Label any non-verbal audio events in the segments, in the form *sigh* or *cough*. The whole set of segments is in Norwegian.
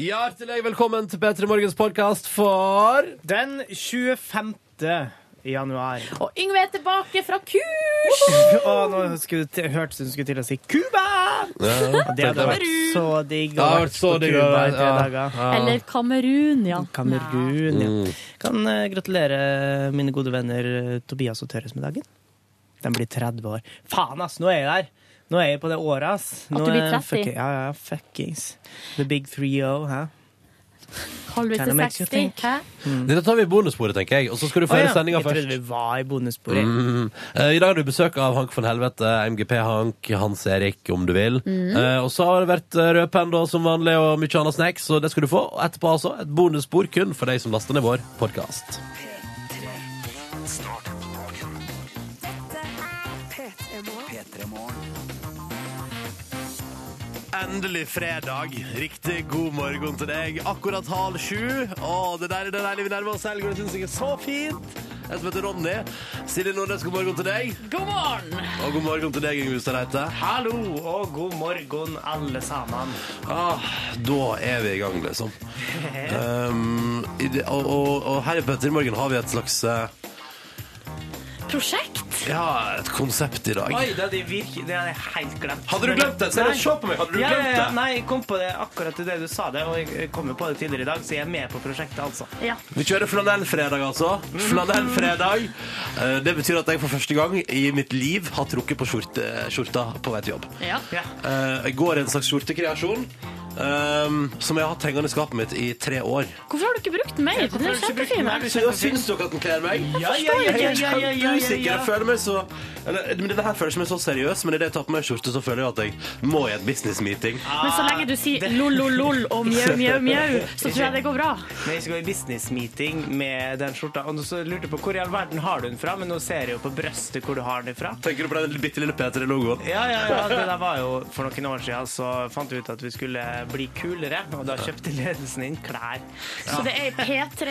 Hjertelig velkommen til P3 Morgens podkast for Den 25. januar. Og Yngve er tilbake fra kurs! Og nå skulle, til- hørtes det hun skulle til å si Cuba! Det hadde vært så digg Det å har vært vært så på digg å Cuba i være- tre ja. dager. Eller Kamerun, ja. Kamerun, Mm. ja. Kan eh, gratulere mine gode venner eh, Tobias og Tørres med dagen. De blir 30 år. Faen, ass! Nå er jeg der! Nå er jeg på det året, ass. At Nå du blir er- 30? fuck- ja, ja, fuckings. The big three-o, hæ? Halvveis Kinda til makes you 60. think. Hæ? Mm. Dette tar vi i bonussporet, tenker jeg. Og så skal du få Å, høre ja. sendinga Jeg først. trodde vi var i bonusbordet. Mm. Eh, I dag har du besøk av Hank von Helvete, MGP-Hank, Hans Erik, om du vil. Mm. Eh, og så har det vært eh, rødpenn da, som vanlig, og mye annet snacks, og det skal du få. Og etterpå altså et bonusspor kun for deg som laster ned vår podkast. Endelig fredag. Riktig god morgen til deg. Akkurat halv sju. Å, det der er det deilige vi nærmer oss helg, og det syns jeg er så fint. Jeg som heter Ronny. Silje Nordnes, god morgen til deg. God morgen! Og god morgen til deg, Yngve Ustad Reite. Hallo og god morgen, alle sammen. Ah, da er vi i gang, liksom. Um, i det, og, og, og her i Petter i morgen har vi et slags eh, Prosjekt? Ja, et konsept i dag. Oi, det hadde jeg virke- det hadde jeg helt glemt. Hadde du glemt det? Se, Nei. se på meg, hadde du Ja, glemt ja, ja. det? Nei, jeg kom på det akkurat til det du sa det, og jeg- jeg kom jo på det tidligere i dag, så jeg er med på prosjektet, altså. Ja. Vi kjører flanellfredag, altså. Flanellfredag. Eh, Det betyr at jeg for første gang i mitt liv har trukket på skjorte, skjorta på vei til jobb. ja. Ja. Eh, Jeg går i en slags skjortekreasjon ehm, som jeg har hatt hengende i skapet mitt i tre år. Hvorfor har du ikke brukt den mer? Den er kjempefin. Nei, du Så da kjemper- syns dere at den kler meg? Ja, ja, ja, ja, ja, ja, ja, ja, usikker. Jeg ja. føler meg så eller, eh, men Denne her føles som en så seriøs, men idet jeg tar på meg skjorte, så føler jeg at jeg må i et businessmeeting. Men så lenge du sier lol-lol-lol *laughs* og mjau, mjau, mjau, så tror jeg det går bra. Men jeg skal gå i businessmeeting med den skjorta, og så lurte jeg på hvor i all verden har du den fra, men nå ser jeg jo på brøstet hvor du har den fra. Tenker du på den bitte lille P3-logoen? Ja, ja, ja, *laughs* det der var jo for noen år siden, så fant vi ut at vi skulle bli kulere, og da kjøpte ledelsen inn klær. Så det er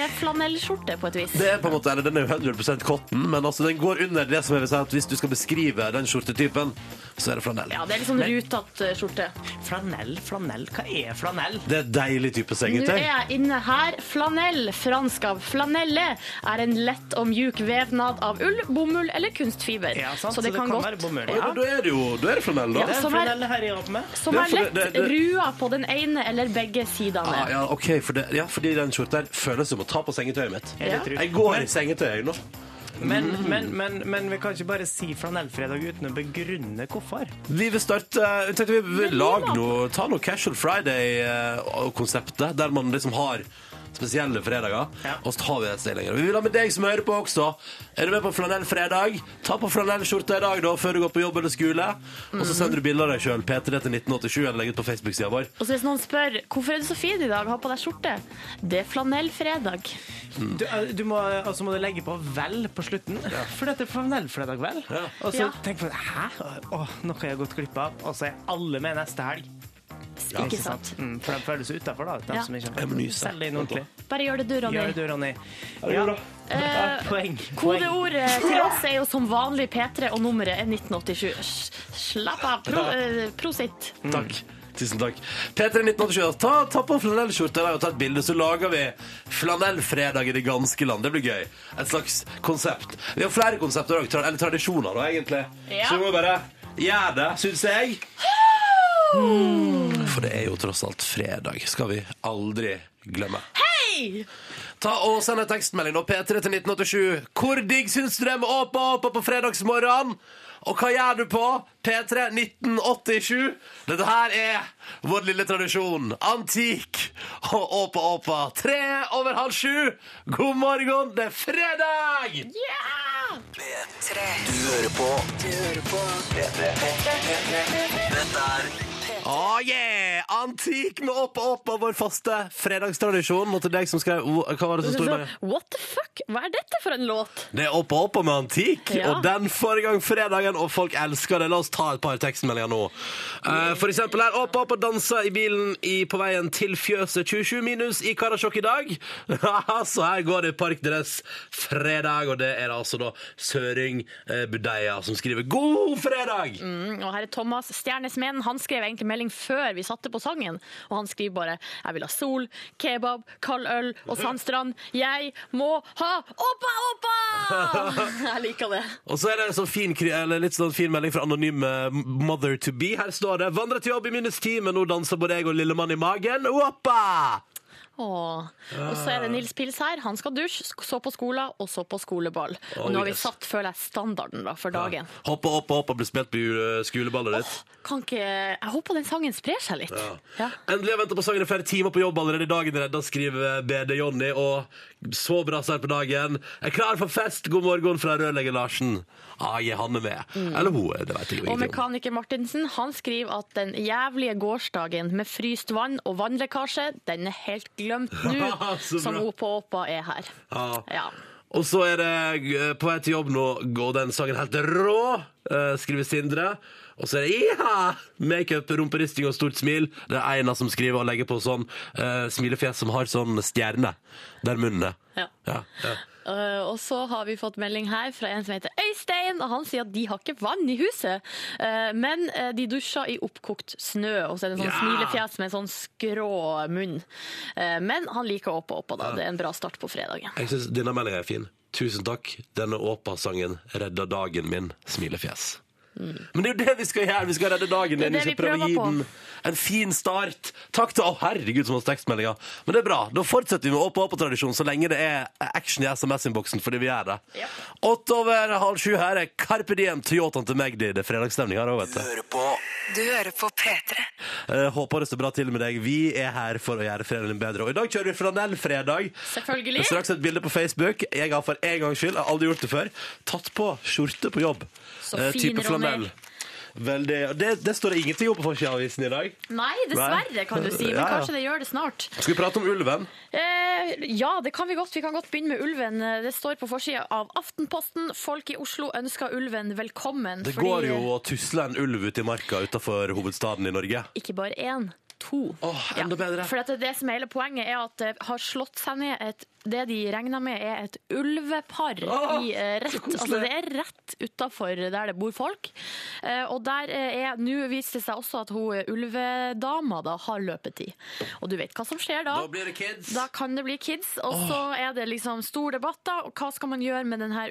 P3-flanellskjorte på et vis. Det er på en måte, eller Den er jo 100 cotton, men altså den går under det som jeg vil si at hvis du skal beskrive den skjortetypen, så er det flanell. Ja, det er litt sånn rutete skjorte. Flanell, flanell, hva er flanell? Det er deilig type Nå er sengetøy. jeg inne her. Flanell, fransk av flanelle, er en lett og mjuk vevnad av ull, bomull eller kunstfiber. Ja, sant? så det kan være godt Oi, bomull. Ja. men Da er det jo da er det flanell, da. Det er som en er- flanell her jeg jobber med. Som Det er er for- det- lett det- rua på den ene eller begge sidene. Ah, ja, ok, for det, ja, fordi den skjorta her føles som å ta på sengetøyet mitt. Ja, det tror Jeg går i sengetøy jeg, nå. Men, men, men, men vi kan ikke bare si flanellfredag uten å begrunne hvorfor. Vi vil starte eh, tenkte vi vil Men lage Jonas- noe, Ta noe Casual Friday-konseptet, der man liksom har spesielle fredager. Ja. Og så har vi et sted lenger. Vi vil ha med deg som hører på også. Er du med på flanellfredag? Ta på flanellskjorta i dag da, før du går på jobb eller skole. Og så sender du bilder av deg sjøl, P3 til 1987, eller legger ut på Facebook-sida vår. Og så hvis noen spør hvorfor er du så fin i dag, ha på deg skjorte, det er flanellfredag. Du, eh, du må, og så må du legge på 'vel' på slutten, *laughs* for dette er flanellfredag, vel? Og så Ja. tenker man 'hæ, Åh, noe har jeg gått glipp av', og så er alle med neste helg. Ikke sant? Mm, for de føles utafor, da. De Ja. som ikke Jeg må nyse. Selg det inn ordentlig. Bare gjør det du, Ronny. Gjør det du, Ronny. Ja. Eh, Ja, Poeng. Poeng. Kodeordet til oss er jo som vanlig P3, og nummeret er 1987. Sj- Slapp av. Pro, eh, prosit. Takk. Tusen takk. P3 1987, ta, ta på flanellskjorta der og ta et bilde, så lager vi flanellfredag i det ganske land. Det blir gøy. Et slags konsept. Vi har flere konsepter òg, eller tradisjoner, da, egentlig. Ja. Så vi må bare gjøre det, syns jeg. For det er jo tross alt fredag. Skal vi aldri glemme. Hei! Ta og Send en tekstmelding nå, P3 til 1987. Hvor digg syns du det med Åpa Åpa på fredagsmorgen? Og hva gjør du på? P3 1987. Dette her er vår lille tradisjon. Antik og Åpa Åpa. Tre over halv sju. God morgen, det er fredag! Yeah! Oh yeah! Antik med Åpa Åpa, vår faste fredagstradisjon. Og til deg som skrev oh, Hva var det som sto der? What the fuck? Hva er dette for en låt? Det er opp og opp med antikk, Ja. og den får i gang fredagen, og folk elsker det. La oss ta et par tekstmeldinger nå. Eh, for eksempel her, opp og opp og danse i bilen i, på veien til fjøset 27 minus i Karasjok i dag. *laughs* Så her går det i parkdress fredag, og det er det altså da Søring eh, Budeia som skriver 'God fredag'! Og her er Thomas Stjernesmeden. Han skrev egentlig melding før vi satte på sangen. Og han skriver bare 'Jeg vil ha sol, kebab, kald øl og sandstrand'. Jeg må ha oppa, oppa! Jeg liker det. Og så er det en sånn fin, kri- eller litt sånn fin melding fra anonyme Mother to be. Her står det 'Vandra til jobb i minus ti, men nå danser både jeg og lillemann i magen'. Oppa! Åh. Og så er det Nils Pils her. Han skal dusje, sk- så på skolen og så på skoleball. Og nå har vi yes. satt, føler jeg, standarden da, for dagen. Hoppa, hoppa, hoppa blir spilt på eh, skoleballet ditt. Kan ikke Jeg håper den sangen sprer seg litt. Ja. Endelig har jeg venta på sangen i flere timer på jobb allerede. Dagen redda, skriver BD Jonny. Og så bra start på dagen. Er klar for fest! God morgen fra rørlegger Larsen. Ah, jeg han er med. Mm. Eller hun, det vet jeg jo Og ingenting om. mekaniker Martinsen han skriver at den jævlige gårsdagen med fryst vann og vannlekkasje, den er helt *laughs* glemt nå Så som bra. Opa Åpa er her. Ja. Ja. Og så er det eh, på vei til jobb nå, går den sangen helt rå, eh, skriver Sindre. Og så er det ja! Makeup, rumperisting og stort smil. Det er Eina som skriver og legger på sånn eh, smilefjes som har sånn stjerne der munnen er. Ja. Ja, ja. Eh, og så har vi fått melding her fra en som heter Øystein, og han sier at de har ikke vann i huset. Eh, men eh, de dusjer i oppkokt snø, og så er det en sånn Ja! smilefjes med en sånn skrå munn. Eh, men han liker Åpa Åpa, da. Det er en bra start på fredagen. Jeg synes denne meldingen er fin. Tusen takk. Denne Åpa-sangen redda dagen min. Smilefjes. Men det er jo det vi skal gjøre! Vi skal redde dagen Det er din. Vi det skal vi prøve å prøver gi på. den en fin start. Takk til Å, herregud, som hans tekstmeldinger. Men det er bra. Da fortsetter vi med Åpa Åpa-tradisjon så lenge det er action i SMS-innboksen, fordi vi gjør det. Ja. Åtte over halv sju her er Carpe Diem, Toyotaen til Magdi. Det er fredagsstemning her òg, vet du. Du hører på P3. Eh, håper det står bra til med deg. Vi er her for å gjøre fredagen din bedre. Og i dag kjører vi flanellfredag. Selvfølgelig. Det er straks et bilde på Facebook. Jeg har for en gangs skyld, jeg har aldri gjort det før, tatt på skjorte på jobb. Så Eh, fin, type Ronny. flanell. Veldig, og det, det står det ingenting om på forsida av avisen i dag. Nei, dessverre, kan du si. Ja, Men ja. kanskje det gjør det snart. Skal vi prate om ulven? Eh, ja, det kan vi godt. Vi kan godt begynne med ulven. Det står på forsida av Aftenposten. Folk i Oslo ønsker ulven velkommen. Det fordi- går jo å tusle en ulv ute i marka utenfor hovedstaden i Norge. Ikke bare én, to. Åh, enda bedre. For at det, det som er hele poenget, er at det har slått seg ned et Det de regner med er et ulvepar Åh, i eh, så rett koselig. Altså det er rett utafor der det bor folk. Eh, og der eh, er Nå viser det seg også at hun eh, ulvedama da har løpetid. Og du vet hva som skjer da. Da blir det kids. Da kan det bli kids, og så er det liksom stor debatt da, og hva skal man gjøre med denne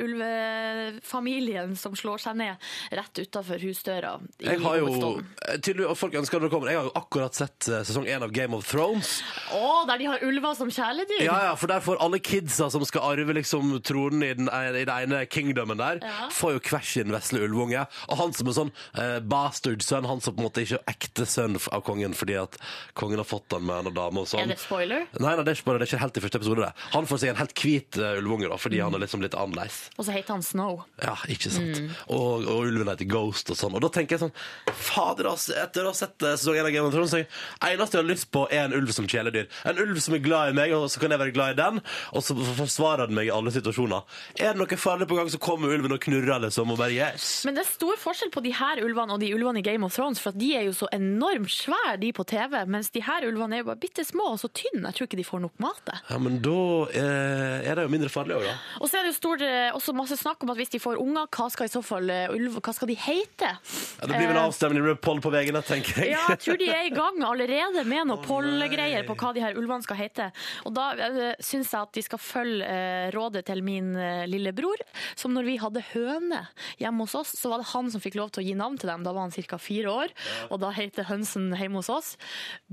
ulvefamilien som slår seg ned rett utenfor husdøra i Jeg har jo, hovedstaden? eh, tydelig, og folk ønsker det kommer. Jeg har jo akkurat sett eh, sesong 1 av Game of Thrones. Å, der de har ulver som kjæledyr? Ja, ja, for der får alle kidsa som skal arve liksom tronen i, den, e- i det ene kingdomen der, Ja. får jo hver sin vesle ulvunge. Og han som er sånn eh, bastard-sønn, han som på en måte ikke er ekte sønn f- av kongen fordi at kongen har fått han med en annen dame og sånn. Er det spoiler? Nei, nei, det er ikke, bare- det er ikke helt i første episode. Det. Han får seg en helt hvit eh, ulvunge da, fordi han er liksom litt annerledes. Og så heter han Snow. Ja, ikke sant. Mm. Og, og ulven heter Ghost og sånn. Og da tenker jeg sånn Fader, ass, etter å ha sett eh, sesong én av Game of Thrones, så jeg- eneste jeg har lyst på, er en ulv som kjæledyr. En ulv som er glad i meg, og så kan jeg være glad i den, og så f- forsvarer den meg i alle situasjoner. Er det noe farlig på gang, så kommer ulven og knurrer, liksom, og bare yes. Men det er stor forskjell på de her ulvene og de ulvene i Game of Thrones, for at de er jo så enormt svære, de på TV, mens de her ulvene er jo bare bitte små og så tynne. Jeg tror ikke de får nok mat. jeg. Ja, men da eh, er det jo mindre farlig òg, da. Og så er det jo stor, eh, også masse snakk om at hvis de får unger, hva skal i så fall eh, ulv, hva skal de hete? Ja, det blir vel Eh, avstemning, det blir poll på veggene, tenker jeg. Ja, jeg tror de er i gang allerede med noen pollgreier på hva de her ulvene skal hete. Og da eh, syns jeg at de skal følge eh, rådet til min eh, lillebror. Som når vi hadde høne hjemme hos oss, så var det han som fikk lov til å gi navn til dem. Da var han ca. fire år, og da heter hønsen hjemme hos oss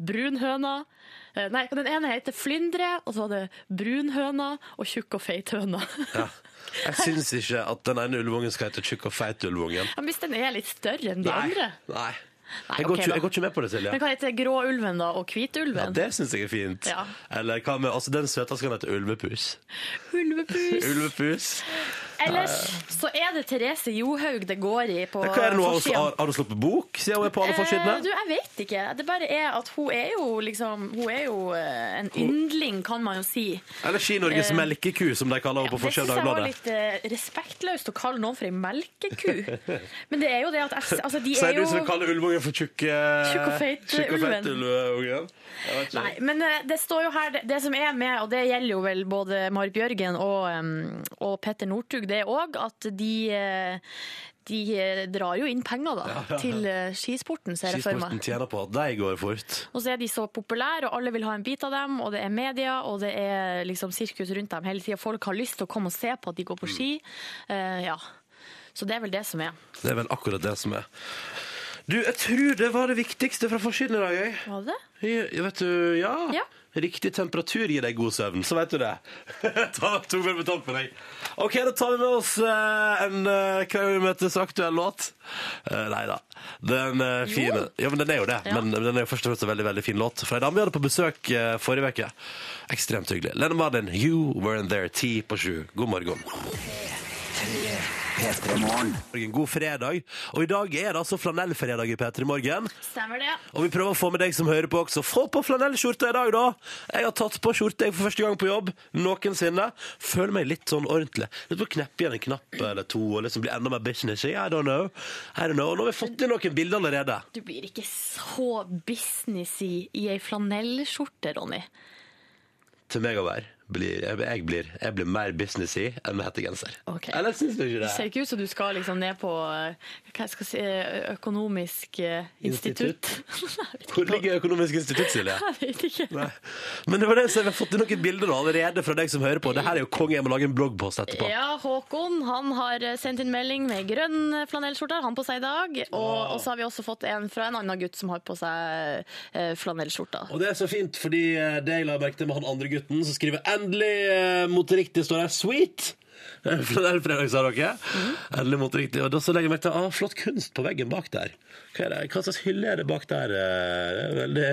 brunhøna. eh, Nei, den ene heter Flyndre, og så var det brunhøna og tjukk og feit høna. *laughs* *laughs* Ja. Jeg syns ikke at den ene ulvungen skal hete Tjukk og feit ulvungen. Men Hvis den er litt større enn de andre. Nei. Nei, Jeg går, ok ikke, da. jeg går ikke med på det, Silje. Men hva heter gråulven da, og Ja, hvitulven? det syns jeg er fint. Ja. Eller hva med altså, Den søta skal hete Ulvepus. Ulvepus. Ulvepus. Ellers så er det Therese Johaug det går i på Hva er det nå? Har hun- forsiden. Har, har hun sluppet bok, siden hun er på alle Eh, du, forsidene? jeg vet ikke. Det bare er at hun er jo liksom Hun er jo eh, en yndling, kan man jo si. Eller Ski-Norges eh, melkeku, som de kaller henne på det forsida syns av jeg var Dagbladet. litt eh, respektløst å kalle noen for ei melkeku. *laughs* Men det er jo det at jeg, altså, de Sier er du jo som kaller ulvungen for tjukke Tjukk og feit, eh, tjukk og feit ulven. ulveungen? Jeg vet ikke. Nei, men eh, det står jo her Det, det som er med, og det gjelder jo vel både Marit Bjørgen og, em, og Petter Northug, det òg, at de eh, de eh, drar jo inn penger da, til eh, skisporten, ser jeg for meg. Skisporten tjener på at de går fort. Og så er de så populære, og alle vil ha en bit av dem, og det er media, og det er liksom sirkus rundt dem hele tida. Folk har lyst til å komme og se på at de går på ski. Eh, ja. Så det er vel det som er. Det er vel akkurat det som er. Du, jeg tror det var det viktigste fra forsiden i dag, jeg. Var det det? Ja, ja, vet du, ja. Ja. Riktig temperatur gir deg god søvn, så vet du det. *laughs* Ta to med betalt for deg. Ok, da tar vi med oss eh, en eh, Hva gjør vi møtes aktuell låt? Eh, nei da. Den eh, fine Ja, men den er jo det. Ja. Men den er jo først og fremst en veldig veldig fin låt fra ei dame vi hadde på besøk eh, forrige uke. Ekstremt hyggelig. Lene Marlin, You Weren't There, ti på sju. God morgen. Morgen, God fredag. Og i dag er det altså flanellfredag i P3 Morgen. Stemmer det. Og vi prøver å få med deg som hører på også. Få på flanellskjorta i dag, da! Jeg har tatt på skjorte jeg for første gang på jobb noensinne. Føler meg litt sånn ordentlig. Litt på å kneppe igjen en knapp eller to og liksom bli enda mer businessy. I don't know. I don't know. Og nå har vi fått inn noen bilder allerede. Du blir ikke så businessy i ei flanellskjorte, Ronny. Til meg å være. Blir, jeg, jeg, blir, jeg blir mer businessy enn med hettegenser. Ok. Eller syns du ikke Det ser det? ikke ut som du skal liksom ned på eh, hva jeg skal si, eh, økonomisk eh, institutt. *laughs* Hvor ligger Økonomisk institutt, Silje? Jeg vet ikke. Nei. Men det var det som jeg har fått inn noen bilder da, allerede fra deg som hører på. Det her er jo konge. Jeg må lage en bloggpost etterpå. Ja, Håkon han har sendt inn melding med grønn flanellskjorte. har Han på seg i dag. Og, og så har vi også fått en fra en annen gutt som har på seg eh, flanellskjorta. Og det er så fint, fordi eh, det jeg la merke til med han andre gutten, som skriver endelig eh, moteriktig, står der 'sweet'. *laughs* For det er fredag, sa dere. Endelig moteriktig. Og da så legger jeg merke til ah, flott kunst på veggen bak der. Hva, er det? Hva slags hylle er det bak der? eh? Det er veldig...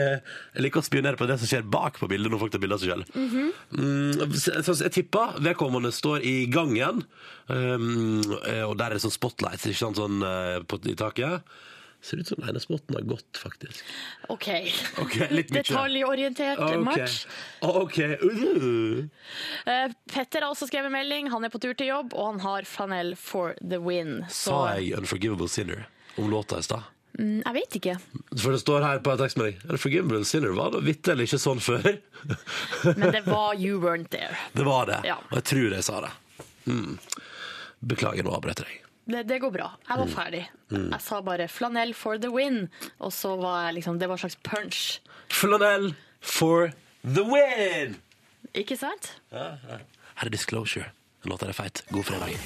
Jeg liker å spionere på det som skjer bak på bildet, når folk tar bilder av seg sjøl. Mm, så- så jeg tipper vedkommende står i gangen, um, eh, og der er det sånn spotlights ikke sant, sånn, eh, på, i taket. Ser ut som den ene spotten har gått, faktisk. OK. Ok, litt mye. Detaljorientert Ah, Ok. Ah, match. Ok. Uh. Eh, Petter har også skrevet melding. Han er på tur til jobb, og han har flanell for the win. Så Sa jeg 'Unforgivable Sinner' om låta i stad? mm, jeg vet ikke. For det står her på en tekstmelding 'Unforgivable Sinner' var da vitterlig ikke sånn før. *laughs* Men det var You Weren't There. Det var det. Ja. Og jeg tror jeg sa det. Mm. Beklager, nå avbrøt jeg deg. Det, det går bra. Jeg Mm. var ferdig. Jeg sa bare 'flanell for the win', og så var jeg liksom Det var en slags punch. Flanell for the win! Ikke sant? Her er Disclosure. Låta er feit. God fredag.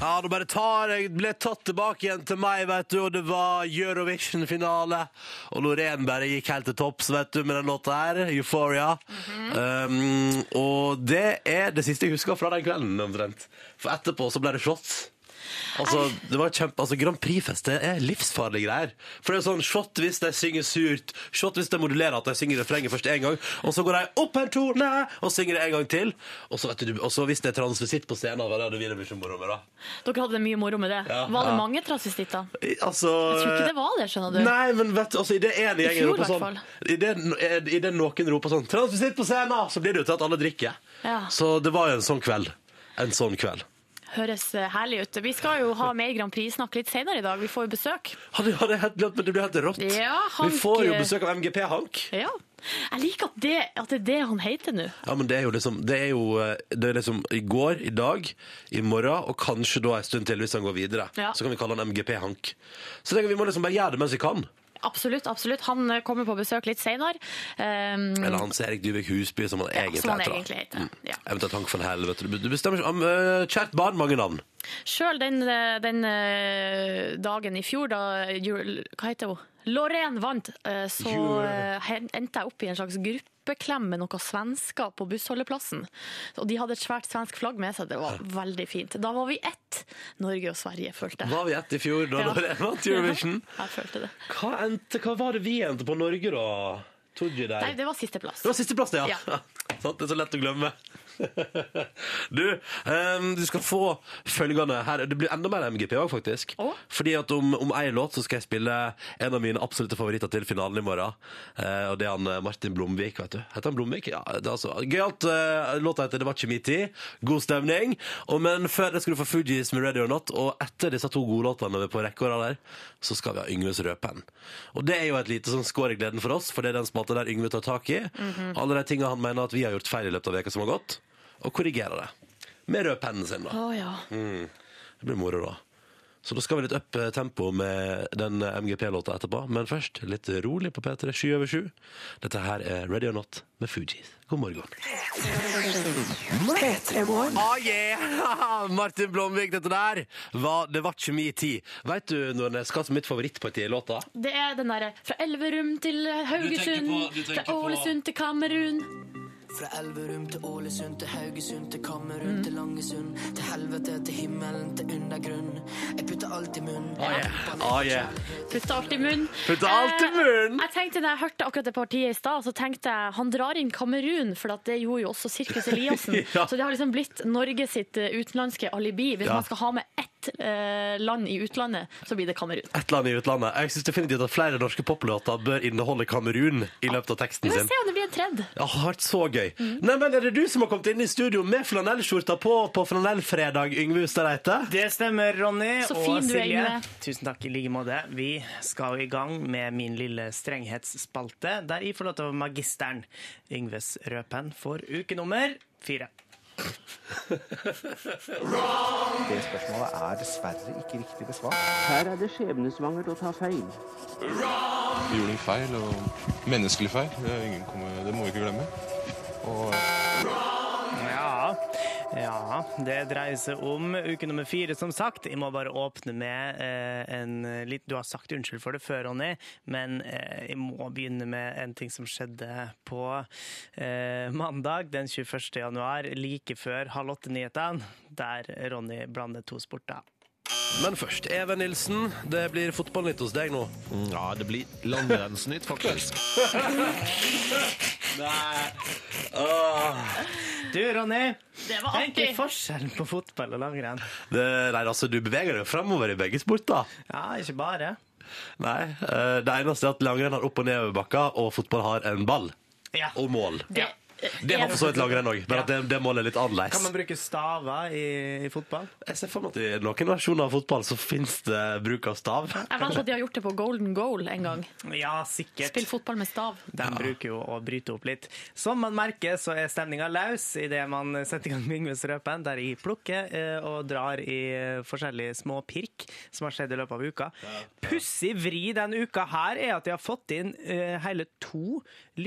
Ja, nå bare tar jeg ble tatt tilbake igjen til meg, vet du, og det var Eurovision-finale. Og Loreen bare gikk helt til topps, vet du, med den låta her, 'Euphoria'. um, og det er det siste jeg husker fra den kvelden, omtrent. For etterpå så ble det shot. Altså, det var kjempe, altså Grand Prix-fest det er livsfarlige greier. For det er sånn shot hvis de synger surt, shot hvis de modulerer at de synger refrenget først én gang, og så går de opp en tone og synger det en gang til. Og så, vet du, og så hvis det er transvestitt på scenen, hva hadde vi det mye moro med da? Dere hadde det mye moro med det. Ja. var det Ja. mange transvestitter? I- Altså, Jeg tror ikke det var det, skjønner du. Nei, men vet du, altså, i det ene gjengen fjor, roper sånn i det, i det noen roper sånn 'Transvestitt på scenen!' så blir det jo til at alle drikker. Ja. Så det var jo en sånn kveld. En sånn kveld. Høres eh, herlig ut. Vi skal jo ha mer Grand Prix-snakk litt senere i dag. Vi får jo besøk. Hadde, hadde jeg helt glemt, men det ble helt rått. Ja, Hank- Vi får jo besøk av MGP Hank. Ja. Jeg liker at det, at det er det han heter nå. Ja, men det er jo liksom Det er jo eh, det er liksom i går, i dag, i morgen og kanskje da en stund til hvis han går videre. Ja. Så kan vi kalle han MGP Hank. Så tenker jeg vi må liksom bare gjøre det mens vi kan. Absolutt. absolutt. Han eh, kommer på besøk litt senere. Um, Eller Hans Erik Dyvik Husby, som han egentlig som han heter. da. Mm. egentlig heter, ja. Eventuelt Hank von Helvete. Du- Du bestemmer ikke om eh, Kjært barn, mange navn. Sjøl den, eh, den eh, dagen i fjor da Jul- Hva heter hun? Lorraine vant, eh, så Jul- eh, hen- endte jeg opp i en slags gruppeklem med noen svensker på bussholdeplassen. Og de hadde et svært svensk flagg med seg, det var veldig fint. Da var vi ett, Norge og Sverige, følte jeg. Var vi ett i fjor *laughs* da Ja. Loreen vant Eurovision? *laughs* Jeg følte det. Hva, endte, hva var det vi endte på Norge, da? Todji der? Nei, det var sisteplass. Det var sisteplass, det, ja. Ja. *laughs* Sant, det er så lett å glemme. *laughs* du, ehm, du skal få følgende her. Det blir enda mer MGP òg, faktisk. Å? Fordi at om, om ei låt så skal jeg spille en av mine absolutte favoritter til finalen i morgen. Eh, og det er han eh, Martin Blomvik, vet du. Heter han Blomvik? Ja, det er altså Gøyalt. eh, låta heter 'Det var ikke min tid'. God stemning. Og, men før det skal du få Fugees med 'Ready or Not'. Og etter disse to godlåtene vi er på rekka der, så skal vi ha Yngves Rødpenn. Og det er jo et lite sånn skår i gleden for oss, for det er den spalta der Yngve tar tak i. Alle de tinga han mener at vi har gjort feil i løpet av veka som har gått, og korrigerer det. Med rødpennen sin, da. Å ja. Det blir moro, da. Så da skal vi litt opp eh, tempo med den eh, MGP-låta etterpå. Men først litt rolig på P3, sky over sju. Dette her er Ready or Not med Fugees. God morgen. Ah, yeah! *laughs* Martin Blomvik, dette der var Det var ikke mi tid. Veit du når det skal som mitt favorittparti i låta? Det er den derre fra Elverum til Haugesund, på- du tenker fra på- Ålesund til Kamerun. Fra Elverum til Ålesund til Haugesund til Kammerun til Langesund til helvete til himmelen til undergrunn. Jeg putter alt i munnen. Ah, yeah. Ah, yeah. Putta alt i munnen. Putta alt i Eh, munnen! Jeg tenkte da jeg hørte akkurat det partiet i stad, så tenkte jeg han drar inn Kamerun, for at det gjorde jo også Sirkus Eliassen. *laughs* Ja. Så det har liksom blitt Norge sitt eh, utenlandske alibi. Hvis Ja. man skal ha med ett eh, land i utlandet, så blir det Kamerun. Et land i utlandet. Jeg syns definitivt at flere norske poplåter bør inneholde Kamerun i løpet av teksten Vi får sin. se om det blir en trend. Ja, det har vært så gøy. Nei, men Er det du som har kommet inn i studio med flanellskjorta på på flanellfredag, Yngve Hustad Reite? Det stemmer, Ronny Så og fin du er, Silje. Yngve. Tusen takk i like måte. Vi skal i gang med min lille strenghetsspalte, der jeg får lov til å være magisteren Yngves rødpenn for uke nummer fire. Det spørsmålet er dessverre ikke riktig besvart. Her er det skjebnesvangert å ta feil. Vi gjorde en feil, og menneskelig feil. Det, er ingen komme- det må vi ikke glemme. Og Ja, ja, det dreier seg om uke nummer fire, som sagt. Jeg må bare åpne med eh, en litt Du har sagt unnskyld for det før, Ronny, men eh, jeg må begynne med en ting som skjedde på eh, mandag den 21. januar, like før halv åtte-nyhetene, der Ronny blander to sporter. Men først, Even Nilsen, det blir fotballnytt hos deg nå. Ja, det blir landrennsnytt, faktisk. *laughs* Du, Ronny, Det var tenk artig. litt forskjellen på fotball og langrenn. Det, nei, altså, Du beveger deg jo fremover i begge sporter. Ja, ikke bare. Nei, eh, Det eneste er at langrenn har opp- og nedoverbakker, og fotball har en ball Ja. og mål. ja. Det har for så vidt langrenn òg, men at det, det målet er litt Kan man annerledes. bruke staver i, i fotball? Jeg ser for meg at I noen versjoner av fotball så fins det bruk av stav. Jeg vet at de har gjort det på Golden Goal en gang. Ja, sikkert. Spill fotball med stav. De bruker jo å bryte opp litt. Som man merker, så er stemninga løs idet man setter i gang med Yngves Røpen, der jeg plukker eh, og drar i eh, forskjellige små pirk som har skjedd i løpet av uka. Pussig vri denne uka her er at jeg har fått inn eh, hele to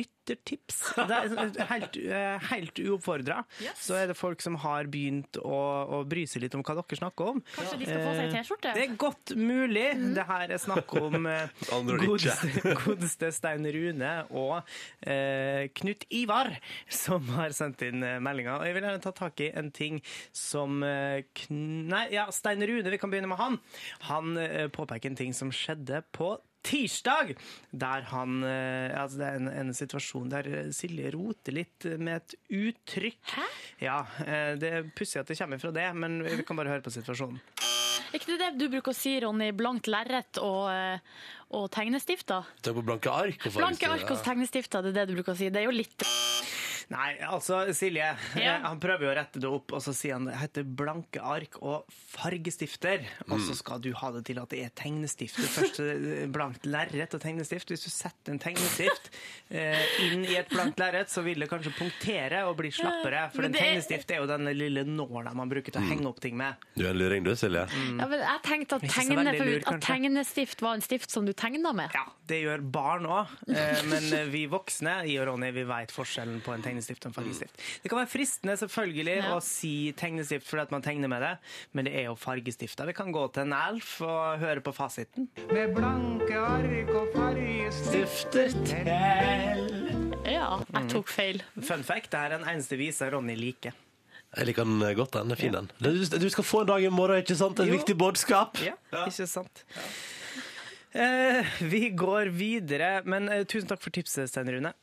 lyttertips. Det er helt, eh, helt uoppfordra. Så er det folk som har begynt å, å bry seg litt om hva dere snakker om. Eh, Kanskje de skal få seg en T-skjorte? Det er godt mulig. Det her er snakk om eh, Andre ord godeste, *laughs* godeste Stein Rune og eh, Knut Ivar, som har sendt inn eh, meldinga. Og jeg vil gjerne ta tak i en ting som eh, kn Nei, ja, Stein Rune, vi kan begynne med han. Han eh, påpeker en ting som skjedde på Tirsdag, der han eh, Altså, det er en, en situasjon der Silje roter litt med et uttrykk. Hæ? Ja, eh, det er pussig at det kommer fra det, men vi kan bare høre på situasjonen. Er ikke det det du bruker å si, Ronny? Blankt lerret og, eh, og tegnestifter? Tenk på blanke ark. og Blanke fargestifter. ark hos tegnestifter, det er det du bruker å si. Det er jo litt Nei, altså, Silje. Ja. eh, Han prøver jo å rette det opp, og så sier han det heter blanke ark og fargestifter. Og så skal du ha det til at det er tegnestifter. Først eh, blankt lerret og tegnestift. Hvis du setter en tegnestift eh, inn i et blankt lerret, så vil det kanskje punktere og bli slappere. For Men en det er- tegnestift er jo den lille nåla man bruker til å henge opp ting med. Du er en luring, du, Silje. Mm. Ja, men jeg tenkte at, Ikke så tegne, veldig for, lur, at kanskje. tegnestift var en stift som du tegna med. Ja, det gjør barn òg, men eh, vi voksne jeg og Ronny, vi vet forskjellen på en tegnestift og en fargestift. Det kan være fristende selvfølgelig Ja. å si tegnestift fordi at man tegner med det, men det er jo fargestifter. Vi kan gå til en elf og høre på fasiten. Med blanke ark og fargestifter til Ja, Mm. jeg tok *laughs* feil. Fun fact, det her er den eneste visa Ronny liker. Jeg liker den eh, godt, den. Den er fin, den. Du, du skal få en dag i morgen, ikke sant? Et Jo. viktig budskap. Ja, *laughs* ikke sant? Eh, vi går videre, men eh, tusen takk for tipset, Stein Rune.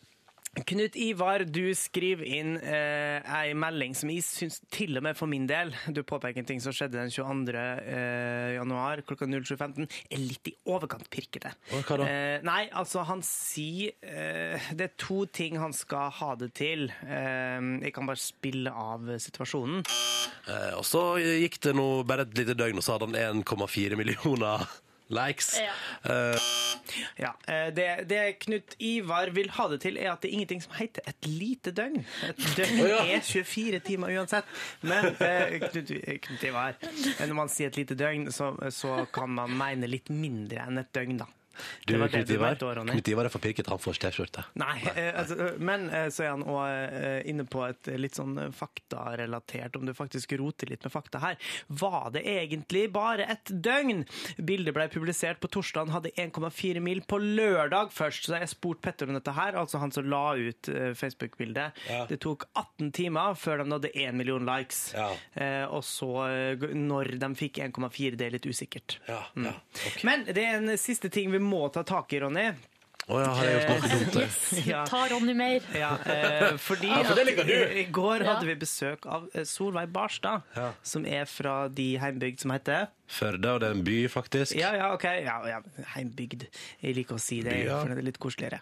Knut Ivar, du skriver inn eh, ei melding som jeg syns til og med for min del Du påpeker en ting som skjedde den 22. Eh, januar klokka 07.15. Er litt i overkant pirkete. Å, hva da? Eh, nei, altså, han sier eh, Det er to ting han skal ha det til. Eh, jeg kan bare spille av situasjonen. Eh, Og så gikk det nå bare et lite døgn, og så hadde han 1,4 millioner Likes. Ja. Ja, eh, det, det Knut Ivar vil ha det til, er at det er ingenting som heter et lite døgn. Et døgn Å, ja. er 24 timer uansett. Men eh, Knut, Knut Ivar, eh, når man sier et lite døgn, så, eh, så kan man mene litt mindre enn et døgn, da. Du, Det var det Knut du Ivar, mente også, Ronny. Knut Ivar er forpirket. Han får T-skjorte. Nei, eh, altså, eh, men eh, så er han òg eh, inne på et eh, litt sånn eh, faktarelatert, om du faktisk roter litt med fakta her. Var det egentlig bare et døgn? Bildet ble publisert på torsdag, hadde 1,4 mil på lørdag først. Så jeg spurte Petter om dette her, altså han som la ut eh, Facebook-bildet. Det tok 18 timer før de nådde 1 million likes. Ja. Eh, og så eh, g- når de fikk 1,4, det er litt usikkert. Mm. Ja, ja. ok. Men det er en siste ting vi må ta tak i, Ronny. Å ja, har jeg gjort Eh. noe dumt? jeg? *laughs* Ja. Ta Ronny mer. Ja, eh, *laughs* fordi Ja, for det at liker du. I går Ja. hadde vi besøk av eh, Solveig Barstad, Ja. som er fra de heimbygd som heter Førde, og det er en by, faktisk. Ja, ja, OK. Ja, ja, heimbygd. Jeg liker å si det, Ja. for det er litt koseligere.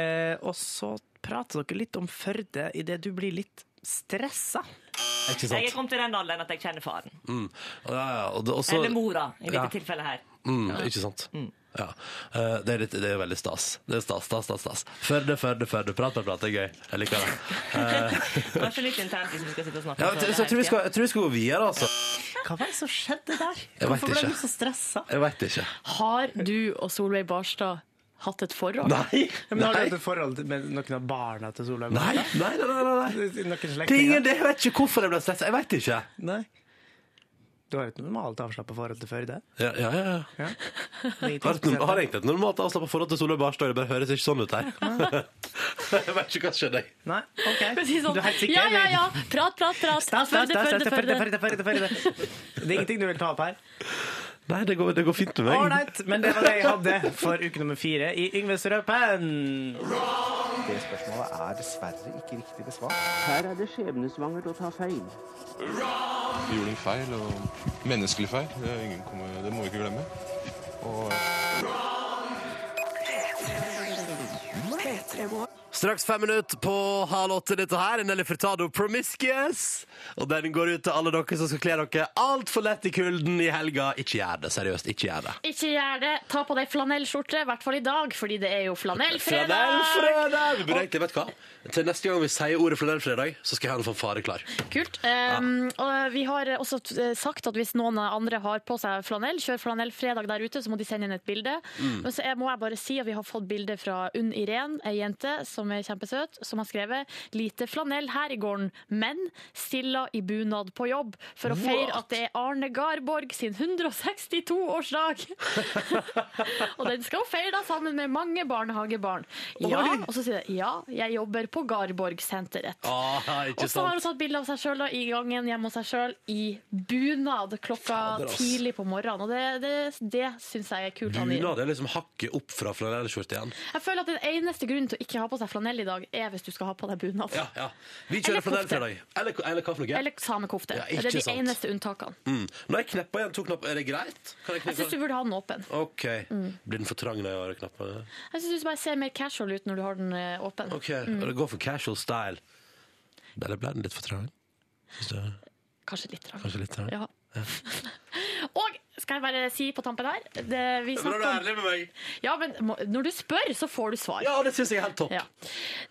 Eh, og så prater dere litt om Førde idet du blir litt stressa. Ikke sant? kommet til den alderen at jeg kjenner faren. Mm. Ja, ja, og det, også, mora, i dette Ja. tilfellet her. Mm, ikke sant? Ja. Eh, Det, er litt, det er veldig stas. Det er stas, stas, stas. stas. Førde, Førde, Førde. Prat, prat, prat. Det er gøy. Jeg liker det. Kanskje litt internt hvis vi skal sitte og snakke Ja, men, så jeg, tror vi skal, jeg tror vi skal gå videre, altså. Hva var det som skjedde der? Jeg vet Hvorfor ble ikke. du så stressa? Jeg veit ikke. Har du og Solveig Barstad hatt et forhold? Nei! Men har du hatt et forhold med noen av barna til Solveig? Nei, nei, nei, nei, nei, nei. Noen Det er ingen, slektninger? det, jeg vet ikke hvorfor jeg ble stressa. Jeg vet ikke. Nei. Du har jo et normalt avslappa forhold til Førde? Ja, ja, ja, ja. Jeg har, et, norm- har egentlig et normalt avslappet forhold til Solveig Barstad. Det bare høres ikke sånn ut *laughs* her. jeg vet ikke hva som skjedde. Nei, ok. *laughs* Si sånn, Du er helt sikker? Ja, ja, ja. Prat, prat, prat. Stas, stas, Førde, stas, Førde, stas, Førde, Førde. Førde, Førde, Førde. Det er ingenting du vil ta opp her? Nei, det går, det går fint med meg. Ålreit, men det var det jeg hadde for uke nummer fire i Yngves Røpen. Det spørsmålet er dessverre ikke riktig besvart. Her er det skjebnesvangert å ta feil. Vi gjorde en feil, og menneskelig feil. Det, er ingen kommer, det må vi ikke glemme. Og Straks fem minutter på halv åtte. Dette her er Nelly Furtado Promiscuous. Og den går ut til alle dere som skal kle dere altfor lett i kulden i helga. Ikke gjør det. Seriøst, ikke gjør det. Ikke gjør det. Ta på deg flanellskjorte, i hvert fall i dag, fordi det er jo flanellfredag. Flanellfredag! Vi burde egentlig- Vet du hva? Til neste gang vi sier ordet flanellfredag, så skal jeg ha en fanfare klar. Kult. Um, og vi har også t- sagt at hvis noen andre har på seg flanell, kjør flanellfredag der ute, så må de sende inn et bilde. Men så er, må jeg bare si at vi har fått bilde fra Unn Irén, ei jente som er kjempesøt, som har skrevet 'Lite flanell her i gården, men stilla i bunad på jobb' for å feire at det er Arne Garborg sin 162-årsdag. *laughs* og den skal hun feire sammen med mange barnehagebarn. Ja, og så sier jeg 'ja, jeg jobber på Garborgsenteret'. Ah, ikke Og så har sant? hun tatt bilde av seg sjøl i gangen hjemme hos seg sjøl i bunad klokka Fader, ass. tidlig på morgenen. Og det, det, det syns jeg er kult. Anne. Bunad er liksom hakket opp fra flanellskjorte igjen. Jeg føler at Den eneste grunnen til å ikke ha på seg flanell i dag, er hvis du skal ha på deg bunad. Ja, ja. Vi Eller kjører kofte. flanellfredag. Eller, eller hva for noe? Eller samekofte. Ja, ikke det er de sant. eneste unntakene. Mm. Når jeg knepper igjen to knapper, er det greit? Kan jeg Jeg syns du Mm. kneppe? burde ha den åpen. OK. Blir den for trang når jeg har knappene? Jeg synes du bare ser mer casual ut når du har den eh, åpen. Ok, og det går for casual style. Eller ble den litt for trang? Synes du? Kanskje litt trang. Kanskje litt trang? Ja. *laughs* Og skal jeg bare si på tampen her det vi Men er du snakker om... ærlig med meg? Ja, men må- Når du spør, så får du svar. Ja, det syns jeg er helt topp. Ja.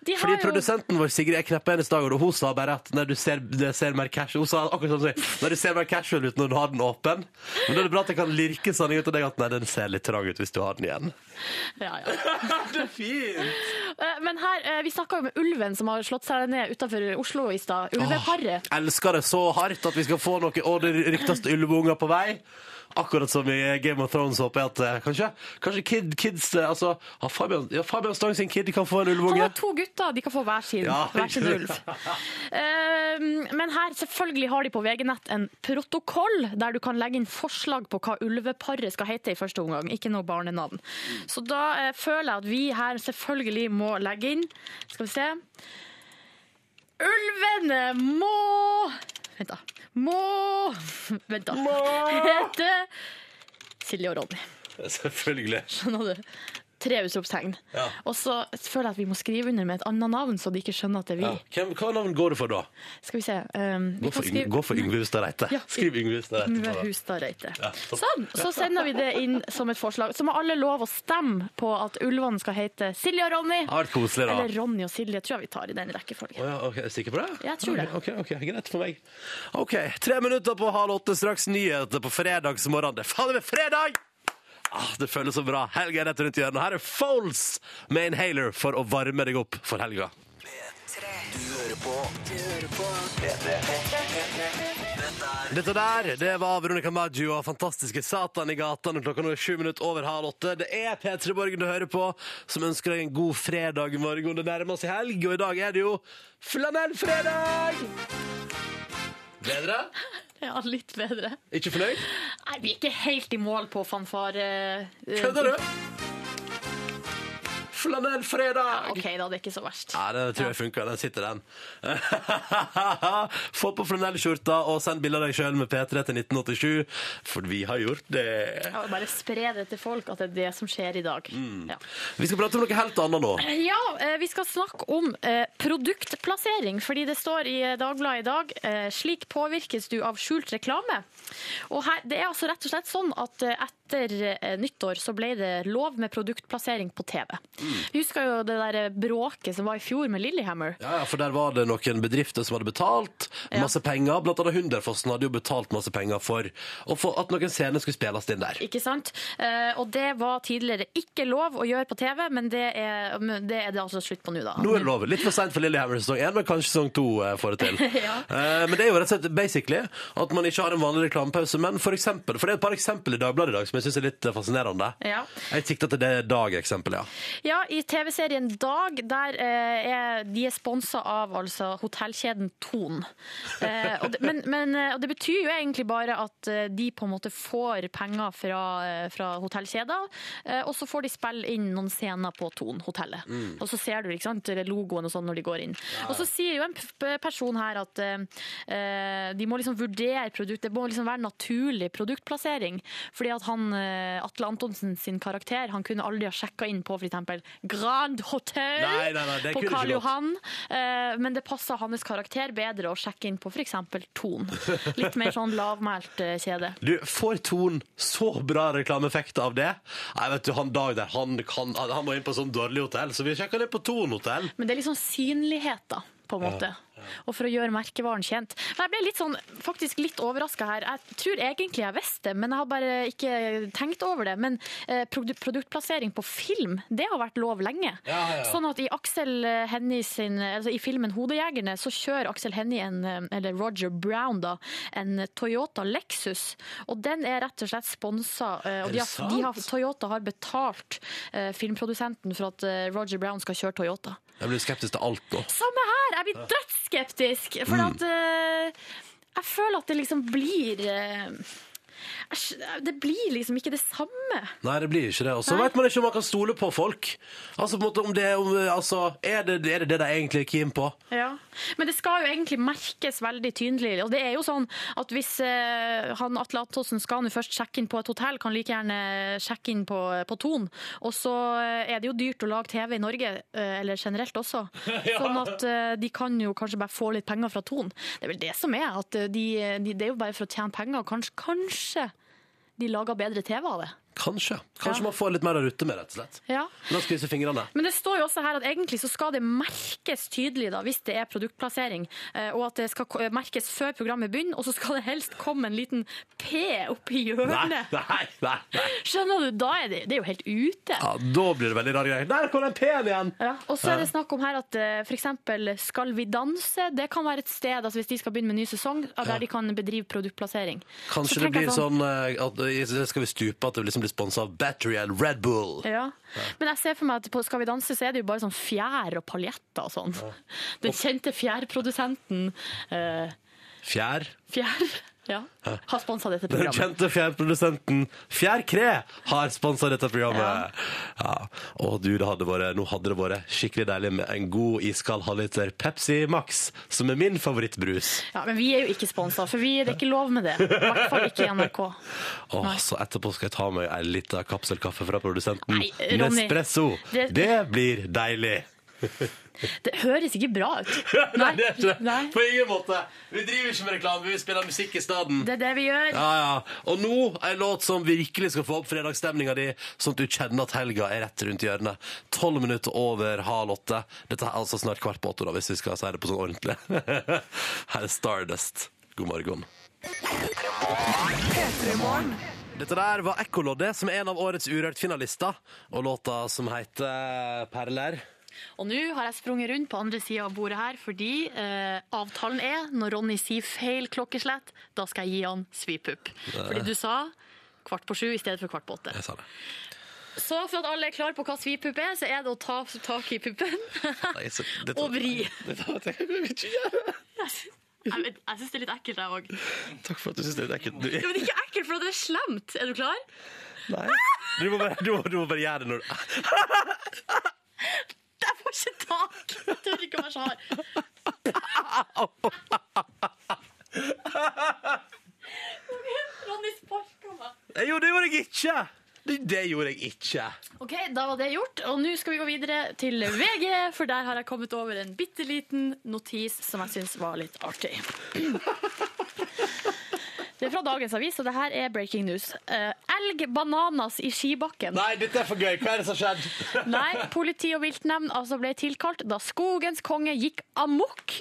De Fordi har jo- produsenten vår Sigrid jeg kneppa hennes dag, og hun sa bare at når du ser, det ser mer casual Hun sa akkurat sånn Når du ser mer casual ut når du har den åpen. Men da er det bra at jeg kan lirke sanning ut av deg at nei, den ser litt trang ut hvis du har den igjen. *laughs* ja, ja. *laughs* det er fint! Eh, Men her, eh, vi snakka jo med ulven som har slått seg ned utenfor Oslo i stad. Ulveparet. Elsker det så hardt at vi skal få noe Og det ryktes ulveunger på vei. Akkurat som i Game of Thrones, håper jeg at eh, kanskje, kanskje kid, kids eh, Altså, har Fabian, ja, Fabian Stang sin kid kan få en Han ulveunge. har to gutter, de kan få hver sin, Ja, hver sin ikke ulv. Eh, Men her, selvfølgelig har de på VG-nett en protokoll der du kan legge inn forslag på hva ulveparet skal hete i første omgang, ikke noe barnenavn. Så da eh, føler jeg at vi her selvfølgelig må legge inn Skal vi se. Ulvene må Vent, da. Må *laughs* Vent, *laughs* da. Hete Silje og Ronny. *laughs* Selvfølgelig. Skjønner du? Tre utropstegn. Ja. Og så føler jeg at vi må skrive under med et annet navn, så de ikke skjønner at det er vi. Ja. Hvem, hva navn går du for da? Skal vi se. Um, vi Gå kan for, Yng- skrive- gå for Yngve Hustad Reite. Ja. Skriv Yngve Hustad Reite. Yngve på det. Hustad Reite. Ja, topp. Sånn. Så sender vi det inn som et forslag. Så må alle lov å stemme på at ulvene skal hete Silje og Ronny. Det har vært koselig, da. Eller Ronny og Silje, tror jeg vi tar i den rekkefølgen. Å ja, ok, er du sikker på det? Jeg tror det. Ok, ok, ok, Greit for meg. Ok, Tre minutter på halv åtte, straks nyheter på fredagsmorgen. Det er fader meg fredag! Ah, det føles så bra. Helga er rett rundt hjørnet. Her er Foles med inhaler for å varme deg opp for helga. Dette der, det var Veronica Maggio og fantastiske Satan i gatene. Klokka nå er sju minutter over halv åtte. Det er P3 Borgen du hører på, som ønsker deg en god fredag i morgen. Det nærmer seg helg, og i dag er det jo flanellfredag! Gleder deg? Ja, litt bedre. Ikke fornøyd? Nei, vi er ikke helt i mål på fanfare... eh, Kødder du? Flanellfredag! OK, da. Det er ikke så verst. Ja, det tror jeg funker. Den *laughs* sitter, den. Få på flanellskjorta og send bilde av deg sjøl med P3 til 1987, for vi har gjort det. Ja, Bare spre det til folk at det er det som skjer i dag. Mm. Ja. Vi skal prate om noe helt annet nå. Ja, eh, vi skal snakke om eh, produktplassering, fordi det står i eh, Dagbladet i dag eh, slik påvirkes du av skjult reklame. Og her, det er altså rett og slett sånn at eh, etter eh, nyttår så ble det lov med produktplassering på TV. Vi husker jo det der eh, bråket som var i fjor med Lillehammer. Ja, ja, for der var det noen bedrifter som hadde betalt Ja. masse penger. Blant annet Hunderfossen hadde jo betalt masse penger for, og for at noen scener skulle spilles inn der. Ikke sant? Eh, og det var tidligere ikke lov å gjøre på TV, men det er men det, er det altså slutt på nå, da. Nå er det lov. Litt for seint for Lillehammer sesong én, men kanskje sesong to eh, får det til. *laughs* Ja. Eh, Men det er jo rett og slett basically at man ikke har en vanlig reklamepause. Men for eksempel, for det er et par eksempel i Dagbladet i dag som jeg syns er litt eh, fascinerende. Ja. Jeg sikter til det dag-eksempelet, ja. Ja, i TV-serien Dag, der eh, er de er sponsa av altså hotellkjeden Ton. Eh, og det, men, men eh, og det betyr jo egentlig bare at eh, de på en måte får penger fra, eh, fra hotellkjeder, eh, og så får de spille inn noen scener på Ton-hotellet. Mm. Og så ser du ikke sant, logoen og sånn når de går inn. Og så sier jo en p- person her at eh, de må liksom vurdere produkt, det må liksom være naturlig produktplassering. Fordi at han, eh, Atle Antonsen sin karakter, han kunne aldri ha sjekka inn på for eksempel Grand Hotel Nei, nei, nei, det på kunne ikke Karl gått. Johan. eh, men det passa hans karakter bedre å sjekke inn på for eksempel Ton. Litt mer sånn lavmælt eh, kjede. Du, får Ton så bra reklameeffekt av det? Nei, vet du, han Dag der, han, kan, han, han må inn på sånn dårlig hotell, så vi sjekker det på Ton hotell. Men det er liksom synlighet, da. På en måte. Og for å gjøre merkevaren kjent. Men jeg ble litt sånn, faktisk litt overraska her. Jeg tror egentlig jeg visste det, men jeg har bare ikke tenkt over det. Men eh, produ- produktplassering på film, det har vært lov lenge. Ja, ja, ja. Sånn at i Aksel Hennie sin, altså i filmen 'Hodejegerne' så kjører Aksel Hennie en, eh, eller Roger Brown, da, en Toyota Lexus. Og den er rett og slett sponsa. eh, Og Er de det har, de har, sant? Toyota har betalt eh, filmprodusenten for at eh, Roger Brown skal kjøre Toyota. Jeg blir skeptisk til alt nå. Samme her! Jeg blir dødsskeptisk. For at eh, Jeg føler at det liksom blir eh, jeg skj- Det blir liksom ikke det samme. Nei, det blir ikke det. Og så Nei. vet man ikke om man kan stole på folk. Altså, på en måte, om det, om, altså, er, det, er det det de egentlig er keen på? Men det skal jo egentlig merkes veldig tydelig. Og det er jo sånn at hvis eh, han Atle Antonsen skal nå først sjekke inn på et hotell, kan like gjerne sjekke inn på, på Ton. Og så eh, er det jo dyrt å lage TV i Norge, eh, eller generelt også. Sånn at eh, de kan jo kanskje bare få litt penger fra Ton. Det er vel det som er. At eh, de, de, det er jo bare for å tjene penger. og Kanskje, kanskje de lager bedre TV av det. Kanskje. Kanskje Ja. man får litt mer å rutte med, rett og slett. Ja. La oss krysse fingrene. Men det står jo også her at egentlig så skal det merkes tydelig da, hvis det er produktplassering, eh, og at det skal ko- merkes før programmet begynner, og så skal det helst komme en liten P opp i Nei, hjørnet. nei, nei. nei. Skjønner du? Da er det, det er jo helt ute. Ja, da blir det veldig rare greier. Der kom den P-en igjen! Ja, og så er det snakk om her at eh, for eksempel Skal vi danse? Det kan være et sted, altså hvis de skal begynne med en ny sesong, eh, der de kan bedrive produktplassering. Så Kanskje det tenker jeg blir sånn eh, at eh, skal vi stupe at det liksom blir sponsa av Battery and Red Bull. Ja. Men jeg ser for meg at på Skal vi danse så er det jo bare sånn fjær og paljetter og sånn. Den kjente fjærprodusenten eh, Fjær. Fjær. Ja. Har sponsa dette Den programmet. kjente fjærprodusenten Fjærkre har sponsa dette programmet. Ja. Og du, det hadde vært, nå hadde det vært skikkelig deilig med en god iskald halvliter Pepsi Max, som er min favorittbrus. Ja, men vi er jo ikke sponsa, for vi, det er ikke lov med det. I hvert fall ikke i NRK. Åh, så etterpå skal jeg ta meg en liten kapselkaffe fra produsenten Nei, Ronny, Nespresso. Det, det- blir deilig. Det høres ikke bra *laughs* ut. Nei, det er ikke det. Nei. På ingen måte. Vi driver ikke med reklame, vi spiller musikk i stedet. Det er det vi gjør. Ja, ja. Og nå en låt som virkelig skal få opp fredagsstemninga di, sånn at du kjenner at helga er rett rundt hjørnet. Tolv minutter over halv åtte. Dette er altså snart kvart på åtte, da, hvis vi skal si det på sånn ordentlig. *laughs* Her er Stardust. God morgen. Dette der var Ekkoloddet, som er en av årets Urørt-finalister, og låta som heter eh, Perler. Og nå har jeg sprunget rundt på andre sida av bordet her, fordi eh, avtalen er når Ronny sier feil klokkeslett, da skal jeg gi han svipupp. Fordi du sa kvart på sju i stedet for kvart på åtte. Jeg sa det. Så for at alle er klar på hva svipupp er, så er det å ta tak i puppen Nei, så- dette- og vri. Dette *laughs* var- Jeg vil ikke gjøre det. Jeg, vet- jeg syns det er litt ekkelt, jeg òg. Takk for at du syns det er ekkelt. Du- Men ikke ekkelt, for det er slemt. Er du klar? Nei. Du må bare, du må, du må bare gjøre det når du Jeg får ikke tak! Jeg tør ikke å være så hard. Ronny sparka meg. Eh, Jo, det gjorde jeg ikke! Det, det gjorde jeg ikke. Ok, Da var det gjort, og nå skal vi gå videre til VG, for der har jeg kommet over en bitte liten notis som jeg syns var litt artig. Det er fra dagens avis, og det her er breaking news. Eh, elg bananas i skibakken. Nei, dette er for gøy. Hva er det som har skjedd? Nei, politi og viltnemnd altså ble tilkalt da skogens konge gikk amok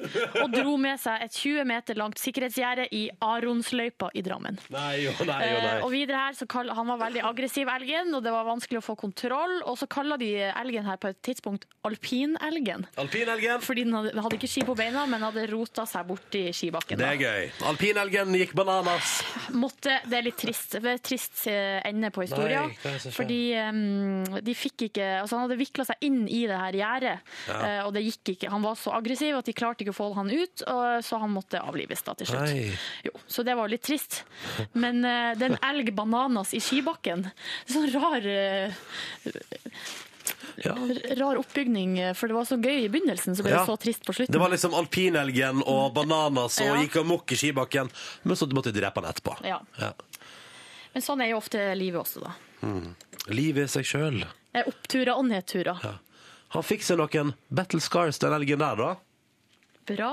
og dro med seg et 20 meter langt sikkerhetsgjerde i Aronsløypa i Drammen. *laughs* Nei, jo, nei, jo, Eh, og nei. videre her så kall, Han var veldig aggressiv, elgen, og det var vanskelig å få kontroll. Og så kalla de elgen her på et tidspunkt alpinelgen. Alpinelgen. Fordi den hadde, den hadde ikke ski på beina, men hadde rota seg borti skibakken. Det da. er gøy. Alpinelgen gikk bananas. Måtte, det er litt trist. Det er et trist eh, ende på historien. Nei, hva er det som skjer? fordi eh, de fikk ikke Altså, han hadde vikla seg inn i det her gjerdet, eh, og det gikk ikke. Han var så aggressiv at de klarte ikke å få han ut, og, så han måtte avlives da til slutt. Nei. Jo, så det var litt trist. Men eh, det er en elg bananas i skibakken. Det er Sånn rar, eh, Ja. rar oppbygning, eh, for det var så gøy i begynnelsen, så ble Ja. det så trist på slutten. Det var liksom alpinelgen og bananas og Ja. gikk amok i skibakken. Men så måtte de drepe han etterpå. Ja. Men sånn er jo ofte livet også, da. Livet i seg sjøl. Det er Oppturer og nedturer. Han fikk seg noen battle scars, den elgen der, da. Bra!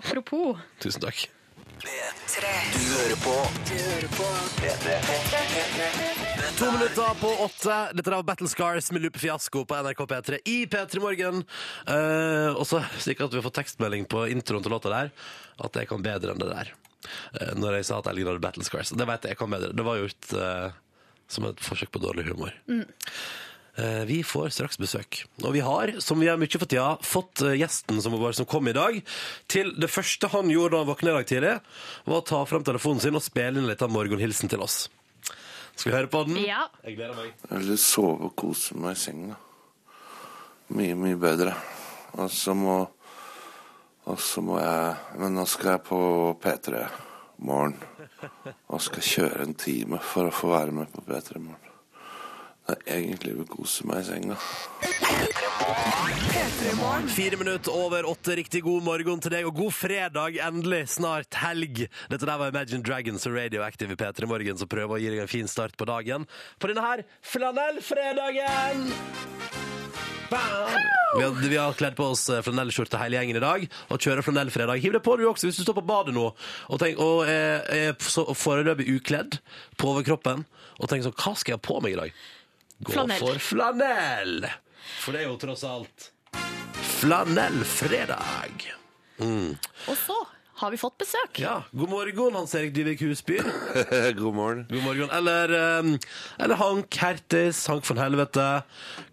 Apropos. Tusen takk. To minutter på åtte. Dette var Battle Scars med Lupe Fiasko på NRK P3 i P3 Morgen. Eh, og så slik at vi har fått tekstmelding på introen til låta der, at jeg kan bedre enn det der. Eh, når jeg sa at Elgen hadde Battle Scars. Det vet jeg, jeg kan bedre. Det var gjort eh, som et forsøk på dårlig humor. Eh, Vi får straks besøk. Og vi har, som vi har mye for tida, fått eh, gjesten som, var, som kom i dag, til det første han gjorde da han våkna i dag tidlig, var å ta fram telefonen sin og spille inn litt av morgenhilsen til oss. Skal vi høre på den? Ja. Jeg gleder meg. Eller sove og kose meg i senga. Mye, mye bedre. Og så må Og så må jeg Men nå skal jeg på P3 Morgen. Og skal kjøre en time for å få være med på P3 Morgen. Det er egentlig å kose meg i senga. Fire minutter over åtte. Riktig god morgen til deg, og god fredag. Endelig snart helg. Dette der var Imagine Dragons og Radioactive i P3 Morgen, som prøver å gi deg en fin start på dagen. På denne her flanellfredagen! Bam! Vi har, vi har kledd på oss eh, flanellskjorte hele gjengen i dag og kjører flanellfredag. Hiv det på du også hvis du står på badet nå og, tenk, og er, er så foreløpig ukledd på overkroppen og tenker sånn Hva skal jeg ha på meg i dag? Gå Flanell. for flanell! For det er jo tross alt Flanellfredag. Og så har vi fått besøk. Ja, god morgen, Hans Erik Dyvik Husby. *laughs* God morgen. God morgen. Eller, eh, eller Hank Hertis, Hank von Helvete.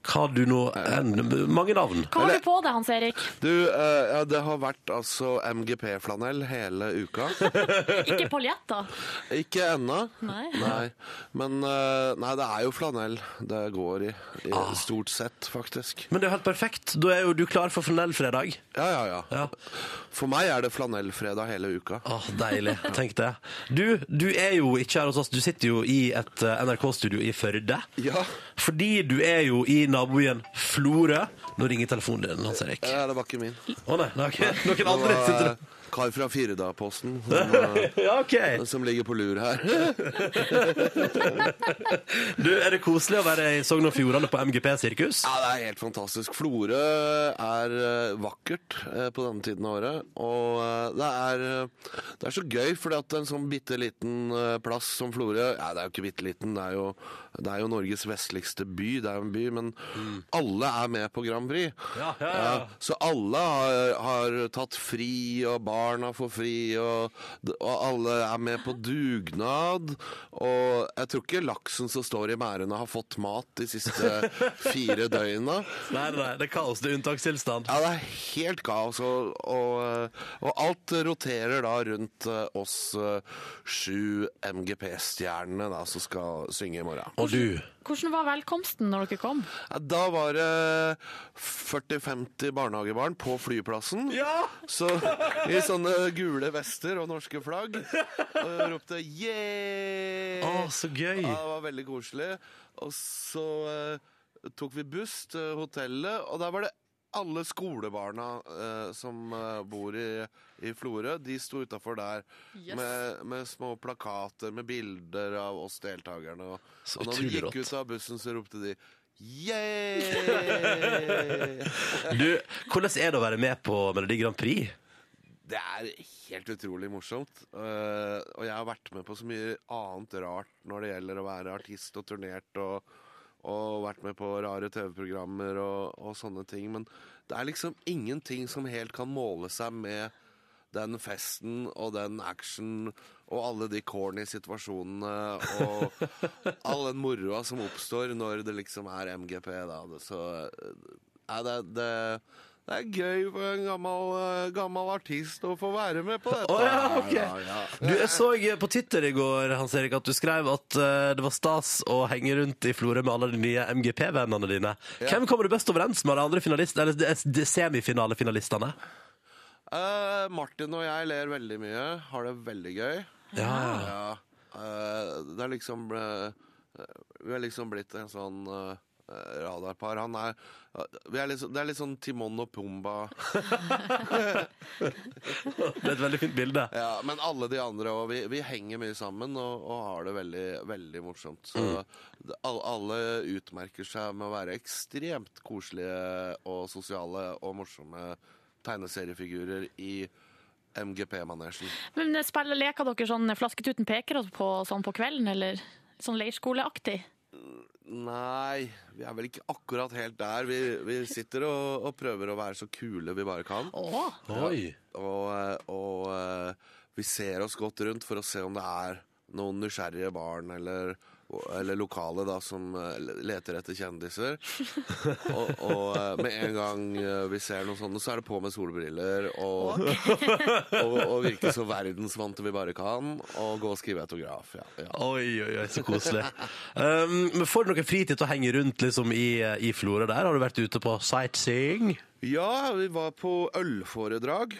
Hva du nå enn- Mange navn. Hva har du på deg, Hans Erik? Du, eh, ja, det har vært altså MGP-flanell hele uka. Ikke paljetter? Ikke ennå. Nei. Nei. Men eh, nei, det er jo flanell det går i. i Stort sett, faktisk. Men det er jo helt perfekt. Da er jo du klar for flanellfredag. Ja, ja, ja. Ja. For meg er det fredag hele uka. Åh, deilig. Tenk det. Du, du er jo ikke her hos oss. Du sitter jo i et eh, NRK-studio i Førde. Fordi du er jo i nabobyen Florø. Nå ringer telefonen din, Hans Erik. Ja, det var ikke min. Å nei, det *laughs* er ikke noen Det andre var sitter *laughs* eh, kar fra Fyrdalposten som, eh, som ligger på lur her. Du, er det koselig å være i Sogn og Fjordane på MGP-sirkus? Ja, det er helt fantastisk. Florø er eh, vakkert eh, på denne tiden av året. Og eh, det er, eh, det er så gøy, fordi at en sånn bitte liten eh, plass som Florø ja, Det er jo ikke bitte liten, det er jo, det er jo Norges vestligste by. Det er jo en by, men alle er med på Grand Prix. Ja, ja, ja. Ja, så alle har, har tatt fri, og barna får fri, og, og alle er med på dugnad. Og jeg tror ikke laksen som står i merdene har fått mat de *laughs* siste fire døgna. Nei, nei, det er kaos. Det er unntakstilstand. Ja, det er helt kaos, og, og, og alt roterer da rundt eh, oss eh, sju MGP-stjernene da, som skal synge i morgen. Og du? Hvordan var velkomsten når dere kom? Ja, Da var det 40-50 barnehagebarn på flyplassen. Så I sånne gule vester og norske flagg. Og jeg ropte 'yeah'! Å, så gøy. Ja, det var veldig koselig. Og så eh, tok vi buss til hotellet, og der var det alle skolebarna eh, som eh, bor i, i Florø, de sto utafor der Yes. med, med små plakater med bilder av oss deltakerne. Og, Så og når vi utrolig gikk rått. ut av bussen, så ropte de *laughs* Yeah! Du, hvordan er det å være med på Melodi Grand Prix? Det er helt utrolig morsomt. Eh, og jeg har vært med på så mye annet rart når det gjelder å være artist og turnert og, og vært med på rare TV-programmer og, og sånne ting. Men det er liksom ingenting som helt kan måle seg med den festen og den action og alle de corny situasjonene og *laughs* all den moroa som oppstår når det liksom er MGP, da. Så eh, det, det, det er gøy for en gammel, eh, gammel artist å få være med på dette. Å ja, ok. Ja, ja. Du, jeg så på Twitter i går Hans Erik, at du skrev at eh, det var stas å henge rundt i Florø med alle de nye MGP-vennene dine. Hvem kommer du best overens med av de andre finalist- eller de- de semifinalefinalistene? *laughs* Eh, Martin og jeg ler veldig mye, har det veldig gøy. Ja. Eh, det er liksom eh, Vi er liksom blitt en sånn eh, radarpar. Han er, vi er liksom, Det er litt sånn Timon og Pumba. Det er et veldig fint bilde. Ja, men alle de andre òg. Vi, vi henger mye sammen og, og har det veldig, veldig morsomt. Så det- al- alle utmerker seg med å være ekstremt koselige og sosiale og morsomme tegneseriefigurer i MGP-manesjen. Men eh, spiller, Leker dere sånn Flasketuten peker oss på sånn på kvelden, eller sånn leirskoleaktig? Nei, vi er vel ikke akkurat helt der. Vi, vi sitter og, og prøver å være så kule vi bare kan. Oi. Ja, og, eh, og eh, vi ser oss godt rundt for å se om det er noen nysgjerrige barn eller, eller lokale da, som eh, leter etter *laughs* kjendiser. og og eh, med en gang eh, vi ser noe sånt, så er det på med solbriller og, *laughs* og, og virke så verdensvante vi bare kan, og gå og skrive autograf. Ja, ja. Oi, oi, oi, så koselig. Um, men får du noe fritid til å henge rundt liksom, i, i Florø der? Har du vært ute på sightseeing? Ja, vi var på ølforedrag.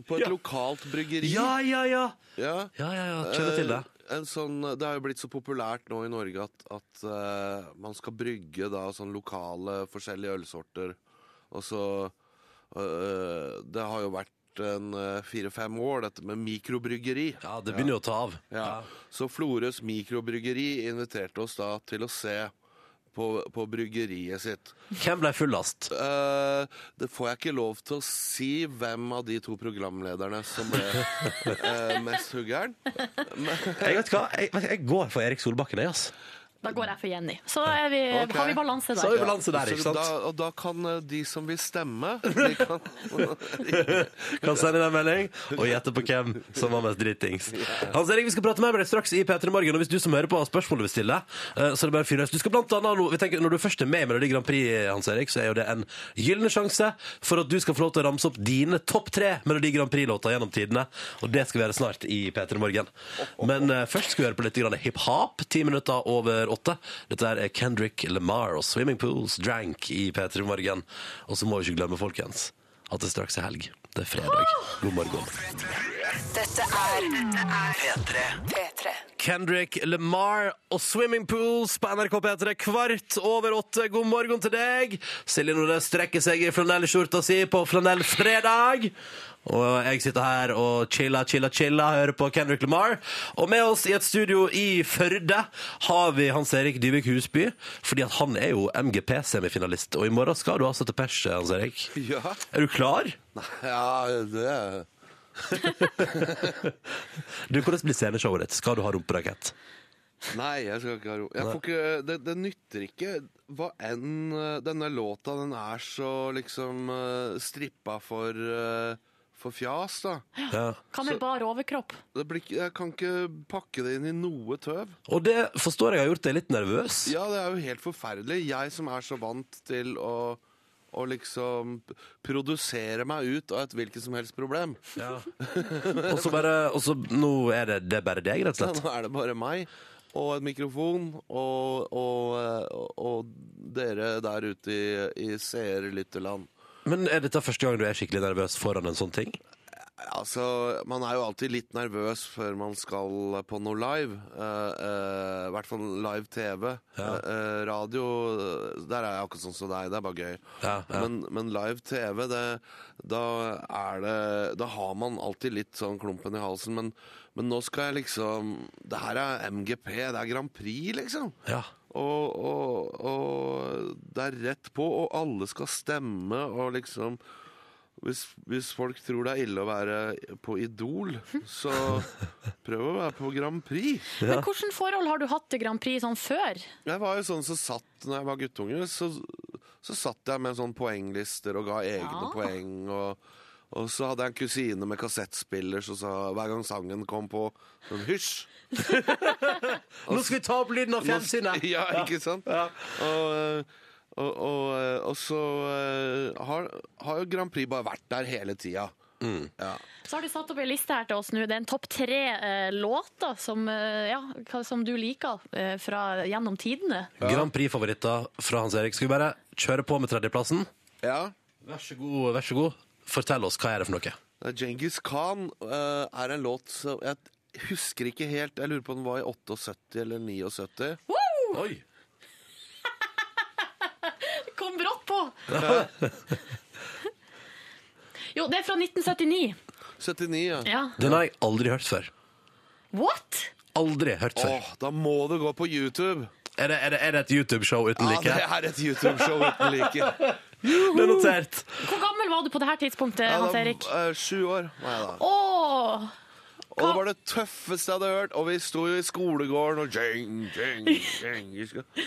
*laughs* På et lokalt bryggeri. Ja, ja, ja. Ja, ja, ja, ja, kjenner til det. Eh, En sånn, det har jo blitt så populært nå i Norge at, at eh, man skal brygge da, sånn lokale forskjellige ølsorter. Og så eh, Det har jo vært en eh, fire-fem år, dette med mikrobryggeri. Ja, det begynner jo å ta av. Ja. Så Florøs mikrobryggeri inviterte oss da til å se på, på bryggeriet sitt. Hvem ble fullast? Eh, det får jeg ikke lov til å si hvem av de to programlederne som ble eh, mest huggeren. Jeg vet hva, jeg, jeg går for Erik Solbakken, jeg, altså. Da går jeg for Jenny. Så er vi, har vi balanse der. Ja, så Da, og da kan eh, de som vil stemme de kan, Kan sende deg en melding og gjette på hvem som var mest drittings. Hans Erik, vi skal prate mer med deg straks i P3 Morgen. Og hvis du som hører på har spørsmål du vil stille, eh, så er det bare å fyre løs. Du skal blant annet, nå- vi tenker, når du først er med i Melodi Grand Prix, Hans Erik, så er jo det en gyllen sjanse for at du skal få lov til å ramse opp dine topp tre Melodi Grand Prix-låter gjennom tidene. Og det skal vi gjøre snart i P3 Morgen. Men eh, først skal vi høre på litt grann hiphop. Ti minutter over åtte. Dette er Kendrick Lamar og Swimming Pools Drank i P3 Morgen. Og så må vi ikke glemme, folkens, at det straks er helg. Det er fredag. God morgen. Dette er P3. P3. Kendrick Lamar og Swimming Pools på NRK P3 kvart over åtte. God morgen til deg. Silje Nordnes strekker seg i flanellskjorta si på flanellfredag. Og jeg sitter her og chiller, chiller, chiller, hører på Kendrick Lamar. Og med oss i et studio i Førde har vi Hans Erik Dyvik Husby, fordi at han er jo MGP-semifinalist. Og i morgen skal du altså til pers, Hans Erik. Ja. Er du klar? Ja, det er Du, Hvordan blir sceneshowet ditt? Skal du ha rumperakett? Nei, jeg skal ikke ha ro. Jeg får ikke, det, det nytter ikke hva enn eh, Denne låta den er så liksom eh, strippa for, eh, for fjas, da. Hva med Så- bar overkropp? Det blir, ikke- jeg kan ikke pakke det inn i noe tøv. Og det forstår jeg har gjort deg litt nervøs. Ja, det er jo helt forferdelig. Jeg som er så vant til å, å liksom p- produsere meg ut av et hvilket som helst problem. *laughs* Og så bare og så, Nå er det, det er bare deg, rett og Ja, slett. *laughs* nå er det bare meg og en mikrofon og, og, eh, og dere der ute i, i seerlytterland. Men er dette første gang du er skikkelig nervøs foran en sånn ting? Altså, man er jo alltid litt nervøs før man skal på noe live. Eh, eh, I hvert fall live TV. Eh, eh, radio eh, Der er jeg akkurat sånn som deg, det er bare gøy. Men, men live TV, det, da er det Da har man alltid litt sånn klumpen i halsen. Men, men nå skal jeg liksom Det her er MGP, det er Grand Prix, liksom. Og, og, og det er rett på, og alle skal stemme, og liksom hvis, hvis folk tror det er ille å være på Idol, så prøv å være på Grand Prix. Men hvordan forhold har du hatt til Grand Prix sånn før? Jeg var jo sånn som satt når jeg var guttunge, så, så satt jeg med sånn poenglister og ga egne Ah. poeng. Og, og så hadde jeg en kusine med kassettspiller som sa hver gang sangen kom på sånn, Hysj! Nå skal vi ta opp lyden av fjernsynet! *laughs* Ja, ikke sant? Og, eh, og, og, og så eh, har, har jo Grand Prix bare vært der hele tida. Ja. Så har du satt opp ei liste her til oss nå. Det er en topp tre eh, låter som, eh, ja, hva- som du liker eh, fra gjennom tidene. Grand Prix-favoritter fra Hans Erik. Skal vi bare kjøre på med tredjeplassen? Ja. Vær så god, vær så god. Fortell oss, hva er det for noe? Eh, Genghis Khan eh, er en låt som Jeg husker ikke helt. Jeg lurer på om den var i 78 eller 79. Oi! Det kom brått *laughs* på! Jo, det er fra 1979. 79, ja. Ja. Den har jeg aldri hørt før. What?! Aldri hørt før. Åh, da må du gå på YouTube! Er, det, er, det, er det et YouTube-show uten Ja, like? det er et YouTube-show uten like. Det er notert. Hvor gammel var du på det her tidspunktet, Ja, da, Hans Erik? eh, Sju år var jeg da. Åh! Og det var det tøffeste jeg hadde hørt. Og vi sto jo i skolegården og jeng, jeng, jeng. husker du?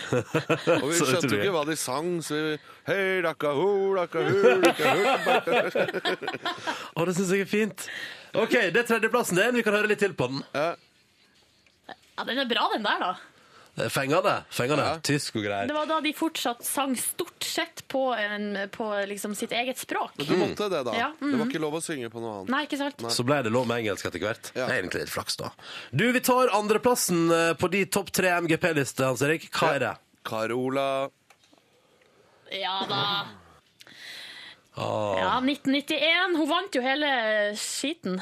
Og vi Så skjønte jo utrolig. ikke hva de sang, så vi Hei, dakka, ho, dakka, ho, dakka, ho. Å, det syns jeg er fint. OK, det er tredjeplassen din. Vi kan høre litt til på den. Ja, den er bra, den der, da. Eh, Det er Fengende. Fengende. Tysk og greier. Det var da de fortsatt sang stort sett på, en, på liksom sitt eget språk. Men du måtte det, da. Ja, Det var mhm. ikke lov å synge på noe annet. Nei, ikke sant? Så ble det lov med engelsk etter hvert. Det er egentlig litt flaks, da. Du, vi tar andreplassen eh, på de topp tre MGP-liste, Hans Erik. Hva er det? Carola Ja da. Ah, Ja, 1991. Hun vant jo hele skiten.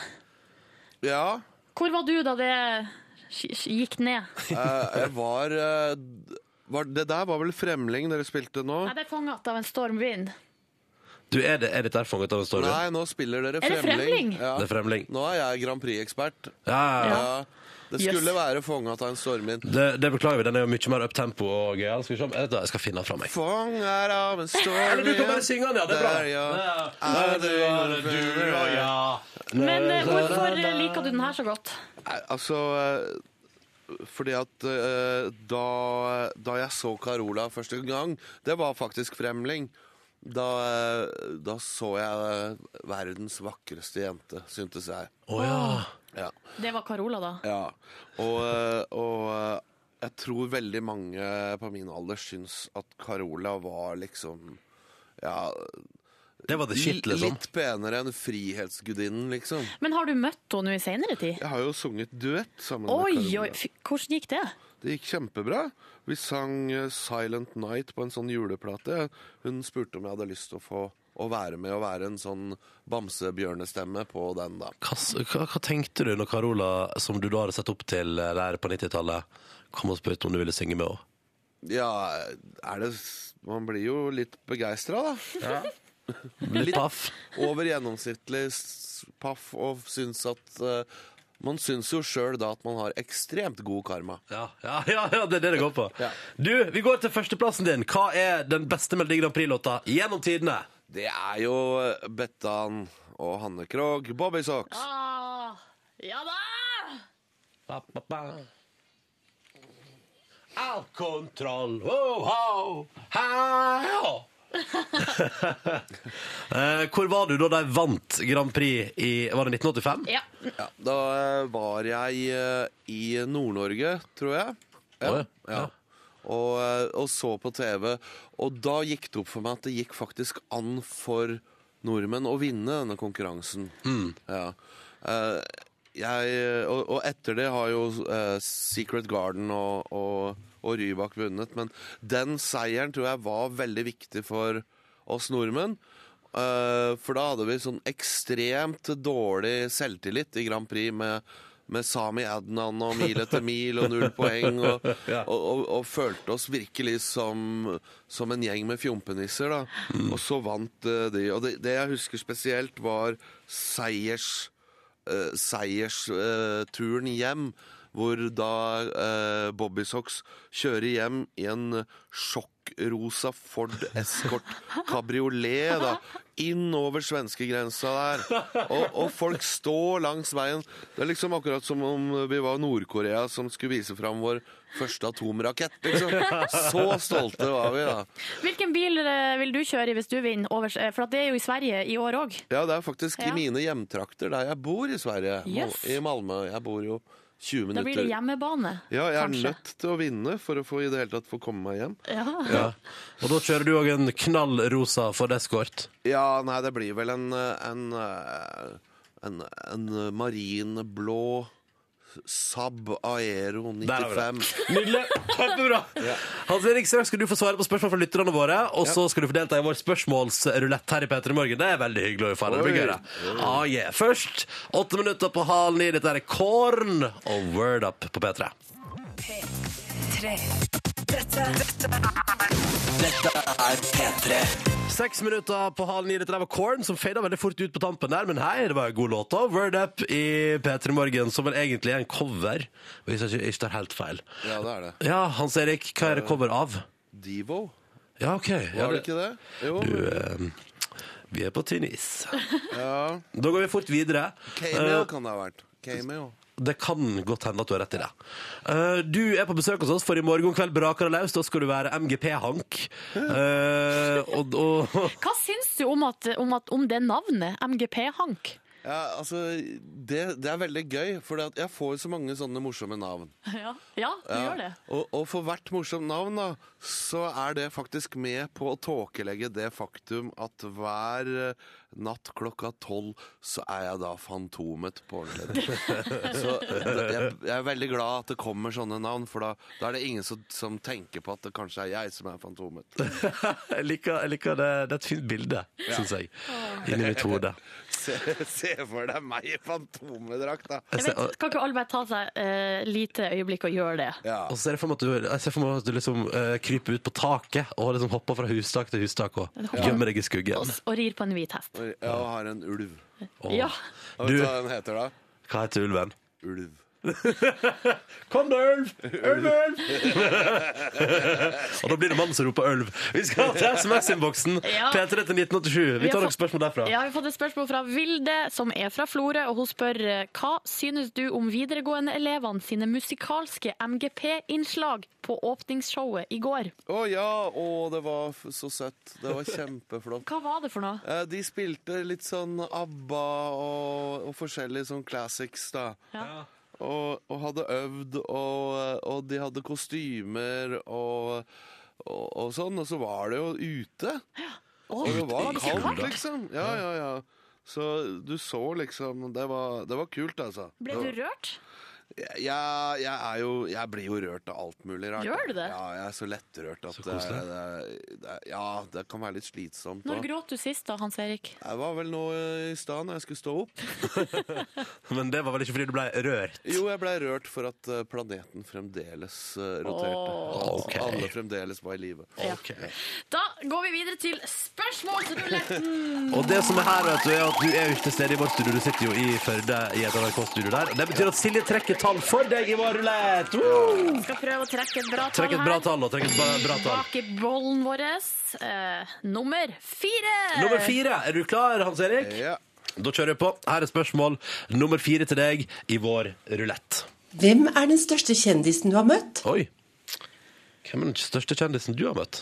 Ja. Hvor var du da det sk- sk- gikk ned? Eh, jeg var, eh, d- var Det der var vel Fremling dere spilte nå? Nei, det er fanget av en stormvind. Du, er, det, er dette her fanget av en story? Nei, nå spiller dere Er det Fremling. Fremling? Ja. Det er fremling. Nå er jeg Grand Prix-ekspert. Ja, ja, ja. Ja. Det skulle være Fånga av en stormvind. Det, det beklager vi. Den er jo mye mer uptempo og gøyal. Skal vi se om jeg, vet hva, jeg skal finne den fra meg. Fånga av en stormvind Eller du kan bare synge den, ja. Det er bra. Der, ja. Er det du og jeg? Men eh, hvorfor eh, liker du den her så godt? Nei, Altså eh, fordi at eh, da, da jeg så Carola første gang, det var faktisk Fremling. Da, eh, da så jeg eh, verdens vakreste jente, syntes jeg. Å ja. Ja. Det var Carola, da. ja. Og, eh, og eh, jeg tror veldig mange på min alder syns at Carola var liksom Ja, Det var det shit, liksom. litt penere enn Frihetsgudinnen, liksom. Men har du møtt henne nå i senere tid? Jeg har jo sunget duett sammen Oi, med Carola. oi, fy- hvordan gikk det? Det gikk kjempebra. Vi sang eh, Silent Night på en sånn juleplate. Hun spurte om jeg hadde lyst til å få å være med og være en sånn bamsebjørnestemme på den, da. Hva, s- hva, hva tenkte du når Carola, som du da hadde sett opp til eh, der på 90-tallet, kom og spurte om du ville synge med henne? Ja, er det Man blir jo litt begeistra, da. Ja. Litt paff. Over gjennomsnittlig s- paff, og syns at eh, Man syns jo sjøl da at man har ekstremt god karma. Ja, ja, ja, ja, det er det det går på. Du, vi går til førsteplassen din. Hva er den beste Melodi Grand Prix-låta gjennom tidene? Det er jo eh, Bettan og Hanne Krogh, Bobby Socks. Ah, ja da! All kontroll, ho-ho, *laughs* hei-ho! Eh, Hvor var du da de vant Grand Prix i Var det 1985? Ja. Da eh, var jeg eh, i Nord-Norge, tror jeg. Å, ja. Og, eh, og så på TV. Og da gikk det opp for meg at det gikk faktisk an for nordmenn å vinne denne konkurransen. Ja. Eh, Jeg, og, og etter det har jo eh, Secret Garden og, og, og Rybak vunnet, men den seieren tror jeg var veldig viktig for oss nordmenn. Eh, for da hadde vi sånn ekstremt dårlig selvtillit i Grand Prix med, med Sami Adnan og mil etter mil og null poeng. Og, Ja. og, og, og følte oss virkelig som, som en gjeng med fjompenisser. Da. Og så vant eh, de. Og det, det jeg husker spesielt, var seiers eh, seiersturen hjem, hvor da eh, Bobby Socks kjører hjem i en sjokkrosa Ford Escort kabriolet, da, inn over svenskegrensa der. Og, og folk står langs veien. Det er liksom akkurat som om vi var Nord-Korea som skulle vise fram vår første atomrakett, liksom. Så stolte var vi, da. Hvilken bil eh, vil du kjøre i hvis du vinner? Over, eh, for at det er jo i Sverige i år òg. Ja, det er faktisk Ja. i mine hjemtrakter der jeg bor i Sverige. Mal- Yes. I Malmö. Jeg bor jo 20 Da minutter blir det hjemmebane. Ja, jeg er Kanskje. nødt til å vinne for å få i det hele tatt få komme meg hjem. Ja. Ja. Og da kjører du òg en knall rosa Ford Escort. Ja, nei, det blir vel en eh, en, eh, en, en marinblå Saab Aero Der har 95. Nydelig! Kjempebra! Hans Erik Strøm, skal du få svare på spørsmål fra lytterne våre, og så skal du få delta i vår spørsmålsrulett her i P3 Morgen. Det er veldig hyggelig å få det. blir Oi. gøy, det. Ah, yeah. Først, åtte minutter på halen i. Dette er Korn og Word Up på P3. P3. Dette, dette er Dette er P3. Seks minutter på halen i. Dette der var Korn, som fada veldig fort ut på tampen der, men hei, det var en god låt. da. Word Up i P3 Morgen, som vel egentlig er en cover, hvis jeg ikke ikke tar helt feil. Ja, det er det. Ja, Hans Erik, hva er det cover av? Divo, Ja, OK. Ja, var det ikke det? Jo. Du, eh, vi er på tynn is. Ja. Da går vi fort videre. Cameo Eh, kan det ha vært. Cameo. det kan godt hende at du har rett i det. Eh, du er på besøk hos oss, for i morgen kveld braker det løs. Da skal du være MGP-hank. Eh, og, og *laughs* Hva syns du om, at, om, at, om det navnet? MGP-hank? Ja, altså, det, det er veldig gøy, for det at jeg får så mange sånne morsomme navn. Ja, ja du Ja, gjør det. Og, og for hvert morsomt navn, da, så er det faktisk med på å tåkelegge det faktum at hver eh, natt klokka tolv så er jeg da Fantomet på ordentlig. *laughs* så det- jeg, jeg er veldig glad at det kommer sånne navn, for da, da er det ingen som, som tenker på at det kanskje er jeg som *laughs* er Fantomet. jeg liker, jeg liker det. Det er et fint bilde, syns jeg. Inni mitt hode. Se, se for deg meg i Fantomedrakt, da. Jeg ser- Kan ikke alle bare ta seg et lite øyeblikk og gjøre det? Og så ser jeg for meg at du, jeg ser for meg at du liksom eh, kryper ut på taket og liksom hopper fra hustak til hustak og Ja. gjemmer deg i skuggen. Og rir på en hvit hest. Og Jeg har en ulv. Åh. Ja. Og vet du Du- hva den heter da? Hva heter ulven? Ulv. Kom da, ulv! Ulv, ulv! *laughs* og da blir det mannen som roper ulv. Vi skal til SMS-innboksen. *laughs* Ja. P3 til 1987. Vi har tar noen fått- spørsmål derfra. Ja, vi har fått et spørsmål fra Vilde, som er fra Florø, og hun spør eh, hva synes du om videregående elevene sine musikalske MGP-innslag på åpningsshowet i går? Å ja, å, det var f- så søtt. Det var kjempeflott. Hva var det for noe? Eh, De spilte litt sånn ABBA og, og forskjellige sånn classics, da. Ja. Og, og hadde øvd, og, og de hadde kostymer og, og, og sånn. Og så var det jo ute. Og det var Ute i kaldt, kulda. liksom. Ja, ja, ja. Så du så liksom Det var, det var kult, altså. Ble du Det var- rørt? Jeg, jeg, er jo, jeg blir jo rørt av alt mulig rart. Gjør du det? Ja, jeg er så lettrørt at det, koselig. det, det, Ja, det kan være litt slitsomt. Når da. gråt du sist, da, Hans Erik? Jeg var vel nå eh, i stad når jeg skulle stå opp. Men det var vel ikke fordi du ble rørt? Jo, jeg blei rørt for at eh, planeten fremdeles eh, roterte. Åh. At Alle fremdeles var i live. Da går vi videre til *laughs* spørsmålsruletten! Og det som er her, vet du, er at du er jo ikke til stede i vårt studio. Du sitter jo i Førde i et NRK-studio der. Og det betyr at Silje trekker tall for deg i vår rulett! Woo! Skal prøve å trekke et bra tall Trekk et her. bra tall nå. Trekk et bra, bra tall. Bak i bollen vår eh, nummer fire. Nummer fire. Er du klar, Hans Erik? Ja. Da kjører vi på. Her er spørsmål nummer fire til deg i vår rulett. Hvem er den største kjendisen du har møtt? Oi. Hvem er den største kjendisen du har møtt?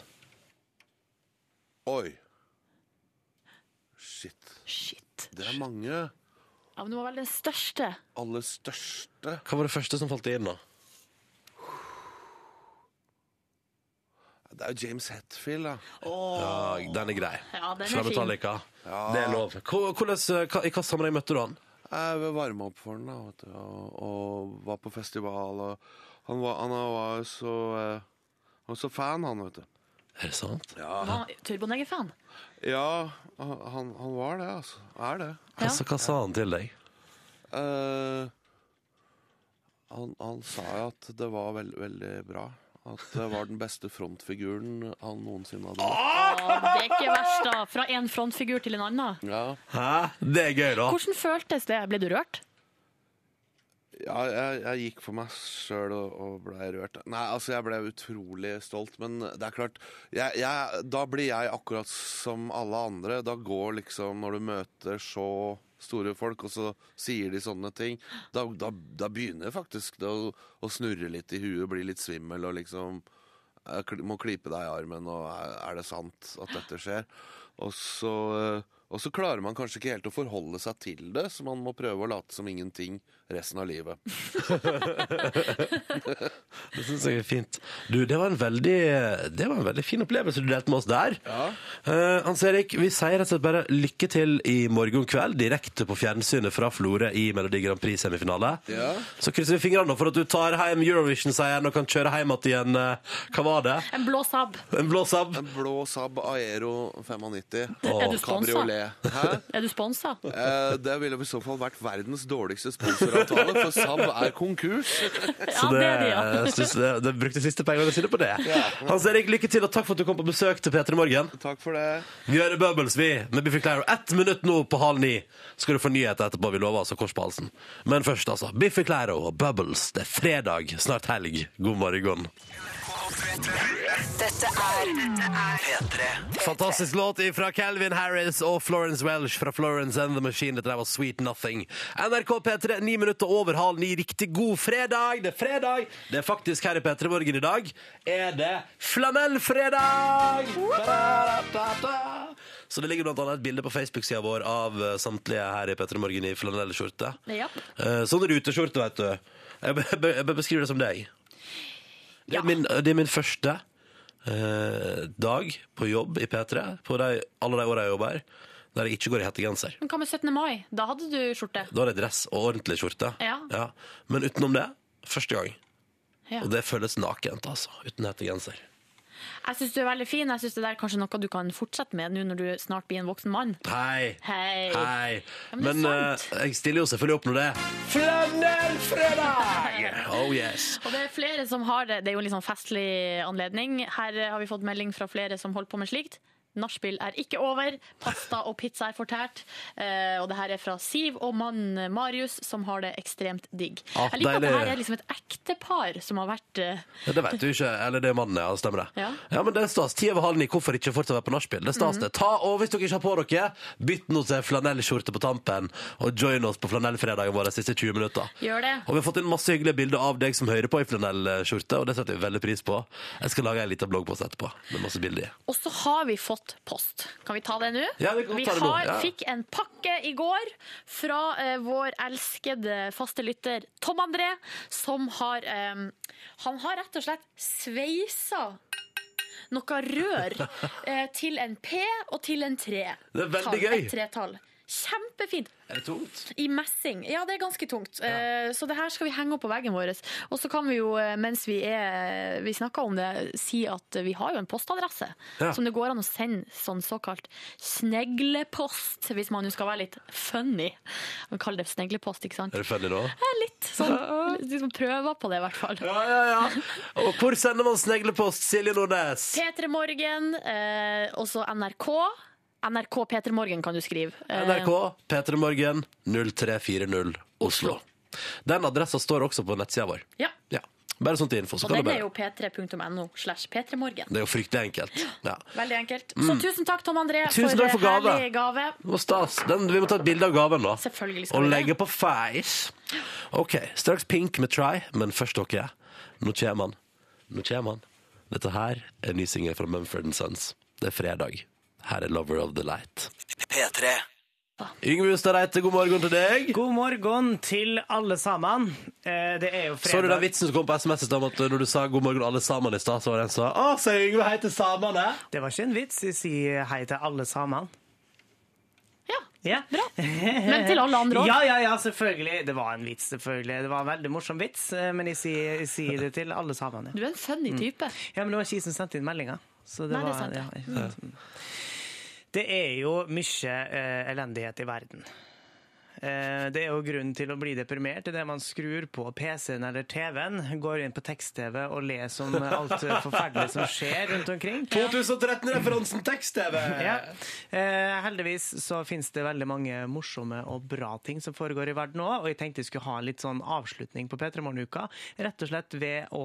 Oi. Shit. Det er mange. Ja, men du må velge den største. Aller største Hva var det første som falt deg inn, da? Det er jo James Hetfield, da. Ja, den er grei. Ja, den er Fra fin. Metallica. Ja. Det er lov. Hvor- hvordan- hva- I hva sammenheng møtte du han? Jeg varma opp for den da, vet du, og, og var på festival. Og han var, han var så eh, Han var så fan, han, vet du. Er det sant? Ja, Ja. Turboneger-fan. ja han, han var det, altså. Er det. Hva, sa- hva sa han til deg? Eh, han, han sa jo at det var veld, veldig bra. At det var den beste frontfiguren han noensinne hadde møtt. Ja, det er ikke verst, da. Fra én frontfigur til en annen. Ja. Hæ? Det er gøy, da. Hvordan føltes det? Ble du rørt? Ja, jeg, jeg gikk for meg sjøl og, og blei rørt. Nei, altså, jeg ble utrolig stolt, men det er klart jeg, jeg, Da blir jeg akkurat som alle andre. Da går liksom Når du møter så store folk, og så sier de sånne ting, da, da, da begynner faktisk det å, å snurre litt i huet, bli litt svimmel og liksom jeg kli- må klype deg i armen, og er er det sant at dette skjer? Og så, eh, og så klarer man kanskje ikke helt å forholde seg til det, så man må prøve å late som ingenting resten av livet. Det synes jeg er fint. Du, det var en veldig, det var en veldig fin opplevelse du delte med oss der. Eh, Hans Erik, vi sier rett og slett bare lykke til i morgen kveld, direkte på fjernsynet fra Florø i Melodi Grand Prix-semifinale. Ja. Så krysser vi fingrene nå for at du tar hjem Eurovision-seieren og kan kjøre hjem igjen. eh, Hva var det? En blå Saab. En blå Saab? En blå Saab Aero 95. Er du Og sponset? Cabriolet. Hæ? Er du sponsa? Eh, Det ville i så fall vært verdens dårligste sponsoravtale, for Saab er konkurs. Så det, jeg synes det, det brukte siste pengene sine på det. Hans Erik, lykke til, og takk for at du kom på besøk til P3 Morgen. Takk for det. Vi hører Bubbles, vi, med Biffy Clyro. Ett minutt nå på halv ni skal du få nyheter etterpå. Vi lover altså kors på halsen. Men først, altså. Biffy Clyro og Bubbles. Det er fredag, snart helg. God morgen. Dette er P3. Fantastisk låt fra Calvin Harris og Florence Welsh fra Florence and the Machine. Dette der var Sweet Nothing. NRK P3, ni minutter over halv ni. Riktig god fredag! Det er fredag! Det er faktisk her i P3 Morgen i dag er det flanellfredag! Ba-da-da-da-da. Så det ligger blant annet et bilde på Facebook-sida vår av eh, samtlige her i P3 Morgen i flanellskjorte. *laughs* Ja. Eh, Sånn ruteskjorte, vet du. Jeg be- be- jeg be- beskriver det som deg. Det er, min, det er min første eh, dag på jobb i P3, på de, alle de åra jeg jobber her, der jeg ikke går i hettegenser. Men hva med 17. mai? Da hadde du skjorte. Da har jeg dress og ordentlig skjorte. Ja. Men utenom det, første gang. Ja. Og det føles nakent, altså. Uten hettegenser. Jeg syns du er veldig fin. Jeg synes det der er kanskje noe du kan fortsette med nå når du snart blir en voksen mann. Hei! Hei. Hei. Ja, men det er Men eh, jeg stiller jo selvfølgelig opp når det er Flanellfredag! *laughs* Oh yes. Og det er flere som har det. Det er jo en litt sånn festlig anledning. Her eh, har vi fått melding fra flere som holder på med slikt. Nachspiel er ikke over. Pasta og pizza er fortært. Eh, og det her er fra Siv og mannen Marius, som har det ekstremt digg. Ah, Jeg liker at det deilig. her er liksom et ektepar som har vært eh, Ja, Det vet du ikke. Eller det er mannen, ja. Mhm. Stemmer det. Ja. men det er stas. Ti over halv ni. Hvorfor ikke fortsatt være på nachspiel? Det er stas, det. Ta, og hvis dere ikke har på dere, bytt nå til flanellskjorte på tampen, og join oss på flanellfredagen vår de siste 20 minutter. Gjør det. Og vi har fått inn masse hyggelige bilder av deg som hører på i flanellskjorte, og det setter vi veldig pris på. Jeg skal lage en liten bloggpost etterpå med masse bilder i. Og så har vi fått post. Kan vi ta det nå? Ja, vi kan vi ta det nå, har, ja. fikk en pakke i går fra eh, vår elskede faste lytter Tom André, som har eh, Han har rett og slett sveisa *laughs* noe rør eh, til en P og til en 3. Det er veldig Tall, gøy. Et tretall. Kjempefint. Er det tungt? I messing. Ja, det er ganske tungt. Eh, Så det her skal vi henge opp på veggen vår. Og så kan vi jo, eh, mens vi, er, vi snakker om det, si at vi har jo en postadresse. Ja. Som det går an å sende sånn såkalt sneglepost, hvis man jo skal være litt funny. Man kaller det sneglepost, ikke sant? Er det funny da? Ja, litt sånn. Liksom prøver på det, i hvert fall. Ja, ja, ja. Og hvor sender man sneglepost, Silje Nordnes? P3 Morgen, eh, og så NRK. NRK P3 Morgen kan du skrive. Eh, NRK P3 Morgen 0340 Oslo. Den adressa står også på nettsida vår. Ja. Ja. Bare sånn til info. Så Og kan du den er bare. jo p3.no slash p3morgen. Det er jo fryktelig enkelt. Ja. Veldig enkelt. Så Mm. tusen takk, Tom André, Tusen takk for for gave. herlig gave. Det var stas. Den, vi må ta et bilde av gaven, da. Selvfølgelig skal Og vi det. legge på Face. OK, straks Pink med Try, men først dere. Nå kommer han. Nå kommer han. Dette her er ny singel fra Mumford Sons. Det er fredag. Her er Lover of the Light. P3. Yngve Hustad Reite, god morgen til deg. God morgen til alle sammen. Eh, Det er jo Så du den fredag. vitsen som kom på SMS i stad om at når du sa 'god morgen, alle sammen' i stad, så var det en som sa 'Å, så Yngve heter samene'? Det var ikke en vits. Jeg sier hei til alle sammen. Ja, *laughs* bra. Men til alle andre også. Ja, ja, ja, selvfølgelig. Det var en vits, selvfølgelig. Det var en veldig morsom vits, eh, men jeg sier, jeg sier det til alle sammen. Du er en Mm. funny type. Ja, men det var ikke jeg som sendte inn meldinga. Så det Nei, det er var, sant. Mm. ja, jeg- Det er jo mye eh, elendighet i verden. Eh, det er jo grunnen til å bli deprimert idet man skrur på PC-en eller TV-en, går inn på tekst-TV og leser om alt forferdelig som skjer rundt omkring. *laughs* 2013-referansen tekst-TV! Ja. Eh, heldigvis så finnes det veldig mange morsomme og bra ting som foregår i verden òg, og jeg tenkte jeg skulle ha en litt sånn avslutning på P3 Morgen-uka. Rett og slett ved å,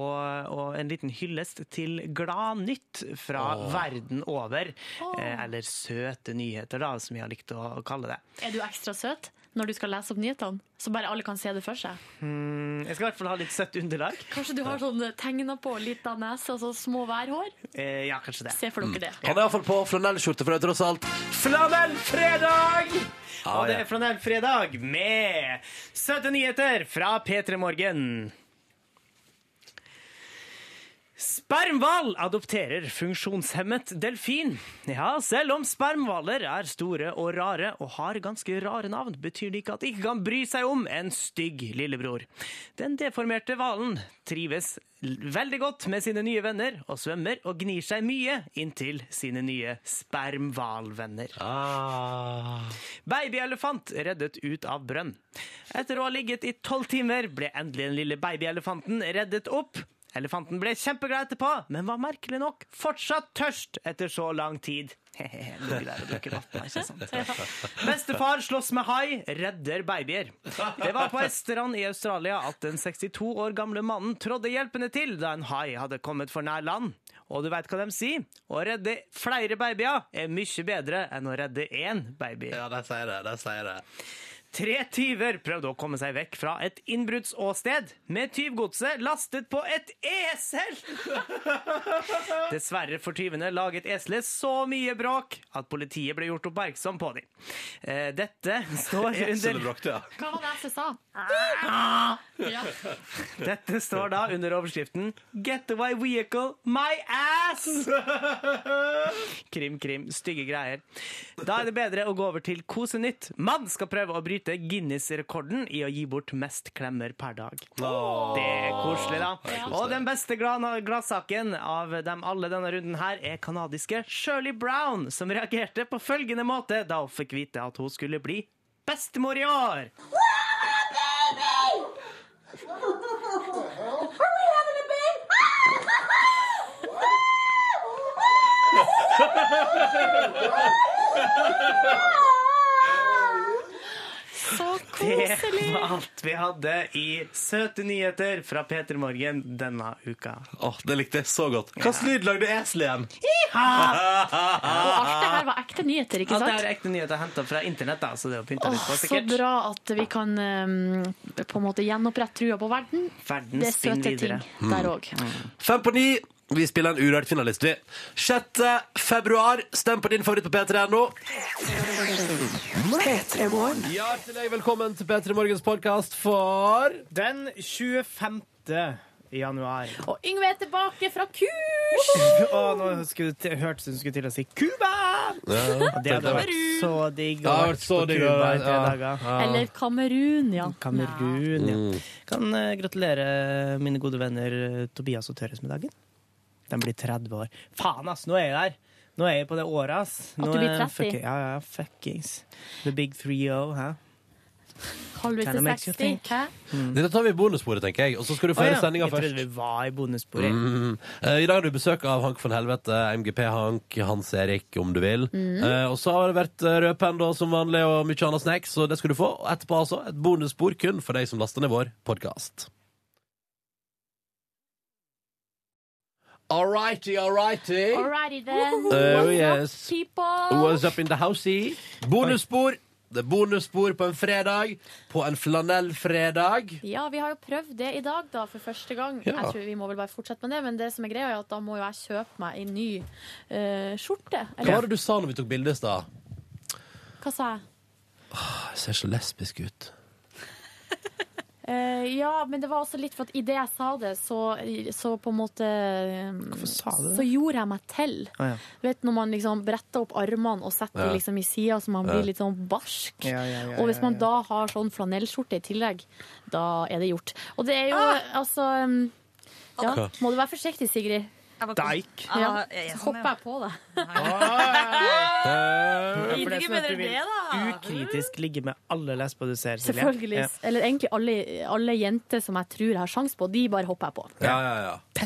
å en liten hyllest til Gladnytt fra Åh. verden over. Eh, eller søte nyheter, da, som jeg har likt å, å kalle det. Er du ekstra søt når du skal lese opp nyhetene, så bare alle kan se det for seg? Hmm, jeg skal i hvert fall ha litt søtt underlag. Kanskje du har sånn tegna på lita nese og så små værhår? eh, Ja, kanskje det. Se for dere det. Han er iallfall på flanellskjorte, for det er tross alt Flanellfredag! Ah, og det ja. er flanellfredag med søte nyheter fra P3 Morgen. Spermhval adopterer funksjonshemmet delfin. Ja, selv om spermhvaler er store og rare og har ganske rare navn, betyr det ikke at de ikke kan bry seg om en stygg lillebror. Den deformerte hvalen trives l- veldig godt med sine nye venner og svømmer og gnir seg mye inntil sine nye spermhvalvenner. Babyelefant reddet ut av brønn. Etter å ha ligget i tolv timer ble endelig den lille babyelefanten reddet opp. Elefanten ble kjempeglad etterpå, men var merkelig nok fortsatt tørst etter så lang tid. *laughs* Ligger der og drikker vann, ikke sant? *laughs* Bestefar slåss med hai, redder babyer. Det var på ei strand i Australia at den 62 år gamle mannen trådde hjelpende til da en hai hadde kommet for nær land. Og du veit hva de sier? Å redde flere babyer er mye bedre enn å redde én baby. Ja, de sier det. De sier det. Tre tyver prøvde å komme seg vekk fra et innbruddsåsted med tyvgodset lastet på et esel! Dessverre for tyvene laget eselet så mye bråk at politiet ble gjort oppmerksom på dem. Eh, Dette står under ja. Hva var det jeg sa? Ja. Dette står da under overskriften 'Getaway vehicle, my *laughs* ass'! Krim, krim, stygge greier. Da er det bedre å gå over til Kosenytt. Mann skal prøve å bryte Guinness-rekorden i å gi bort mest klemmer per dag. Det er koselig, da. Det er koselig. Og den beste glad- gladsaken av dem alle denne runden her er kanadiske Shirley Brown, som reagerte på følgende måte da hun fikk vite at hun skulle bli bestemor i år. Så Det var alt vi hadde i Søte nyheter fra Peter Morgen denne uka. Åh, Det likte jeg så godt. Hvilken lyd lagde eselet igjen? Og alt det her var ekte nyheter, ikke Alt Ah. det sant? her er ekte nyheter henta fra internett, da, så det er jo pynta litt Åh, på, så sikkert. bra at vi kan um, på en måte gjenopprette trua på verden. Verden det er spinn søte ting videre. Mm. der òg. Fem på ni. Vi spiller en urørt finalist, vi. 6. februar. Stem på din favoritt på p3.no. Hjertelig velkommen til P3 Morgens podkast for Den 25. i januar. Og Yngve er tilbake fra kurs! Og nå skulle du til- hørtes det hun skulle til å si Cuba! Og det hadde vært så digg å Ja, ha det hadde vært vært så på digg å Cuba være- i tre ja, dager. ja. Eller Kamerun, ja. Kamerun, Mm. ja. Kan eh, gratulere mine gode venner eh, Tobias og Tørres med dagen. De blir 30 år. Faen, ass! Nå er jeg der! Nå er jeg på det året, ass. At Nå du blir er- 30? fuck- ja, ja, fuckings. The big three o, hæ? Halvveis Kinda til makes you 60. think. Hæ? Dette tar vi i bonussporet, tenker jeg. Og så skal du Å, føre ja. sendinga Jeg trodde først. vi var i bonusbordet. Mm. Eh, I dag har du besøk av Hank von Helvete, MGP-Hank, Hans Erik, om du vil. Mm. Eh, og så har det vært eh, rødpenn da, som vanlig, og mye annet snacks, så det skal du få. Og etterpå altså, et bonusspor kun for deg som laster ned vår podkast. All righty, all righty. Alrighty then. Uh, What's yes. up, people? What's up in the housey? Bonusspor. Det er bonusspor på en fredag. På en flanellfredag. Ja, vi har jo prøvd det i dag da, for første gang. Ja. Jeg tror Vi må vel bare fortsette med det, men det som er greia er at da må jo jeg kjøpe meg en ny eh, skjorte. Hva var Eller, det du sa når vi tok bilde i stad? Ah, hva sa jeg? Jeg ser så lesbisk ut. Eh, ja, men det var også litt for at idet jeg sa det, så, så på en måte Hvorfor sa du det? Så gjorde jeg meg til. Å, ja. Du vet når man liksom bretter opp armene og setter Ja. dem liksom i sida, så man Ja. blir litt sånn barsk. Ja, ja, ja, og hvis ja, man ja. da har sånn flanellskjorte i tillegg, da er det gjort. Og det er jo Ah! altså um, Ja, Hva? må du være forsiktig, Sigrid. Deik. Ja, Ah, jeg er så sånn, hopper jeg på deg. Eh, Ja, for det er Ikke sånn at bedre du vil det, da. ukritisk ligge med alle lesber du ser, Silje. Selvfølgelig. Ja. Eller egentlig alle, alle jenter som jeg tror jeg har sjans på, de bare hopper jeg på. Ja, ja, ja.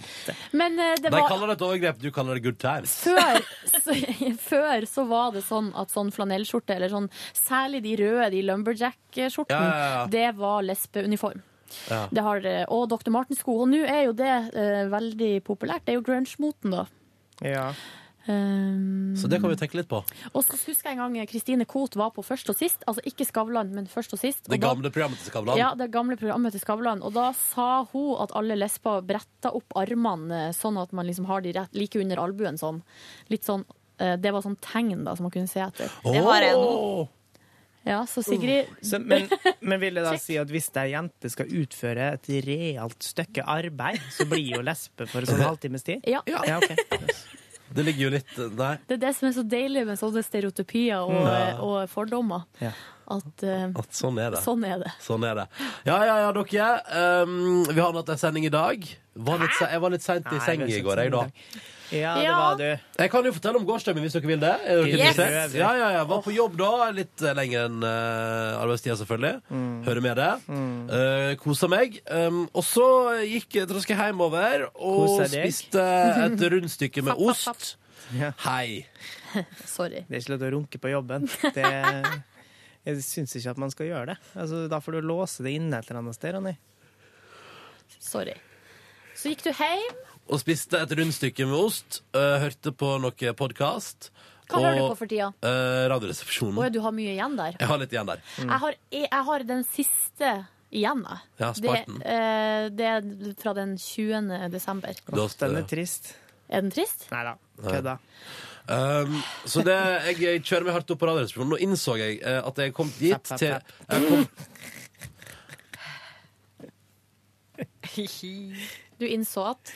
Men eh, det De var kaller det et overgrep, du kaller det good times. før så, *laughs* før så var det sånn at sånn flanellskjorte, eller sånn særlig de røde, de lumberjack-skjortene, Ja, ja, ja. det var lesbeuniform. Ja. Det har, eh, og Dr. Martens-sko. Og nå er jo det eh, veldig populært. Det er jo grunge-moten, da. Um, Så det kan vi tenke litt på. Og så husker jeg en gang Kristine Koht var på Først og sist. Altså ikke Skavlan, men Først og sist. Det og da- gamle programmet til Skavlan. Ja, det gamle programmet til Skavlan. Og da sa hun at alle lesber bretta opp armene eh, sånn at man liksom har de rett, like under albuen sånn. Litt sånn eh, det var sånn tegn da, som man kunne se etter. Det har jeg nå. Ja, så Sigrid Så, men, men vil det da si at hvis ei jente skal utføre et realt stykke arbeid, så blir jo lesbe *laughs* for en sånn halvtimes tid? Ja. ok. Det ligger jo litt Nei. Det er det som er så deilig med sånne stereotypier og, eh, Ja. og fordommer. Ja. At, eh, At sånn er det. Sånn er det. Sånn er det. Ja, ja, ja, dere. Um, vi har hatt en sending i dag. Var litt, se- jeg var litt seint Nei, i seng vi i var går, jeg, sent da. Ja, det var du. Jeg kan jo fortelle om gårsdagen min hvis dere vil det. Er dere Yes. interessert? Ja, ja, ja. Var på jobb da, litt eh, lenger enn uh, arbeidstida, selvfølgelig. Mm. Hører med det. Eh, kosa meg. Um, og så gikk traska hjemover og Kosa deg. spiste et rundstykke med Fapp, fapp, ost. Ja. Hei. Sorry. Det er ikke lov til å runke på jobben. Det, *laughs* jeg syns ikke at man skal gjøre det. Altså, da får du låse det inne et eller annet sted. Ronny. Sorry. Så gikk du hjem. Og spiste et rundstykke med ost. eh, hørte på noe podkast. Hva hører du på for tida? Radioresepsjonen. Å, du har mye igjen der. Jeg har litt igjen der. Jeg, har, jeg, jeg har den siste igjen, jeg. Ja, spart den. det, eh, det er fra den 20. desember. Da- Den er trist. Er den trist? Nei da. Kødda. Um, så det, jeg, jeg kjører meg hardt opp på Radioresepsjonen. Nå innså jeg eh, at jeg kom dit Pepp, pepp, til pepp. jeg kom, Du innså at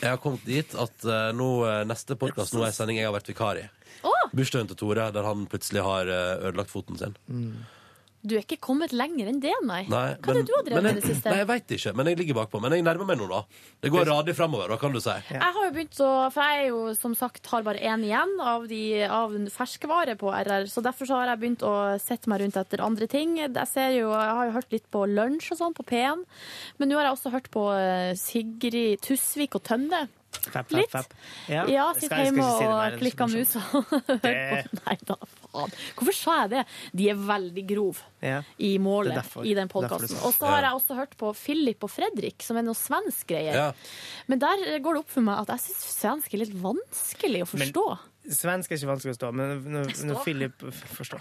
jeg har kommet dit at eh, nå, eh, neste podkast nå er en sending jeg har vært vikar i. Å! Bursdagen til Tore, der han plutselig har eh, ødelagt foten sin. Du er ikke kommet lenger enn det, nei. Nei, Hva er det du har drevet men med i jeg- det siste? Nei, Jeg veit ikke, men jeg ligger bakpå. Men jeg nærmer meg nå, da. Det går radig framover, da, kan du si. Jeg har jo begynt å, for jeg er jo som sagt har bare én igjen av, de, av en ferskvare på RR, så derfor så har jeg begynt å sette meg rundt etter andre ting. Jeg, ser jo, jeg har jo hørt litt på lunsj og sånn på P1, men nå har jeg også hørt på eh, Sigrid Tusvik og Tønne. Fapp, fapp, Litt. fapp. Ja, Jeg sitt skal- jeg skal hjemme ikke si det mer, og *laughs* ellers klikka blir det musa. Nei da, faen. Hvorfor sa jeg det? De er veldig grove Ja. i målet Det er derfor- i den derfor du podkasten. sa det. Og så har Ja. jeg også hørt på Philip og Fredrik, som er noe svensk greier. Ja. Men der eh, går det opp for meg at jeg syns svensk er litt vanskelig å forstå. Svensk er ikke vanskelig å stå, men når, når Forstå. Philip *laughs* Forstå.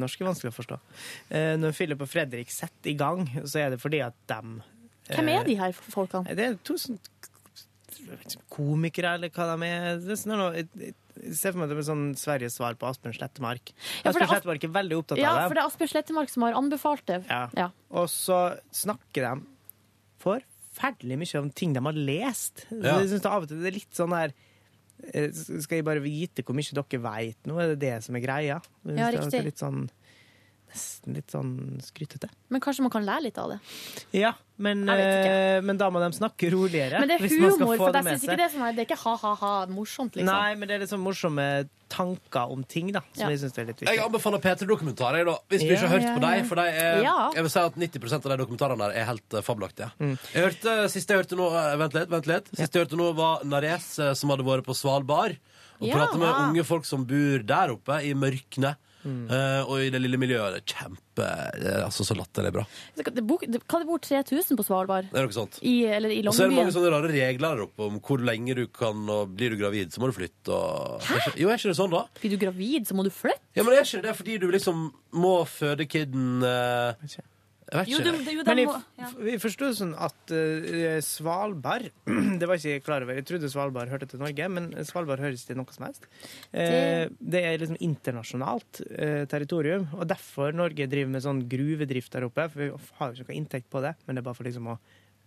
Norsk er vanskelig å forstå. Eh, Når Philip og Fredrik setter i gang, så er det fordi at dem eh, Hvem er de her folkene? Det er to sånn komikere, eller hva de er. Det er sånn, noe- jeg- jeg- jeg ser for meg at det er sånn Sveriges svar på Asbjørn Slettemark. Ja, for det er Asbjørn As- Slettemark er veldig opptatt Ja, av for det er Asbjørn Slettemark som har anbefalt det. Ja. Og så snakker de forferdelig forferdelig mye om ting de har lest. Ja. Jeg synes det av og til det er litt sånn der eh, Skal jeg bare vite hvor mye dere veit nå? Er det det som er greia? Jeg synes Ja, det er av og til riktig. Litt sånn, nesten litt sånn skrytete. Men kanskje man kan lære litt av det. Ja, men, Jeg vet eh, men da må de snakke roligere. Men det er hvis man skal humor, få for jeg med synes ikke seg. det er sånn her, det er ikke ha-ha-ha morsomt, liksom. Nei, men det er litt sånn morsomme tanker om ting, da. Som Ja. jeg synes er litt Jeg viktig. anbefaler P3-dokumentarer, da, hvis du Ja, ikke har hørt ja, på ja. dem. For de er, Ja. Mm. jeg vil si at 90 av de dokumentarene der er helt eh, fabelaktige. Jeg hørte, siste jeg hørte nå eh, Vent litt. vent litt Siste jeg hørte nå, var Nares, eh, som hadde vært på Svalbard. Og Ja. pratet med Ja. unge folk som bor der oppe, i mørkene. Mm. eh, og i det lille miljøet. Det er Kjempe eh, Altså, så latterlig bra. Det bor- det- Kan det bo 3000 på Svalbard? Det er noe sånt. I, eller i Og så er det mange Longyearbyen? sånne rare regler der oppe om hvor lenge du kan og Blir du gravid, så må du flytte og Er ikke- Jo, er ikke det sånn, da? Blir du gravid, så må du flytte? Ja, men er ikke det fordi du liksom må føde kiden eh, Jeg vet ikke. Men jeg, vi forstod sånn at eh, Svalbard *clears throat* Det var ikke jeg klar over. Jeg trodde Svalbard hørte til Norge, men Svalbard høres til noe som helst. Eh, det er liksom internasjonalt eh, territorium, og derfor Norge driver med sånn gruvedrift der oppe. For vi har jo ikke noe inntekt på det, men det er bare for liksom å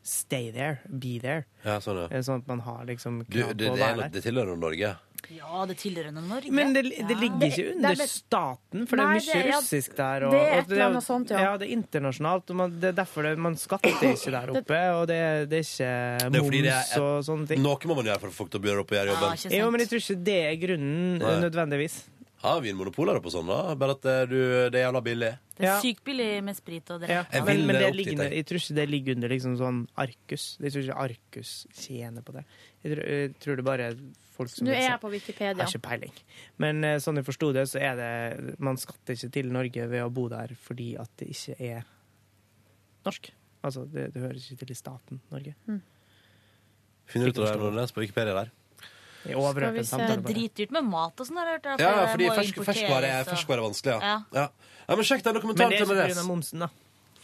stay there, be there. Ja, sånn, ja. Eh, Sånn at man har liksom Du, krav det, på å det, er, være noe- der. det tilhører jo Norge. Ja, det tilhører nå Norge. Men det, det ligger ikke Det- under det er- staten, for det Nei, er mye det er- ja, russisk der. Og, det er et og eller annet sånt, ja. det er internasjonalt, og man, det er derfor det, man *coughs* skatter ikke der oppe. Og det, er- det er ikke Det er jo fordi moms det er og sånne ting. Noe må man gjøre for å få folk til å begynne opp og gjøre jobben. Jo, men jeg tror ikke det er grunnen Nei. nødvendigvis. Har vinmonopol her oppe og sånn, da? Bare at eh, du, det er jævla billig. Det er Ja. sykt billig med sprit og Ja. drikk. Men, men det opp dit, ligger, jeg tror ikke det ligger under liksom sånn Arkus. Jeg tror ikke Arkus tjener på det. Jeg tror, jeg tror det bare er folk som Nå vil er se- jeg på Wikipedia. Har ikke peiling. Men eh, sånn jeg forsto det, så er det Man skatter ikke til Norge ved å bo der fordi at det ikke er norsk. Altså, det, det høres ikke til i staten Norge. Finner du ut av det når du leser på Wikipedia der? Jeg overhørte en Det samtale er bare. dritdyrt med mat og sånn, har jeg hørt. Ja, ja, det fordi må fersk, importeres, ferskvare, er, og- ferskvare er vanskelig, ja. Ja. ja. ja men sjekk den Men dokumentaren det til er ikke pga. Nares. momsen, da.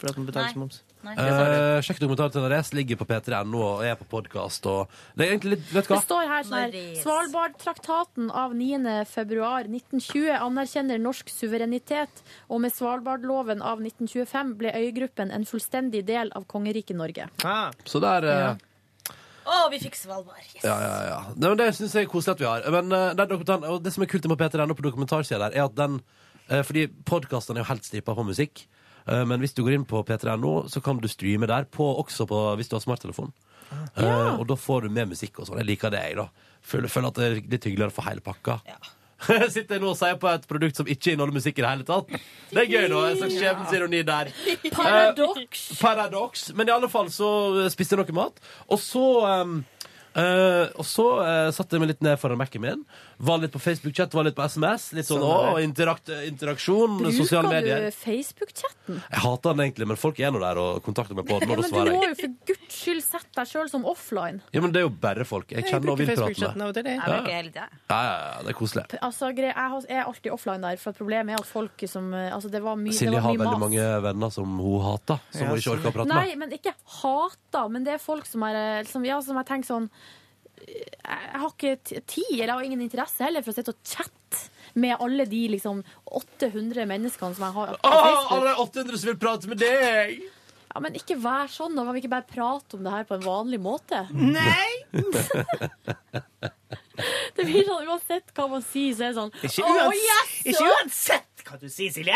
For at man betaler ikke moms. Nei. Eh, sjekk dokumentaren til Nares. Ligger på p3.no og er på podkast og Det er egentlig litt Vet du Det hva? står her sånn her Svalbardtraktaten av 9. februar 1920 anerkjenner norsk suverenitet, og med Svalbardloven av 1925 ble øygruppen en fullstendig del av kongeriket Norge. Så der eh, Å, vi fikk Svalbard. Yes. Ja, ja, ja. Nei, men det syns jeg er koselig at vi har. Men eh, den dokumentaren, og det som er kult med P3NO på dokumentarsida der, er at den eh, Fordi podkastene er jo helt stripa på musikk. eh, Men hvis du går inn på p3.no, så kan du streame der, på, også på, hvis du har smarttelefon. Eh, og da får du med musikk og sånn. Jeg liker det, jeg, da. Føler, føler at det er litt hyggeligere for hele pakka. *laughs* Sitter jeg nå og sier på et produkt som ikke inneholder musikk i det hele tatt? Det er gøy, da. En slags skjebnesironi der. Paradoks. Paradoks. Men i alle fall så eh, spiste jeg noe mat. Og så ehm, eh, og så eh, satte jeg meg litt ned foran Mac-en min. Var litt på Facebook-chat, var litt på SMS. Litt sånn, Sånn er å, interakt, interaksjon, Bruker sosiale medier. du Facebook-chatten? Jeg hater den egentlig, men folk er nå der og kontakter meg på den. Og Ja, men da du svarer må jeg. jo for guds skyld sette deg sjøl som offline. Ja, men det er jo bare folk. Jeg Jeg kjenner og vil bruker prate Facebook-chatten av og med. til, jeg. Ja, Jeg bruker ja, hele tiden. ja, ja, det er koselig. Altså, gre- jeg har- er alltid offline der, for at problemet er at folk som eh, Altså, det var mye, det Silje var har mye veldig mas. mange venner som hun hater, som hun ikke orker å prate Nei, med. men ikke hata, men det er folk som er eh, som, ja, som jeg tenker sånn eh, Jeg har ikke t- tid, eller jeg har ingen interesse heller, for å sitte og chatte med alle de liksom 800 menneskene som jeg har på Å, Facebook. alle de 800 som vil prate med deg! Ja, men ikke vær sånn, da kan vi ikke bare prate om det her på en vanlig måte? *laughs* Det blir sånn uansett hva man sier, så er det sånn Ikke «Å, uans- yes, ikke ja!» uansett hva du sier, Silje!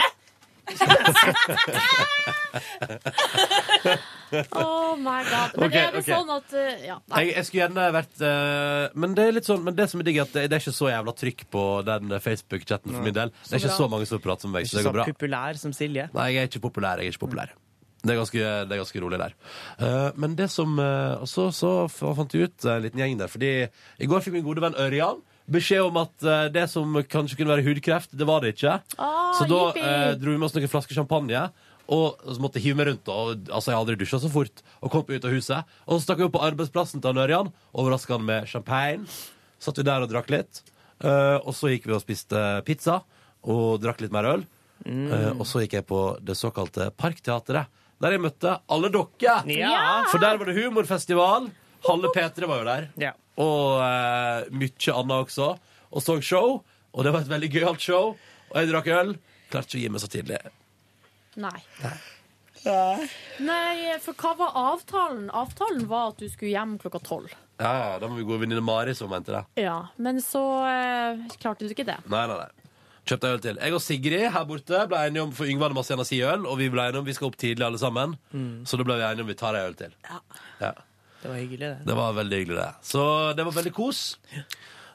Oh my god. Men Ok, er det ok. sånn at eh, ja, nei. Jeg, jeg skulle gjerne vært eh, men, det er litt sånn, men det som er digg, er at det, det er ikke så jævla trykk på den Facebook-chatten for min del. Det Så er ikke bra. så mange som prater med meg, så Ikke det så går bra. populær som Silje. Nei, jeg er ikke populær. Jeg er ikke populær. Det er ganske, det er ganske rolig der. Eh, men det som eh, Og så, så f- fant jeg ut eh, en liten gjeng der, fordi i går fikk min gode venn Ørjan beskjed om at eh, det som kanskje kunne være hudkreft, det var det ikke. Ah, så da jippi! eh, dro vi med oss noen flasker champagne. Og så måtte jeg hive meg rundt. Og, altså Jeg har aldri dusja så fort. Og kom ut av huset Og så stakk vi opp på arbeidsplassen til han Ørjan. Overraska han med champagne. Satt vi der og drakk litt. Eh, og så gikk vi og spiste pizza og drakk litt mer øl. Eh, Mm. og så gikk jeg på det såkalte Parkteatret, der jeg møtte alle dere. Ja. For der var det humorfestival. Halve P3 var jo der. Ja. Og eh, mye annet også. Og så show. Og det var et veldig gøyalt show. Og jeg drakk øl. Klarte ikke å gi meg så tidlig. Nei. Nei, for hva var avtalen? Avtalen var at du skulle hjem klokka tolv. Ja, ja, da må vi gå og vinne Mari som mente det. Ja, men så eh, klarte du ikke det. Nei, nei, nei. Kjøpte øl til. Jeg og Sigrid her borte ble enige om for Yngve hadde masse igjen av si øl, og vi ble enige om vi skal opp tidlig alle sammen. Mm. Så da ble vi enige om vi tar ei øl til. Ja. Det var hyggelig, det. Det var veldig hyggelig, det. Så det var veldig kos.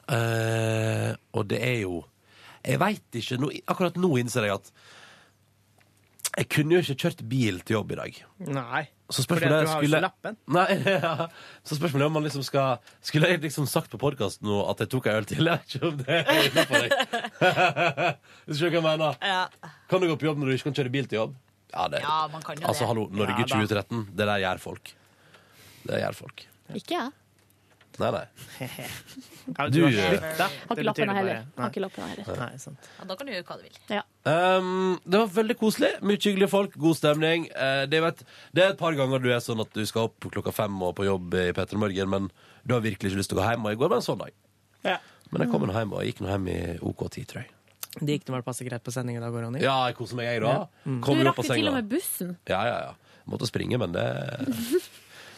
Eh, og det er jo Jeg veit ikke nå, Akkurat nå innser jeg at jeg kunne jo ikke kjørt bil til jobb i dag. Mm. Nei. Så Fordi spørsmålet at er du har jo skulle... ikke lappen. Nei, *laughs* ja. Så spørsmålet er om man liksom skal Skulle jeg liksom sagt på podkast nå at jeg tok ei øl til? Jeg vet ikke om det er innenfor deg. *laughs* Hvis du skjønner hva jeg mener. Kan du gå på jobb når du ikke kan kjøre bil til jobb? Ja, det Ja, man kan jo Altså, det. hallo, Norge Ja, da. 2013. Det der gjør folk. Det gjør folk. Ikke jeg. Nei, nei. men Du du har gjør sluttet. det. Det Har ikke lappen betyr det jeg heller. bare- nei. Har ikke lappen jeg heller. Nei, sant. Ja, da kan du gjøre hva du vil. Ja. Um, det var veldig koselig. Mye hyggelige folk, god stemning. Eh, det, er jo et- det er et par ganger du er sånn at du skal opp klokka fem og på jobb i Petter Morgen, men du har virkelig ikke lyst til å gå hjem. Og i går var en sånn dag. Ja. Men jeg kom nå hjem, og jeg gikk nå hjem i OK10, tror jeg. Det gikk nå vel passe greit på sending i dag, Ronny? Ja, jeg koser meg, jeg, da. Mm. Kom Du jo på rakk jo til senga. og med bussen. Ja, ja, ja. Måtte springe, men det *laughs*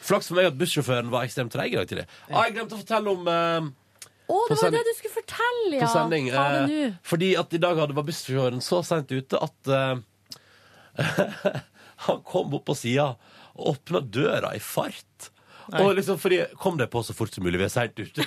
Flaks for meg at bussjåføren var ekstremt treig i dag tidlig. Ah, jeg glemte å fortelle om eh, Å, På det var jo sending. det du skulle fortelle, ja! på sending. Ta det nå. eh, fordi at i dag hadde var bussjåføren så seint ute at eh, *laughs* han kom opp på sida og åpna døra i fart. Og liksom fordi Kom deg på så fort som mulig, vi er seint *laughs* ute.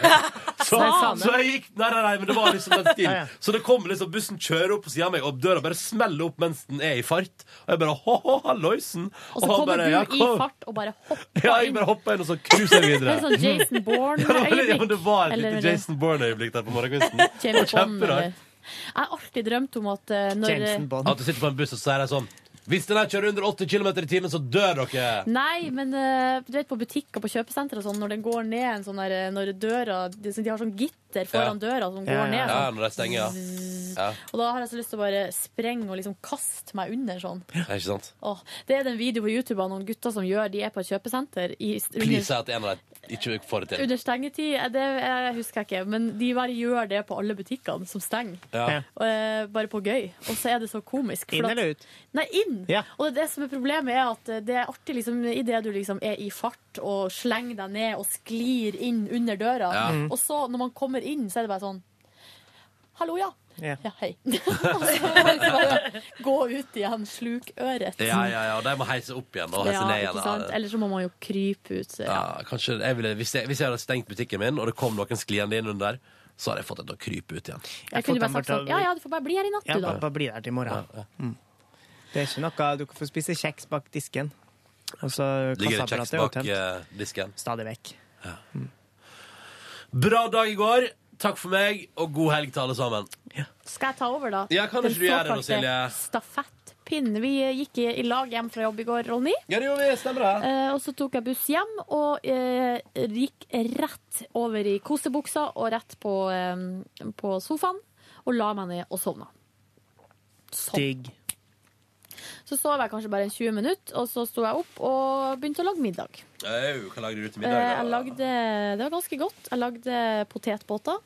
Så, Nei, så jeg gikk Nei, nei, nei, men det var liksom den Ja, ja. stilen. Så det kom liksom bussen kjører opp på sida av meg, og døra bare smeller opp mens den er i fart. Og jeg bare ho-ho, halloisen. Og så han kommer bare, du «Ja, i kom.» fart og bare *laughs* hopper Ja, jeg inn. bare hoppa inn, og så cruiser jeg *laughs* Det videre. er sånn Jason *laughs* Ja, det var- ja, Bourne-øyeblikk. men det var et Eller- lite Jason Bourne-øyeblikk der på morgenkvisten. *laughs* Det var James Bond, kjemperart. eller? Jeg har alltid drømt om at eh, når At du sitter på en buss og så sier de sånn Hvis den her kjører under 80 km i timen, så dør dere! Nei, men eh, du vet på butikker på kjøpesenter og sånn, når den går ned en sånn der, eh, når døra De, de har sånn gitter foran døra som går ned. Ja, Sånn. når de stenger, ja. ja. Og da har jeg så lyst til å bare sprenge og liksom kaste meg under sånn. Det er ikke sant? Åh, det er den videoen på YouTube av noen gutter som gjør De er på et kjøpesenter i, Please si under, at en av dem ikke får det til. under stengetid. Eh, Det eh, husker jeg ikke, men de bare gjør det på alle butikkene som stenger. Ja. Og, eh, bare på gøy. Og så er det så komisk. for Inn at- eller ut? Nei, inn. Og det som er problemet, er at eh, det er artig liksom, idet du liksom er i fart og slenger deg ned og sklir inn under døra. Ja. Mm. Og så, når man kommer inn, så er det bare sånn Hallo, ja. Ja. Ja, *laughs* hei. *laughs* og så må man bare gå ut igjen, sluk øret. Ja, ja, ja, og de må heise opp igjen og heise Ja, ned ikke igjen. sant? Eller så må man jo krype ut. Ja, kanskje jeg ville, hvis, jeg, hvis jeg hadde stengt butikken min, og det kom noen skliende inn under, så hadde jeg fått det til å krype ut igjen. Jeg kunne bare sagt sånn Ja, ja, du får bare bli her i natt, Ja, du, da. bare, bare bli der til i morgen. Mm. Det er ikke noe Du får spise kjeks bak disken. Og så Ligger det kassaapparatet kjeks er jo bak tømt. eh, disken? Stadig vekk. Bra dag i går. Takk for meg, og god helg til alle sammen. Skal jeg ta over, da? Ja, kan Den ikke du gjøre det nå, såkalte Silje? Stafettpinnen. Vi eh, gikk i, i lag hjem fra jobb i går, Ronny. Ja, det gjorde vi. Stemmer det. Eh, og så tok jeg buss hjem og eh, gikk rett over i kosebuksa og rett på, eh, på sofaen. Og la meg ned og sovna. Sånn. Digg. Så sov jeg kanskje bare en 20 minutter, og så sto jeg opp og begynte å lage middag. Au, hva lager du til Eh, jeg middag? da? lagde, det var ganske godt. Jeg lagde potetbåter.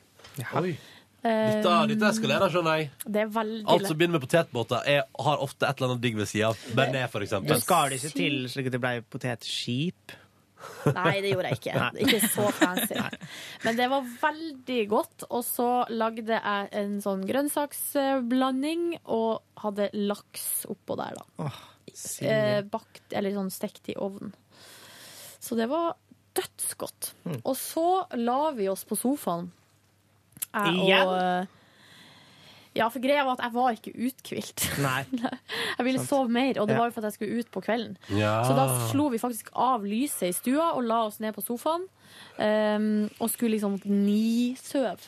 Oi. Eh, Dette, dette eskalerer, skjønner jeg. Det er veldig Alt som begynner med potetbåter, er, har ofte et eller annet digg ved sida av. Bearnés, for Du eksempel. skar det ikke til slik at det ble potetskip? Nei, det gjorde jeg ikke. Nei. Ikke så fancy. Men det var veldig godt. Og så lagde jeg en sånn grønnsaksblanding og hadde laks oppå der, da. Eh, bakt, eller sånn stekt i ovnen. Så det var dødsgodt. Mm. Og så la vi oss på sofaen. Jeg og Igjen? Ja, for greia var at jeg var ikke uthvilt. *laughs* Nei. Jeg ville Sant. sove mer, og det Ja. var jo for at jeg skulle ut på kvelden. Ja. Så da Ah. slo vi faktisk av lyset i stua og la oss ned på sofaen. ehm, og skulle liksom nisøve.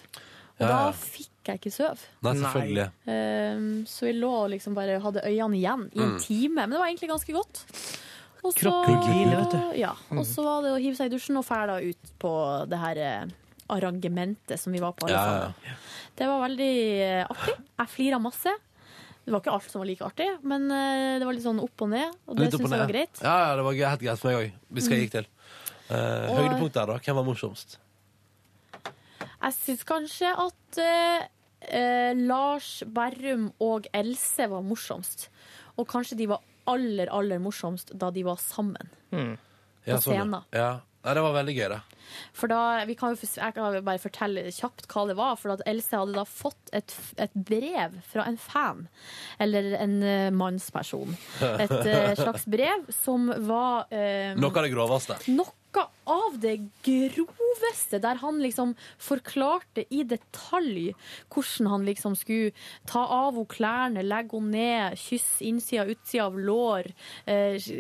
Og Ja, da ja. fikk jeg ikke sove. Nei, selvfølgelig. Ehm, så vi lå og liksom bare hadde øynene igjen i en Mm. time. Men det var egentlig ganske godt. Og så- Kroppen hviler, vet du. Ja, og Mm. så var det å hive seg i dusjen og ferda ut på det her eh, arrangementet som vi var på. alle Ja, ja, sammen. Det var veldig eh, artig. Jeg flira masse. Det var ikke alt som var like artig, men eh, det var litt sånn opp og ned. Og det Litt opp syns ned. jeg var greit. Ja, ja, det var gre- helt greit for meg òg. Hvis jeg gikk til. Eh, Og- høydepunkt der, da. Hvem var morsomst? Jeg syns kanskje at eh, eh, Lars Berrum og Else var morsomst. Og kanskje de var aller, aller morsomst da de var sammen. Ja, På sånn, scenen. ja. ja. Nei, det var veldig gøy, det. For da, vi kan jo, for- jeg kan jo bare fortelle kjapt hva det var. For at Else hadde da fått et, et brev fra en fan, eller en eh, mannsperson. Et eh, slags brev som var eh, Noe av det groveste. noe av det groveste, der han liksom forklarte i detalj hvordan han liksom skulle ta av henne klærne, legge henne ned, kysse innsida og utsida av lår, eh,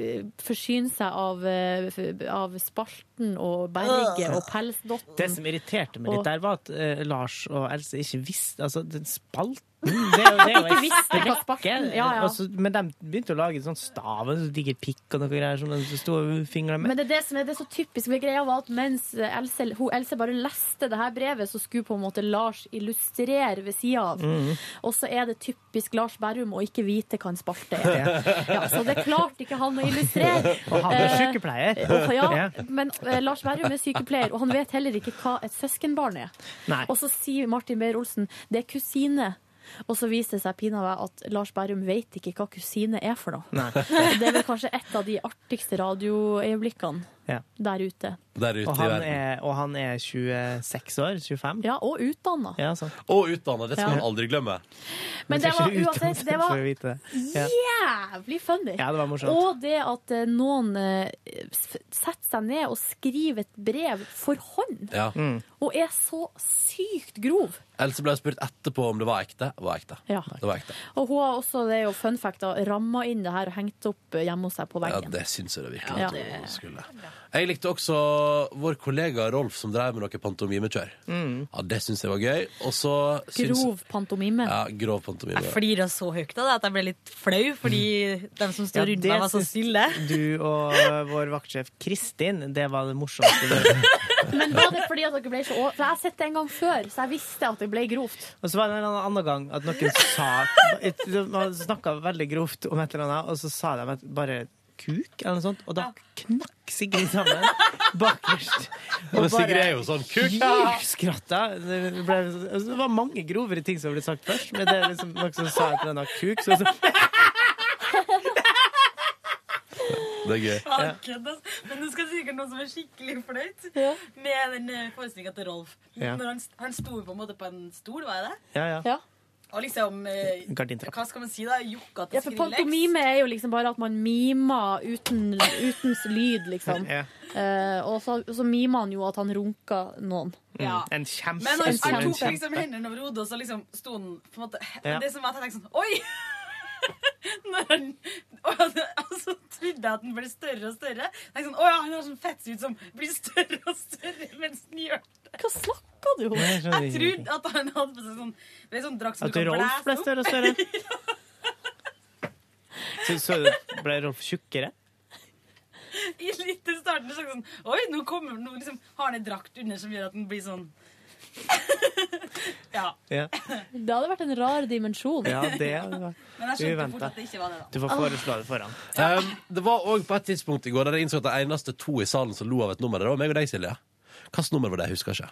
forsyne seg av, eh, f- av spalten og berget og pelsdotten. Det som irriterte meg Og- litt der, var at eh, Lars og Else ikke visste Altså, den *laughs* spalten det er jo, det er jo Ikke visste hva spalten- ja, ja. Og så- men de begynte å lage en sånn stav og en sånn diger pikk og noe greier som de sto og fingret med. Men det er det som er det er så typisk. for Greia var at mens Else, hun, Else bare leste det her brevet, så skulle på en måte Lars illustrere ved sida av. Mhm. Og så er det typisk Lars Berrum å ikke vite hva en spalte er. Ja, så det klarte ikke han å illustrere. Og han er Eh, sykepleier. og- Ja. ja, men eh, Lars Berrum er sykepleier, og han vet heller ikke hva et søskenbarn er. Nei. Og så sier Martin Beyer-Olsen det er kusine. Og så viser det seg pinadø at Lars Berrum vet ikke hva kusine er for noe. Nei. Det er vel kanskje et av de artigste radioøyeblikkene Ja. der ute. Der ute og, i han verden. er, og han er 26 år? 25? Ja, og utdanna. Ja, sånn. sant. Og utdannet. Det skal Ja. man aldri glemme. Men det var uansett det var Ja. jævlig funny. Ja, det var morsomt. Og det at eh, noen eh, s- setter seg ned og skriver et brev for hånd, Ja. og er så sykt grov. Else ble spurt etterpå om det var ekte. Det var ekte. Ja. Det var ekte. Og hun har også, det er jo fun fact, da, ramma inn det her og hengt opp eh, hjemme hos seg på Ja, veggen. det syns jeg det virkelig Ja, at det- hun skulle. Jeg likte også vår kollega Rolf som drev med noe pantomimekjør. Mm. Ja, det syns jeg var gøy. Og så syns- Grov pantomime. Ja, grov pantomime. Jeg flira så høyt av det at jeg ble litt flau, fordi de som sto Ja, rundt det meg, var så syns stille. Du og vår vaktsjef Kristin, det var det morsomste. du- Men var det fordi at dere ble så å- For jeg har sett det en gang før, så jeg visste at det ble grovt. Og så var det en eller annen gang at noen sa Man snakka veldig grovt om et eller annet, og så sa de at bare kuk, eller noe sånt, og da knakk Sigrid sammen bakerst. Men Sigrid er jo sånn, kuk, ja! ja! Skratta. Det, ble, altså, det var mange grovere ting som ble sagt først, men det er liksom noen som sa et eller annet kuk, så, så Det er gøy. Faken, altså. Men du skal sikkert noe som er skikkelig flaut med den forestillinga til Rolf. Ja. Når han, han sto jo på en måte på en stol, var det det? Ja, ja. Og liksom eh, Gardintrapp. Hva skal man si, da? Jokka Ja, til for Skrillex? pantomime er jo liksom bare at man mimer uten, uten lyd, liksom. Ja. Eh, og så, så mimer han jo at han runker noen. Ja. Mm. En kjempe... Men han, han en tok kjempe- liksom hendene over hodet, og så liksom sto han på en måte Ja. Det som var at jeg tenkte sånn Oi! *laughs* Når han og, og så trodde jeg at den ble større og større. Jeg tenkte sånn, Å ja, han har sånn fettsuit som blir større og større mens den gjør det. Hva snakker du om? Nei, jeg skjønner Jeg ingenting. trodde at han hadde på seg sånn Det er sånn drakt som At du kan Rolf ble blæse større og *laughs* større? Så, så ble Rolf tjukkere? I litt i starten så tenkte jeg sånn Oi, nå kommer nå liksom, har han en drakt under som gjør at den blir sånn *laughs* Ja. Ja. Det hadde vært en rar dimensjon. Ja, det var Men jeg skjønte fort at det ikke var det, da. Du får foreslå det for han. Um, det var òg på et tidspunkt i går der jeg innså at det eneste to i salen som lo av et nummer, det var meg og deg, Silje. Hvilket nummer var det? Jeg husker ikke.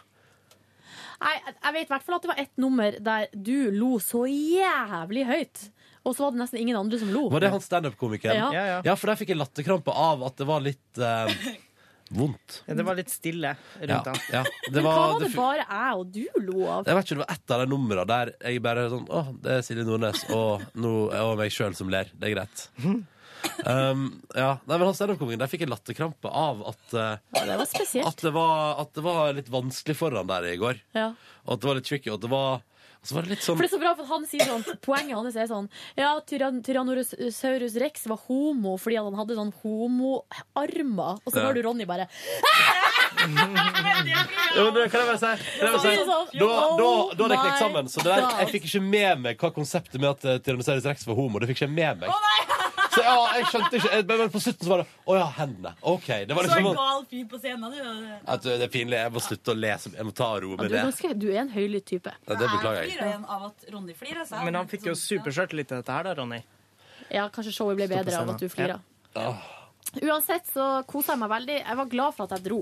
Nei, jeg vet i hvert fall at det var ett nummer der du lo så jævlig høyt. Og så var det nesten ingen andre som lo. Var det han standup-komikeren? Ja. Ja, ja, for der fikk jeg latterkrampe av at det var litt eh, vondt. Ja, det var litt stille Ja, rundt han. ja. Men Det hva var, var det det, fu- bare jeg og du lo av? jeg vet ikke, det var et av de numrene der jeg bare sånn Å, det er Silje Nordnes og, nå, og meg sjøl som ler. Det er greit. Um, ja. Nei, men han standup-komikeren, der fikk jeg latterkrampe av at eh, det var spesielt. At det var, at det var litt vanskelig foran der i går. Ja. Og at det var litt tricky. Og at det var, og så var det litt sånn For det er så bra, for han sier sånn Poenget hans er sånn Ja, tyrann Tyrannosaurus rex var homo fordi at han hadde sånn homoarmer. Og så Ja. hører du Ronny bare Ja, men det kan jeg bare si? Kan jeg bare si? Sånn, Da, da, da hadde jeg my knekt sammen. Så det der, God. jeg fikk ikke med meg hva konseptet med at eh, Tyrannosaurus rex var homo. Det fikk ikke jeg med *laughs* meg. Så ja, jeg skjønte ikke jeg, Men på slutten så var det Å ja, hendene. OK. Det var Så en liksom sånn gal fyr på scenen, du. at eh, Det er pinlig. Jeg må slutte å lese. Jeg må ta ro ja, med du, er det. ganske, du er en høylytt type. Nei, det beklager Jeg jeg. flirer igjen av at Ronny flirer. altså. så jeg- Men han fikk jo superskjørt litt av dette her, da, Ronny. Ja, kanskje showet ble Stå på bedre av scenen. at du flirer. Åh. Uansett så kosa jeg meg veldig. Jeg var glad for at jeg dro.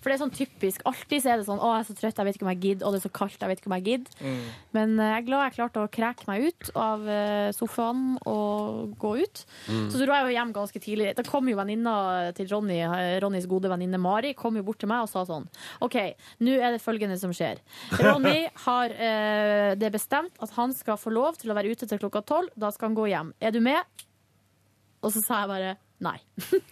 For det er sånn typisk. Alltid så er det sånn 'Å, jeg er så trøtt, jeg vet ikke om jeg gidder.' 'Å, det er så kaldt, jeg vet ikke om jeg gidder'. Men eh, jeg er glad jeg klarte å kreke meg ut av eh, sofaen og gå ut. Mm. Så dro jeg jo hjem ganske tidlig. Da kom jo venninna til Ronny, eh, Ronnys gode venninne Mari, kom jo bort til meg og sa sånn OK, nå er det følgende som skjer. Ronny har eh, det bestemt at han skal få lov til å være ute til klokka tolv. Da skal han gå hjem. Er du med? Og så sa jeg bare nei.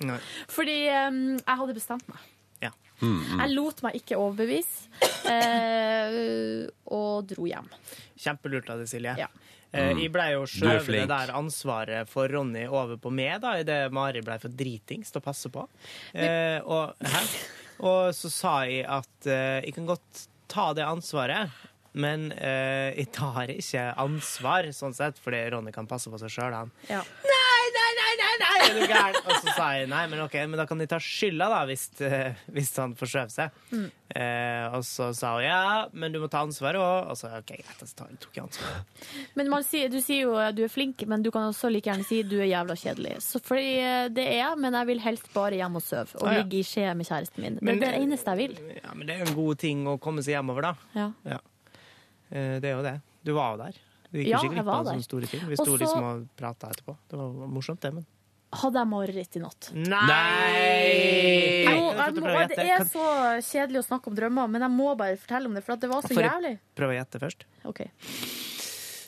Nei. *laughs* Fordi eh, jeg hadde bestemt meg. Ja. Jeg lot meg ikke overbevise, eh, og dro hjem. Kjempelurt av deg, Silje. Ja. Eh, Jeg blei jo Mm. Du er skjøvet det flink. der ansvaret for Ronny over på meg, da, idet Mari blei for dritings til å passe på. Eh, og, hæ? og så sa jeg at eh, jeg kan godt ta det ansvaret, men eh, jeg tar ikke ansvar, sånn sett, fordi Ronny kan passe på seg sjøl, han. Nei, nei, nei, nei, nei! Er du gæren? Og så sa jeg nei, men ok, men da kan de ta skylda, da, hvis, eh, hvis han forskjøv seg. Mm. Eh, og så sa hun ja, men du må ta ansvaret òg. Og så OK, greit, så tar- tok jeg ansvaret. Men man sier, du sier jo at du er flink, men du kan også like gjerne si du er jævla kjedelig. Så fordi eh, det er jeg, men jeg vil helst bare hjem og sove og Ah, ja. ligge i skje med kjæresten min. Det Men- er det eneste jeg vil. Ja, Men det er jo en god ting å komme seg hjemover, da. Ja. Eh, det er jo det. Du var jo der. Du gikk Ja, jo ikke jeg glipp var av der. sånne store ting. Vi Og sto så- liksom og prata etterpå. Det var morsomt, det, men Hadde jeg mareritt i natt? Nei! Jo, Kan jeg du må, prøve å gjette? det er Kan- så kjedelig å snakke om drømmer, men jeg må bare fortelle om det, for at det var så Får jeg jævlig. Prøv å gjette først. Ok.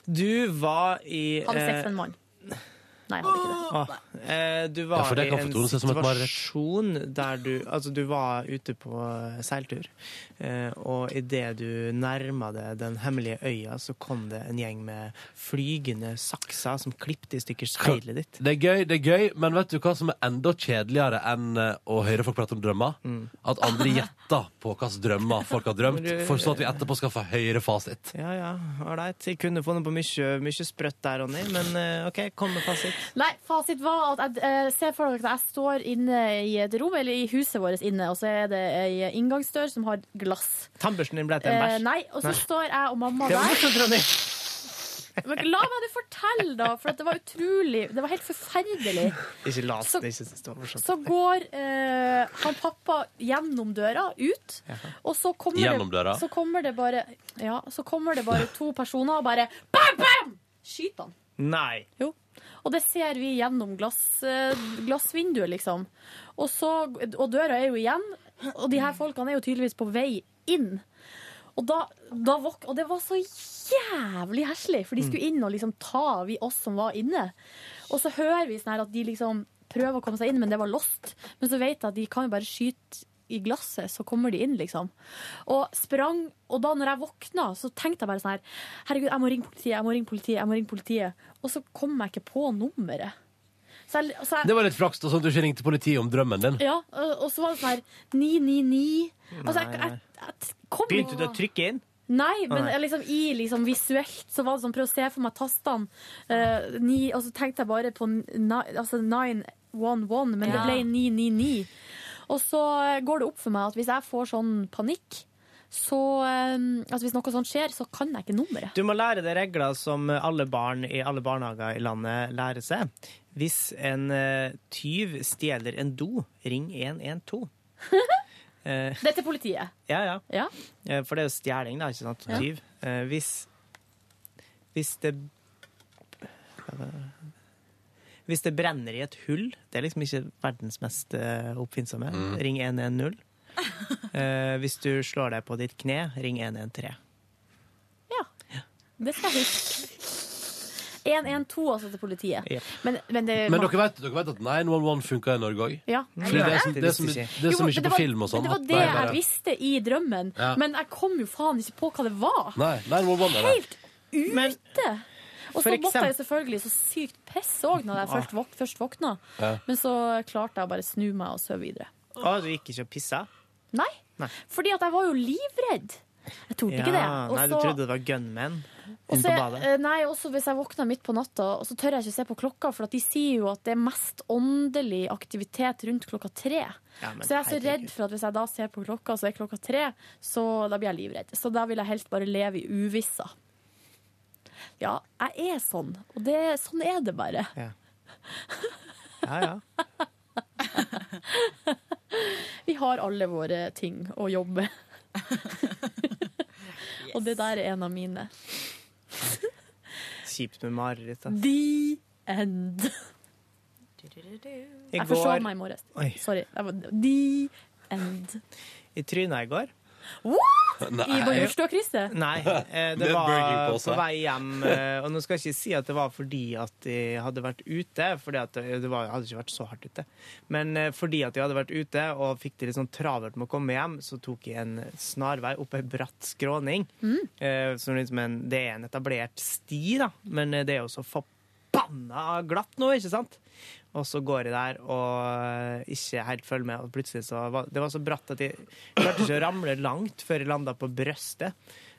Du var i Hadde sex eh, med en mann. Nei, jeg hadde ikke det. Åh, eh, du var Ja, for det i kan en fortone seg som et mareritt. situasjon der du Altså, du var ute på eh, seiltur, eh, og idet du nærma deg den hemmelige øya, så kom det en gjeng med flygende sakser som klippte i stykker seilet ditt. Det er gøy, det er gøy, men vet du hva som er enda kjedeligere enn eh, å høre folk prate om drømmer? Mm. At andre gjetter på hvilke drømmer folk har *laughs* drømt, Men du- for sånn at vi etterpå skal få høyere fasit. Ja ja, ålreit. Jeg kunne funnet på mye, mye sprøtt der, Ronny, men eh, OK, kom med fasit. Nei, fasit var at jeg eh, ser for dere at jeg står inne i et rom, eller i huset vårt inne, og så er det ei inngangsdør som har glass. Tannbørsten din ble til en Eh, bæsj. nei, og så står jeg og mamma Det var der. morsomt, Ronny. Men la meg det fortelle, da, for at det var utrolig Det var helt forferdelig. Ikke lat Så- det ikke synes det var morsomt. Så går eh, han pappa gjennom døra, ut, og så kommer, Gjennom døra? Det, så kommer det bare Ja, så kommer det bare to personer og bare bam, bam! Skyter han. Nei. Jo. Og det ser vi gjennom glass, eh, glassvinduet, liksom. Og, så, og døra er jo igjen, og de her folkene er jo tydeligvis på vei inn. Og, da, da våk, og det var så jævlig heslig, for de skulle inn og liksom ta vi oss som var inne. Og så hører vi sånn her at de liksom prøver å komme seg inn, men det var lost. Men så vet jeg at de kan jo bare skyte i glasset, så kommer de inn, liksom. Og sprang. Og da når jeg våkna, så tenkte jeg bare sånn her Herregud, jeg må ringe politiet, jeg må ringe politiet, jeg må ringe politiet. Og så kom jeg ikke på nummeret. Så jeg, så jeg, Det var litt flaks, da, sånn at du ikke ringte politiet om drømmen din. ja, og og så var det sånn her 999 altså, jeg, jeg, jeg, kom, Begynte du å trykke inn? Nei, Å, men nei. jeg liksom, i liksom visuelt så var det sånn, prøv å se for meg tastene. eh, ni, og så tenkte jeg bare på ni- altså 911, men det Ja. ble 999. Og så eh, går det opp for meg at hvis jeg får sånn panikk, så eh, altså Hvis noe sånt skjer, så kan jeg ikke nummeret. Du må lære deg regler som alle barn i alle barnehager i landet lærer seg. Hvis en eh, tyv stjeler en do, ring 112. Eh, Det er til politiet. ja, ja. Ja. Eh, For det er jo stjeling, da, ikke sant? Ja. Tyv. Eh, hvis Hvis det Hvis det brenner i et hull, det er liksom ikke verdens mest eh, oppfinnsomme, Mm. ring 110. Eh, hvis du slår deg på ditt kne, ring 113. Det skal jeg huske. 112, altså, til politiet. Jep. Men, men, det, Men dere vet, dere vet at 911 funka i Norge òg? Ja. Fordi det er som, det er som, det er som Jo, ikke det på var- film og sånn. Det var at det bare- jeg visste i drømmen, Ja. men jeg kom jo faen ikke på hva det var. Nei, 911 er det. Helt ute! og for så måtte jeg eksempel- jo selvfølgelig så sykt pisse òg når jeg Ah. først, våk, først våkna. Ja. Men så klarte jeg å bare snu meg og sove videre. Å, du gikk ikke og pissa? Nei, Nei. fordi at jeg var jo livredd. Jeg torde ikke det. Og Nei, du så- trodde det var gunmen Og inne så på er- badet? eh, Nei, også hvis jeg våkner midt på natta, og så tør jeg ikke se på klokka, for at de sier jo at det er mest åndelig aktivitet rundt klokka tre. Ja, men så jeg er så herregud. redd for at hvis jeg da ser på klokka, så er klokka tre, så da blir jeg livredd. Så da vil jeg helst bare leve i uvissa. Ja, jeg er sånn, og det, sånn er det bare. Ja ja. har alle våre ting å jobbe *laughs* med. Og det der er en av mine. Kjipt med mareritt. ass. The end. I Jeg forsov går- meg i morges. Oi. Sorry. Jeg var- The end. I trynet i går. What?! Nei. I bursdag, Christer? Nei, eh, det Med var burgerpose. på vei hjem. eh, Og nå skal jeg ikke si at det var fordi at jeg hadde vært ute, for det var, jeg hadde ikke vært så hardt ute. Men eh, fordi at jeg hadde vært ute og fikk det litt sånn travelt med å komme hjem, så tok jeg en snarvei opp ei bratt skråning. Eh, Som liksom en, det er en etablert sti, da, men eh, det er jo så forbanna glatt nå, ikke sant? Og så går jeg der og eh, ikke helt følger med, og plutselig så var Det var så bratt at jeg klarte ikke å ramle langt før jeg landa på brøstet.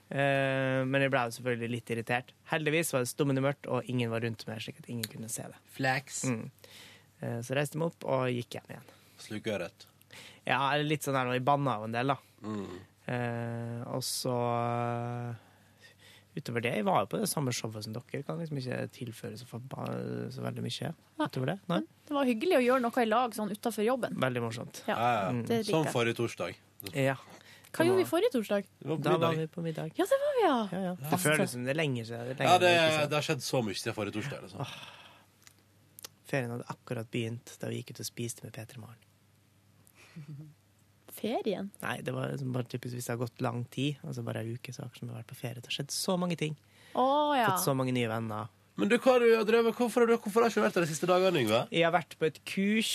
Eh, Men jeg ble jo selvfølgelig litt irritert. Heldigvis var det stummende mørkt, og ingen var rundt meg, slik at ingen kunne se det. Flex. Mm. Eh, Så reiste jeg meg opp og gikk hjem igjen. Slukøret. Ja, eller litt sånn der når jeg banna jo en del, da. Mm. Eh, og så Utover det, jeg var jo på det samme showet som dere. Kan liksom ikke tilføre så, forba så veldig mye utover det. Nei? Det var hyggelig å gjøre noe i lag sånn utafor jobben. Veldig morsomt. Ja, Mm. det Som liker jeg. forrige torsdag. Ja. Hva gjorde vi forrige torsdag? Da var vi på middag. Ja, det var vi, ja. Det føles som det er lenge siden. Det er lenge Ja, det, siden. det har skjedd så mye siden forrige torsdag. Liksom. Ferien hadde akkurat begynt da vi gikk ut og spiste med Peter Maren. Ferien. Nei, det var liksom bare typisk hvis det har gått lang tid, altså bare ei uke, så har vi vært på ferie. Det har skjedd så mange ting. Å ja. Fått sånn- så mange nye venner. Men du, hva har du drevet? Hvorfor, har du- hvorfor har du ikke vært der de siste dagene, Yngve? Jeg har vært på et kurs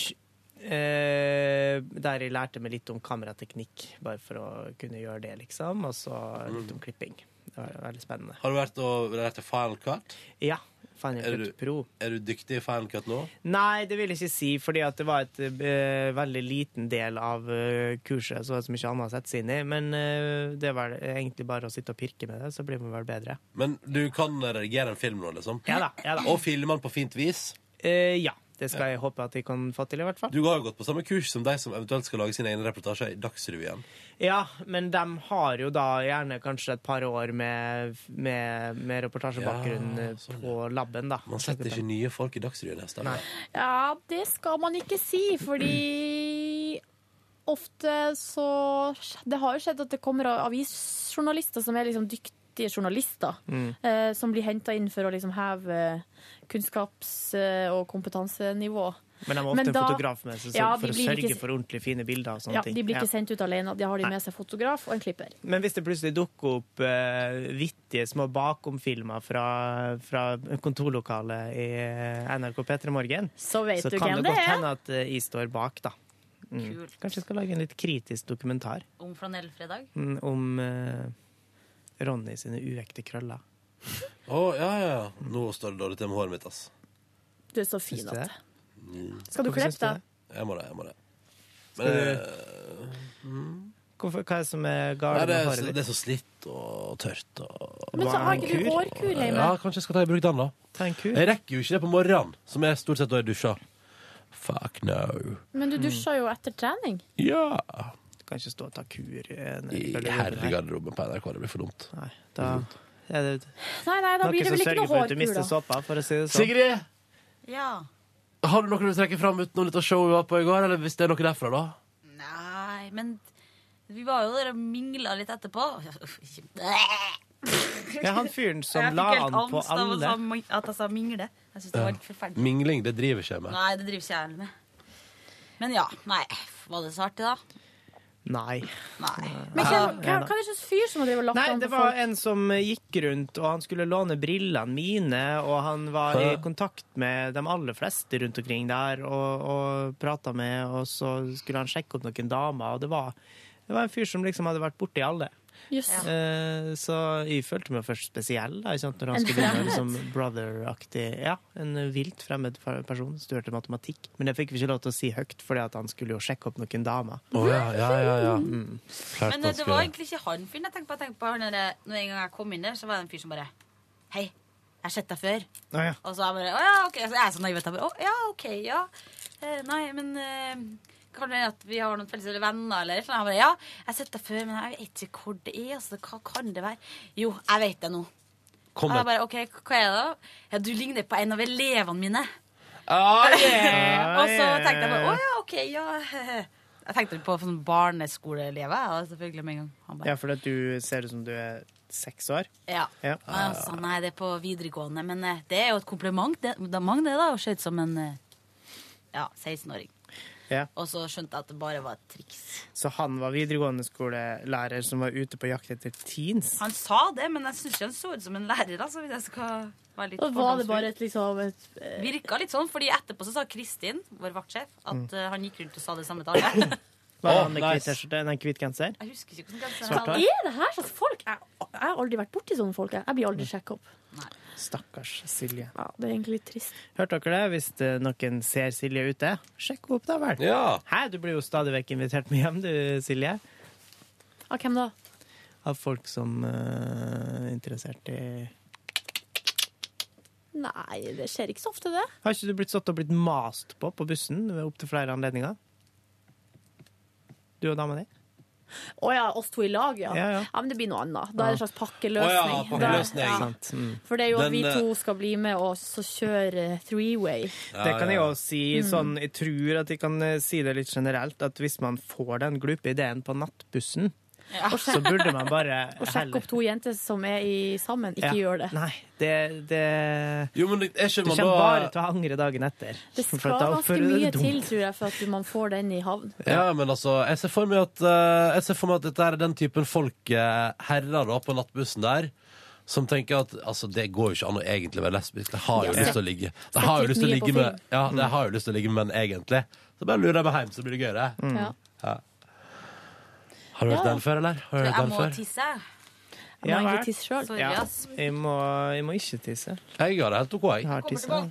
eh, der jeg lærte meg litt om kamerateknikk, bare for å kunne gjøre det, liksom. Og så litt om klipping. Det var veldig spennende. Har du vært og lært deg Final Cut? Ja. Final Er Cut du- Pro. Er du dyktig i Final Cut nå? Nei, det vil jeg ikke si, fordi at det var et eh, veldig liten del av eh, kurset, så det var så mye annet å sette seg inn i. Men eh, det var egentlig bare å sitte og pirke med det, så blir man vel bedre. Men du kan redigere en film nå, liksom? Ja da, ja da. Og filme den på fint vis? Eh, ja. Det skal jeg håpe at jeg kan få til, i hvert fall. Du har jo gått på samme kurs som de som eventuelt skal lage sine egne reportasjer i Dagsrevyen. Ja, men de har jo da gjerne kanskje et par år med, med, med reportasjebakgrunn eh, på labben, da. sånn, Sånn Man setter ikke nye folk i Dagsrevyen neste år. Ja, det skal man ikke si, fordi *clears throat* ofte så Det har jo skjedd at det kommer avisjournalister som er liksom dyktige journalister, Mm. eh, som blir henta inn for å liksom heve kunnskaps- eh, og kompetansenivå. Men de har ofte en da- fotograf med seg så, Ja, de for å blir sørge ikke- for ordentlig fine bilder og sånne ja, ting. De blir Ja. ikke sendt ut alene. De har de med seg fotograf og en klipper. Men hvis det plutselig dukker opp eh, vittige små bakomfilmer fra, fra kontorlokalet i eh, NRK P3 Morgen, Så vet du kan hvem det det godt er. hende at eh, jeg står bak, da. Mm. Kanskje jeg skal lage en litt kritisk dokumentar Om flanellfredag? mm, om eh, Ronny sine uekte krøller. Å, ja, ja, ja. Nå står det dårlig til med håret mitt, ass. Du er så fin Syns du at det? Mm. Skal du Hvorfor klippe syns du deg? Jeg må det, jeg må det. Skal du- eh, mm. Hvorfor, hva er det som er eh, Nei, galt det, med er, håret så- ditt? det er så slitt og tørt. Og... Men så har ikke du hårkur, Heime. Ja, kanskje jeg skal ta i bruk den, da. Ta en kur. Jeg rekker jo ikke det på morgenen, som er stort sett da jeg dusjer. Fuck no. Men du dusjer jo etter trening. Ja. Du kan ikke stå og ta kur eh, i, en- I herregarderoben på NRK, det blir for dumt. Nei, da er det Nei, nei, da noen blir det som vel ikke sørger noe for at du hårkur, mister da. såpa, for å si det sånn. Sigrid, Ja. har du noe du trekker fram utenom dette showet vi var på i går? Eller hvis det er noe derfra, da? Nei, men vi var jo der og mingla litt etterpå. *laughs* Ja, han fyren som Jeg fikk la helt an på angst av å alle. sa mi- At jeg sa mingle. Jeg synes det var helt forferdelig. Mingling, det driver ikke jeg med. Nei, det driver ikke jeg heller med. Men ja. Nei, var det så artig, da? Nei. Men hvem, Ja, hva, da. hva er det slags fyr som har drevet og lagt Nei, an det på var folk? en som gikk rundt, og han skulle låne brillene mine, og han var i Hæ? kontakt med de aller fleste rundt omkring der, og, og prata med, og så skulle han sjekke opp noen damer, og det var, det var en fyr som liksom hadde vært borti alle. Jøss. Eh, så jeg følte meg først spesiell da, ikke sant? når han En skulle begynne fremmed. liksom brother-aktig. Ja, en vilt fremmed fa- person. Studerte matematikk. Men det fikk vi ikke lov til å si høyt, fordi at han skulle jo sjekke opp noen damer. Å, ja, ja, ja, ja. Mm. Men eh, det var egentlig ikke han fyren jeg tenkte på. Jeg tenkte på han der, når en gang jeg kom inn der, så var det en fyr som bare Hei, jeg har sett deg før. Å, ja. Og så jeg bare Å ja, OK. Så jeg er så naiv at jeg bare Å ja, OK, ja. Eh, nei, men eh, kan det være at vi har noen felles venner eller et eller annet? Jeg bare ja, jeg har sett deg før, men jeg vet ikke hvor det er. Altså, hva kan det være? Jo, jeg vet det nå. Kom og med. jeg bare OK, hva er det da? Ja, du ligner på en av elevene mine. Ah, Eh, og så tenkte jeg bare Å ja, *laughs* OK, ja. Jeg tenkte på sånn barneskoleelever, jeg, og selvfølgelig med en gang. Han bare, Ja, for at du ser ut som du er seks år. ja. Ja. Og jeg sa, nei, det er på videregående, men eh, det er jo et kompliment. Det, det er mange det da, å se ut som en eh, ja, 16-åring. Ja. Og så skjønte jeg at det bare var et triks. Så han var videregående skolelærer som var ute på jakt etter teens. Han sa det, men jeg syns ikke han så ut som en lærer. Altså, hvis jeg skal være litt Da var det fordomsfull. bare et liksom et, Virka litt sånn, fordi etterpå så sa Kristin, vår vaktsjef, at eh, han gikk rundt og sa det samme til alle. Var Å, han med nice. hvit T-skjorte? Nei, hvit genser? Jeg husker ikke hvordan Svart Hva hår. er det her slags folk? Jeg, jeg har aldri vært borti sånne folk. jeg. Jeg blir aldri sjekka opp. Stakkars Silje. Ja, det er egentlig litt trist. Hørte dere det? Hvis eh, noen ser Silje ute, sjekk henne opp da vel. Ja. Hæ, du blir jo stadig vekk invitert med hjem, du, Silje. Av hvem da? Av folk som eh, er interessert i Nei, det skjer ikke så ofte, det. Har ikke du blitt stått og blitt mast på på bussen ved opptil flere anledninger? Du og dama di? Å ja, oss to i lag, ja. Ja, Ja, ja. men det blir noe annet. Da er det en slags Å ja, pakkeløsning. pakkeløsning. Da- ja. Sant, mm. For det er jo at Den, vi eh, to skal bli med og så kjøre three-way. Det kan jeg også si Mm. sånn, jeg tror at jeg kan eh, si det litt generelt, at hvis man får den glupe ideen på nattbussen, Ja. så burde man bare *laughs* Og sjekke heller- opp to jenter som er i sammen. Ikke Ja. gjør det. Nei, det, det Jo, men det er ikke Du man kommer bare da til å angre dagen etter. Det For skal at da ganske oppfører du mye deg dumt. til, tror jeg, for at du- man får den i havn. ja, men altså, jeg ser for meg at, eh, jeg ser for meg at dette er den typen folk eh, herrer da, på nattbussen der, som tenker at altså, det går jo ikke an å egentlig være lesbisk. Det har jo Ja. lyst til å ligge. Sett Det har jo litt lyst til å mye på ligge med, film. Mm. ja, det har jo lyst til å ligge med menn egentlig. Så bare lurer jeg meg hjem, så blir det gøyere. Mm. Ja. Ja. Har du hørt Ja. den før, eller? Har du hørt Jeg den må før? tisse. Jeg må ikke tisse sjøl. Sorry, Ja, ass. jeg, må, jeg må ikke tisse. Jeg har det helt OK, jeg. har tissa.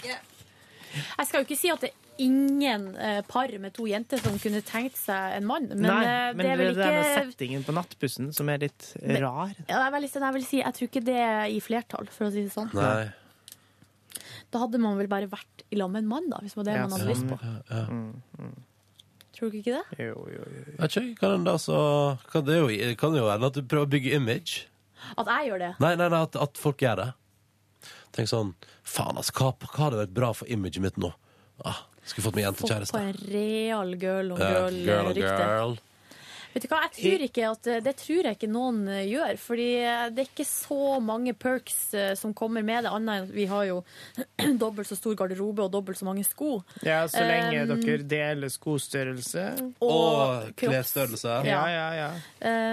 Jeg skal jo ikke si at det er ingen eh, par med to jenter som kunne tenkt seg en mann, men, Nei, eh, men det er vel det der med ikke settingen på nattbussen som er litt Men- rar. ja, jeg, er veldig, jeg, vil si, jeg tror ikke det er i flertall, for å si det sånn. Nei. Da hadde man vel bare vært i lag med en mann, da, hvis det var det man hadde lyst på. Ja. Mm. Tror du ikke det? Jo, jo, jo. Vet ikke, kan en da så Kan det jo, kan det jo være at du prøver å bygge image? At jeg gjør det? Nei, nei, nei at, at folk gjør det. Tenk sånn Faen, altså, hva, hva hadde vært bra for imaget mitt nå? Ah, skulle fått meg jente og Fått kjæreste. på en real girl on Ja, girl on girl-rykte. girl. Vet du hva, jeg tror ikke at eh, Det tror jeg ikke noen eh, gjør. Fordi eh, det er ikke så mange perks eh, som kommer med det, annet enn at vi har jo *clears throat* dobbelt så stor garderobe og dobbelt så mange sko. Ja, så lenge Um, dere deler skostørrelse. Og kropps- klesstørrelse. Ja, ja, ja.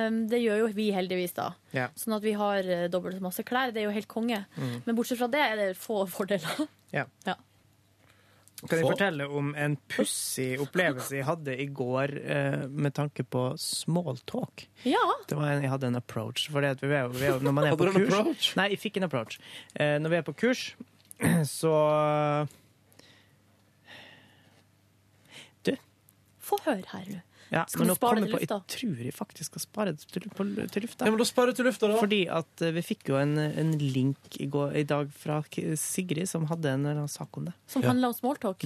Um, det gjør jo vi heldigvis, da. ja. Sånn at vi har eh, dobbelt så masse klær. Det er jo helt konge. Mm. Men bortsett fra det er det få fordeler. *laughs* Ja. Ja. Kan jeg Få- fortelle om en pussig opplevelse jeg hadde i går eh, med tanke på smalltalk? Ja. Det var en, jeg hadde en approach. For det at vi er, jo- vi er, jo- når man er Hadde på du en kurs approach? Nei, jeg fikk en approach. Eh, når vi er på kurs, *clears throat* så Du, Få høre her nå. ja, Skal men du nå spare kommer det jeg til på- lufta? Jeg tror jeg faktisk skal spare det til, på, til lufta. Ja, men da sparer du til lufta, da. Fordi at eh, vi fikk jo en, en link i, går, i dag fra K- Sigrid, som hadde en eller annen sak om det. Som handler om smalltalk.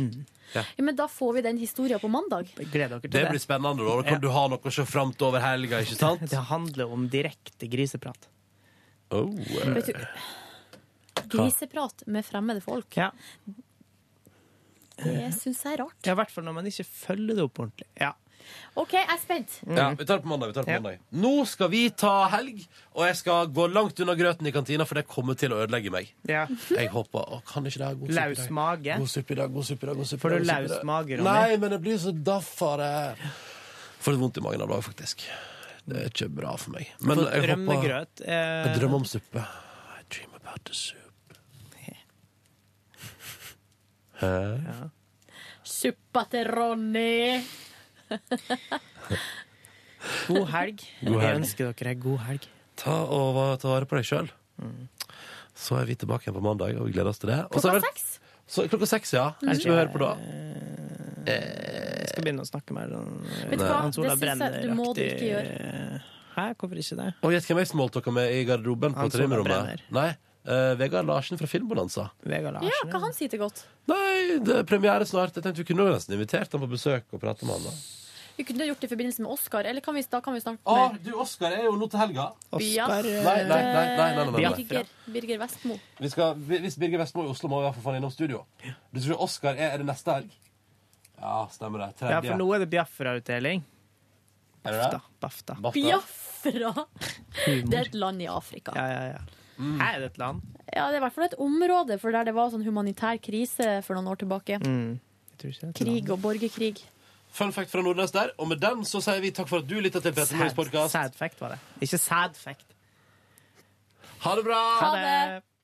Ja. Ja, men da får vi den historien på mandag. Gleder dere til Det blir spennende. da Da kan Ja. du ha noe å se fram til over helga, ikke sant? Det handler om direkte griseprat. Oh, eh. Vet du, Griseprat med fremmede folk. Ja. Det syns jeg er rart. Ja, I hvert fall når man ikke følger det opp ordentlig. Ja. OK, jeg er spent. Ja, vi tar det på mandag. vi tar det på mandag Nå skal vi ta helg, og jeg skal gå langt unna grøten i kantina, for det kommer til å ødelegge meg. Ja. Jeg håper å, Kan ikke det ha god suppe i dag? Laus mage. God suppe i dag, god suppe i dag. god suppe i Får du dag, god laus suppe i dag. mage, Ronny? Nei, men det blir så daff av det. Får litt vondt i magen av det, faktisk. Det er ikke bra for meg. Men For jeg håper rømmegrøt, eh, Jeg drømmer om suppe. I dream about the soup. Hæ? Suppa til Ronny. God helg. God helg. Jeg ønsker dere ei god helg. Ta, og, va- ta vare på deg sjøl. Mm. Så er vi tilbake igjen på mandag, og vi gleder oss til det. Og så er Klokka det- seks. Så, klokka seks, ja. Mm. Skal vi høre på da? Jeg skal begynne å snakke med den, Vet du hva? Hans Olav Det synes jeg du må du ikke Brenner-aktig Hæ, hvorfor ikke det? Og gjett hvem jeg smalltalka med i garderoben på Han som trimmerommet? brenner. Nei, eh, Vegard Larsen fra Filmbalansa. Vegard Ja, hva han sier til godt? Nei, det er premiere snart. Jeg tenkte vi kunne jo nesten invitert han på besøk og prate med han. da Vi kunne gjort det i forbindelse med Oscar, eller kan vi, da kan vi snakke Ah, med du, Oskar er jo nå til helga. Biafra. Nei, nei, nei, nei, nei, nei, nei. Birger, Birger Vestmo. Vi skal, vi- hvis Birger Vestmo er i Oslo, må vi i hvert fall få han innom studio. Du tror Oskar er, er det neste helg? Ja, stemmer det. Ja, for Tredje. nå er det Biafra-utdeling. Bafta. Bafta. Biafra! Det er et land i Afrika. Ja, ja, ja. Mm. Her er det et land. Ja, Det er i hvert fall et område for der det var sånn humanitær krise for noen år tilbake. Mm. Jeg tror ikke det er et Krig og borgerkrig. Fun fact fra Nordnes der. Og med den så sier vi takk for at du lytta til Petter Morgens Sad, podkast. sad fact var det. Ikke sad fact. Ha det bra! Ha det.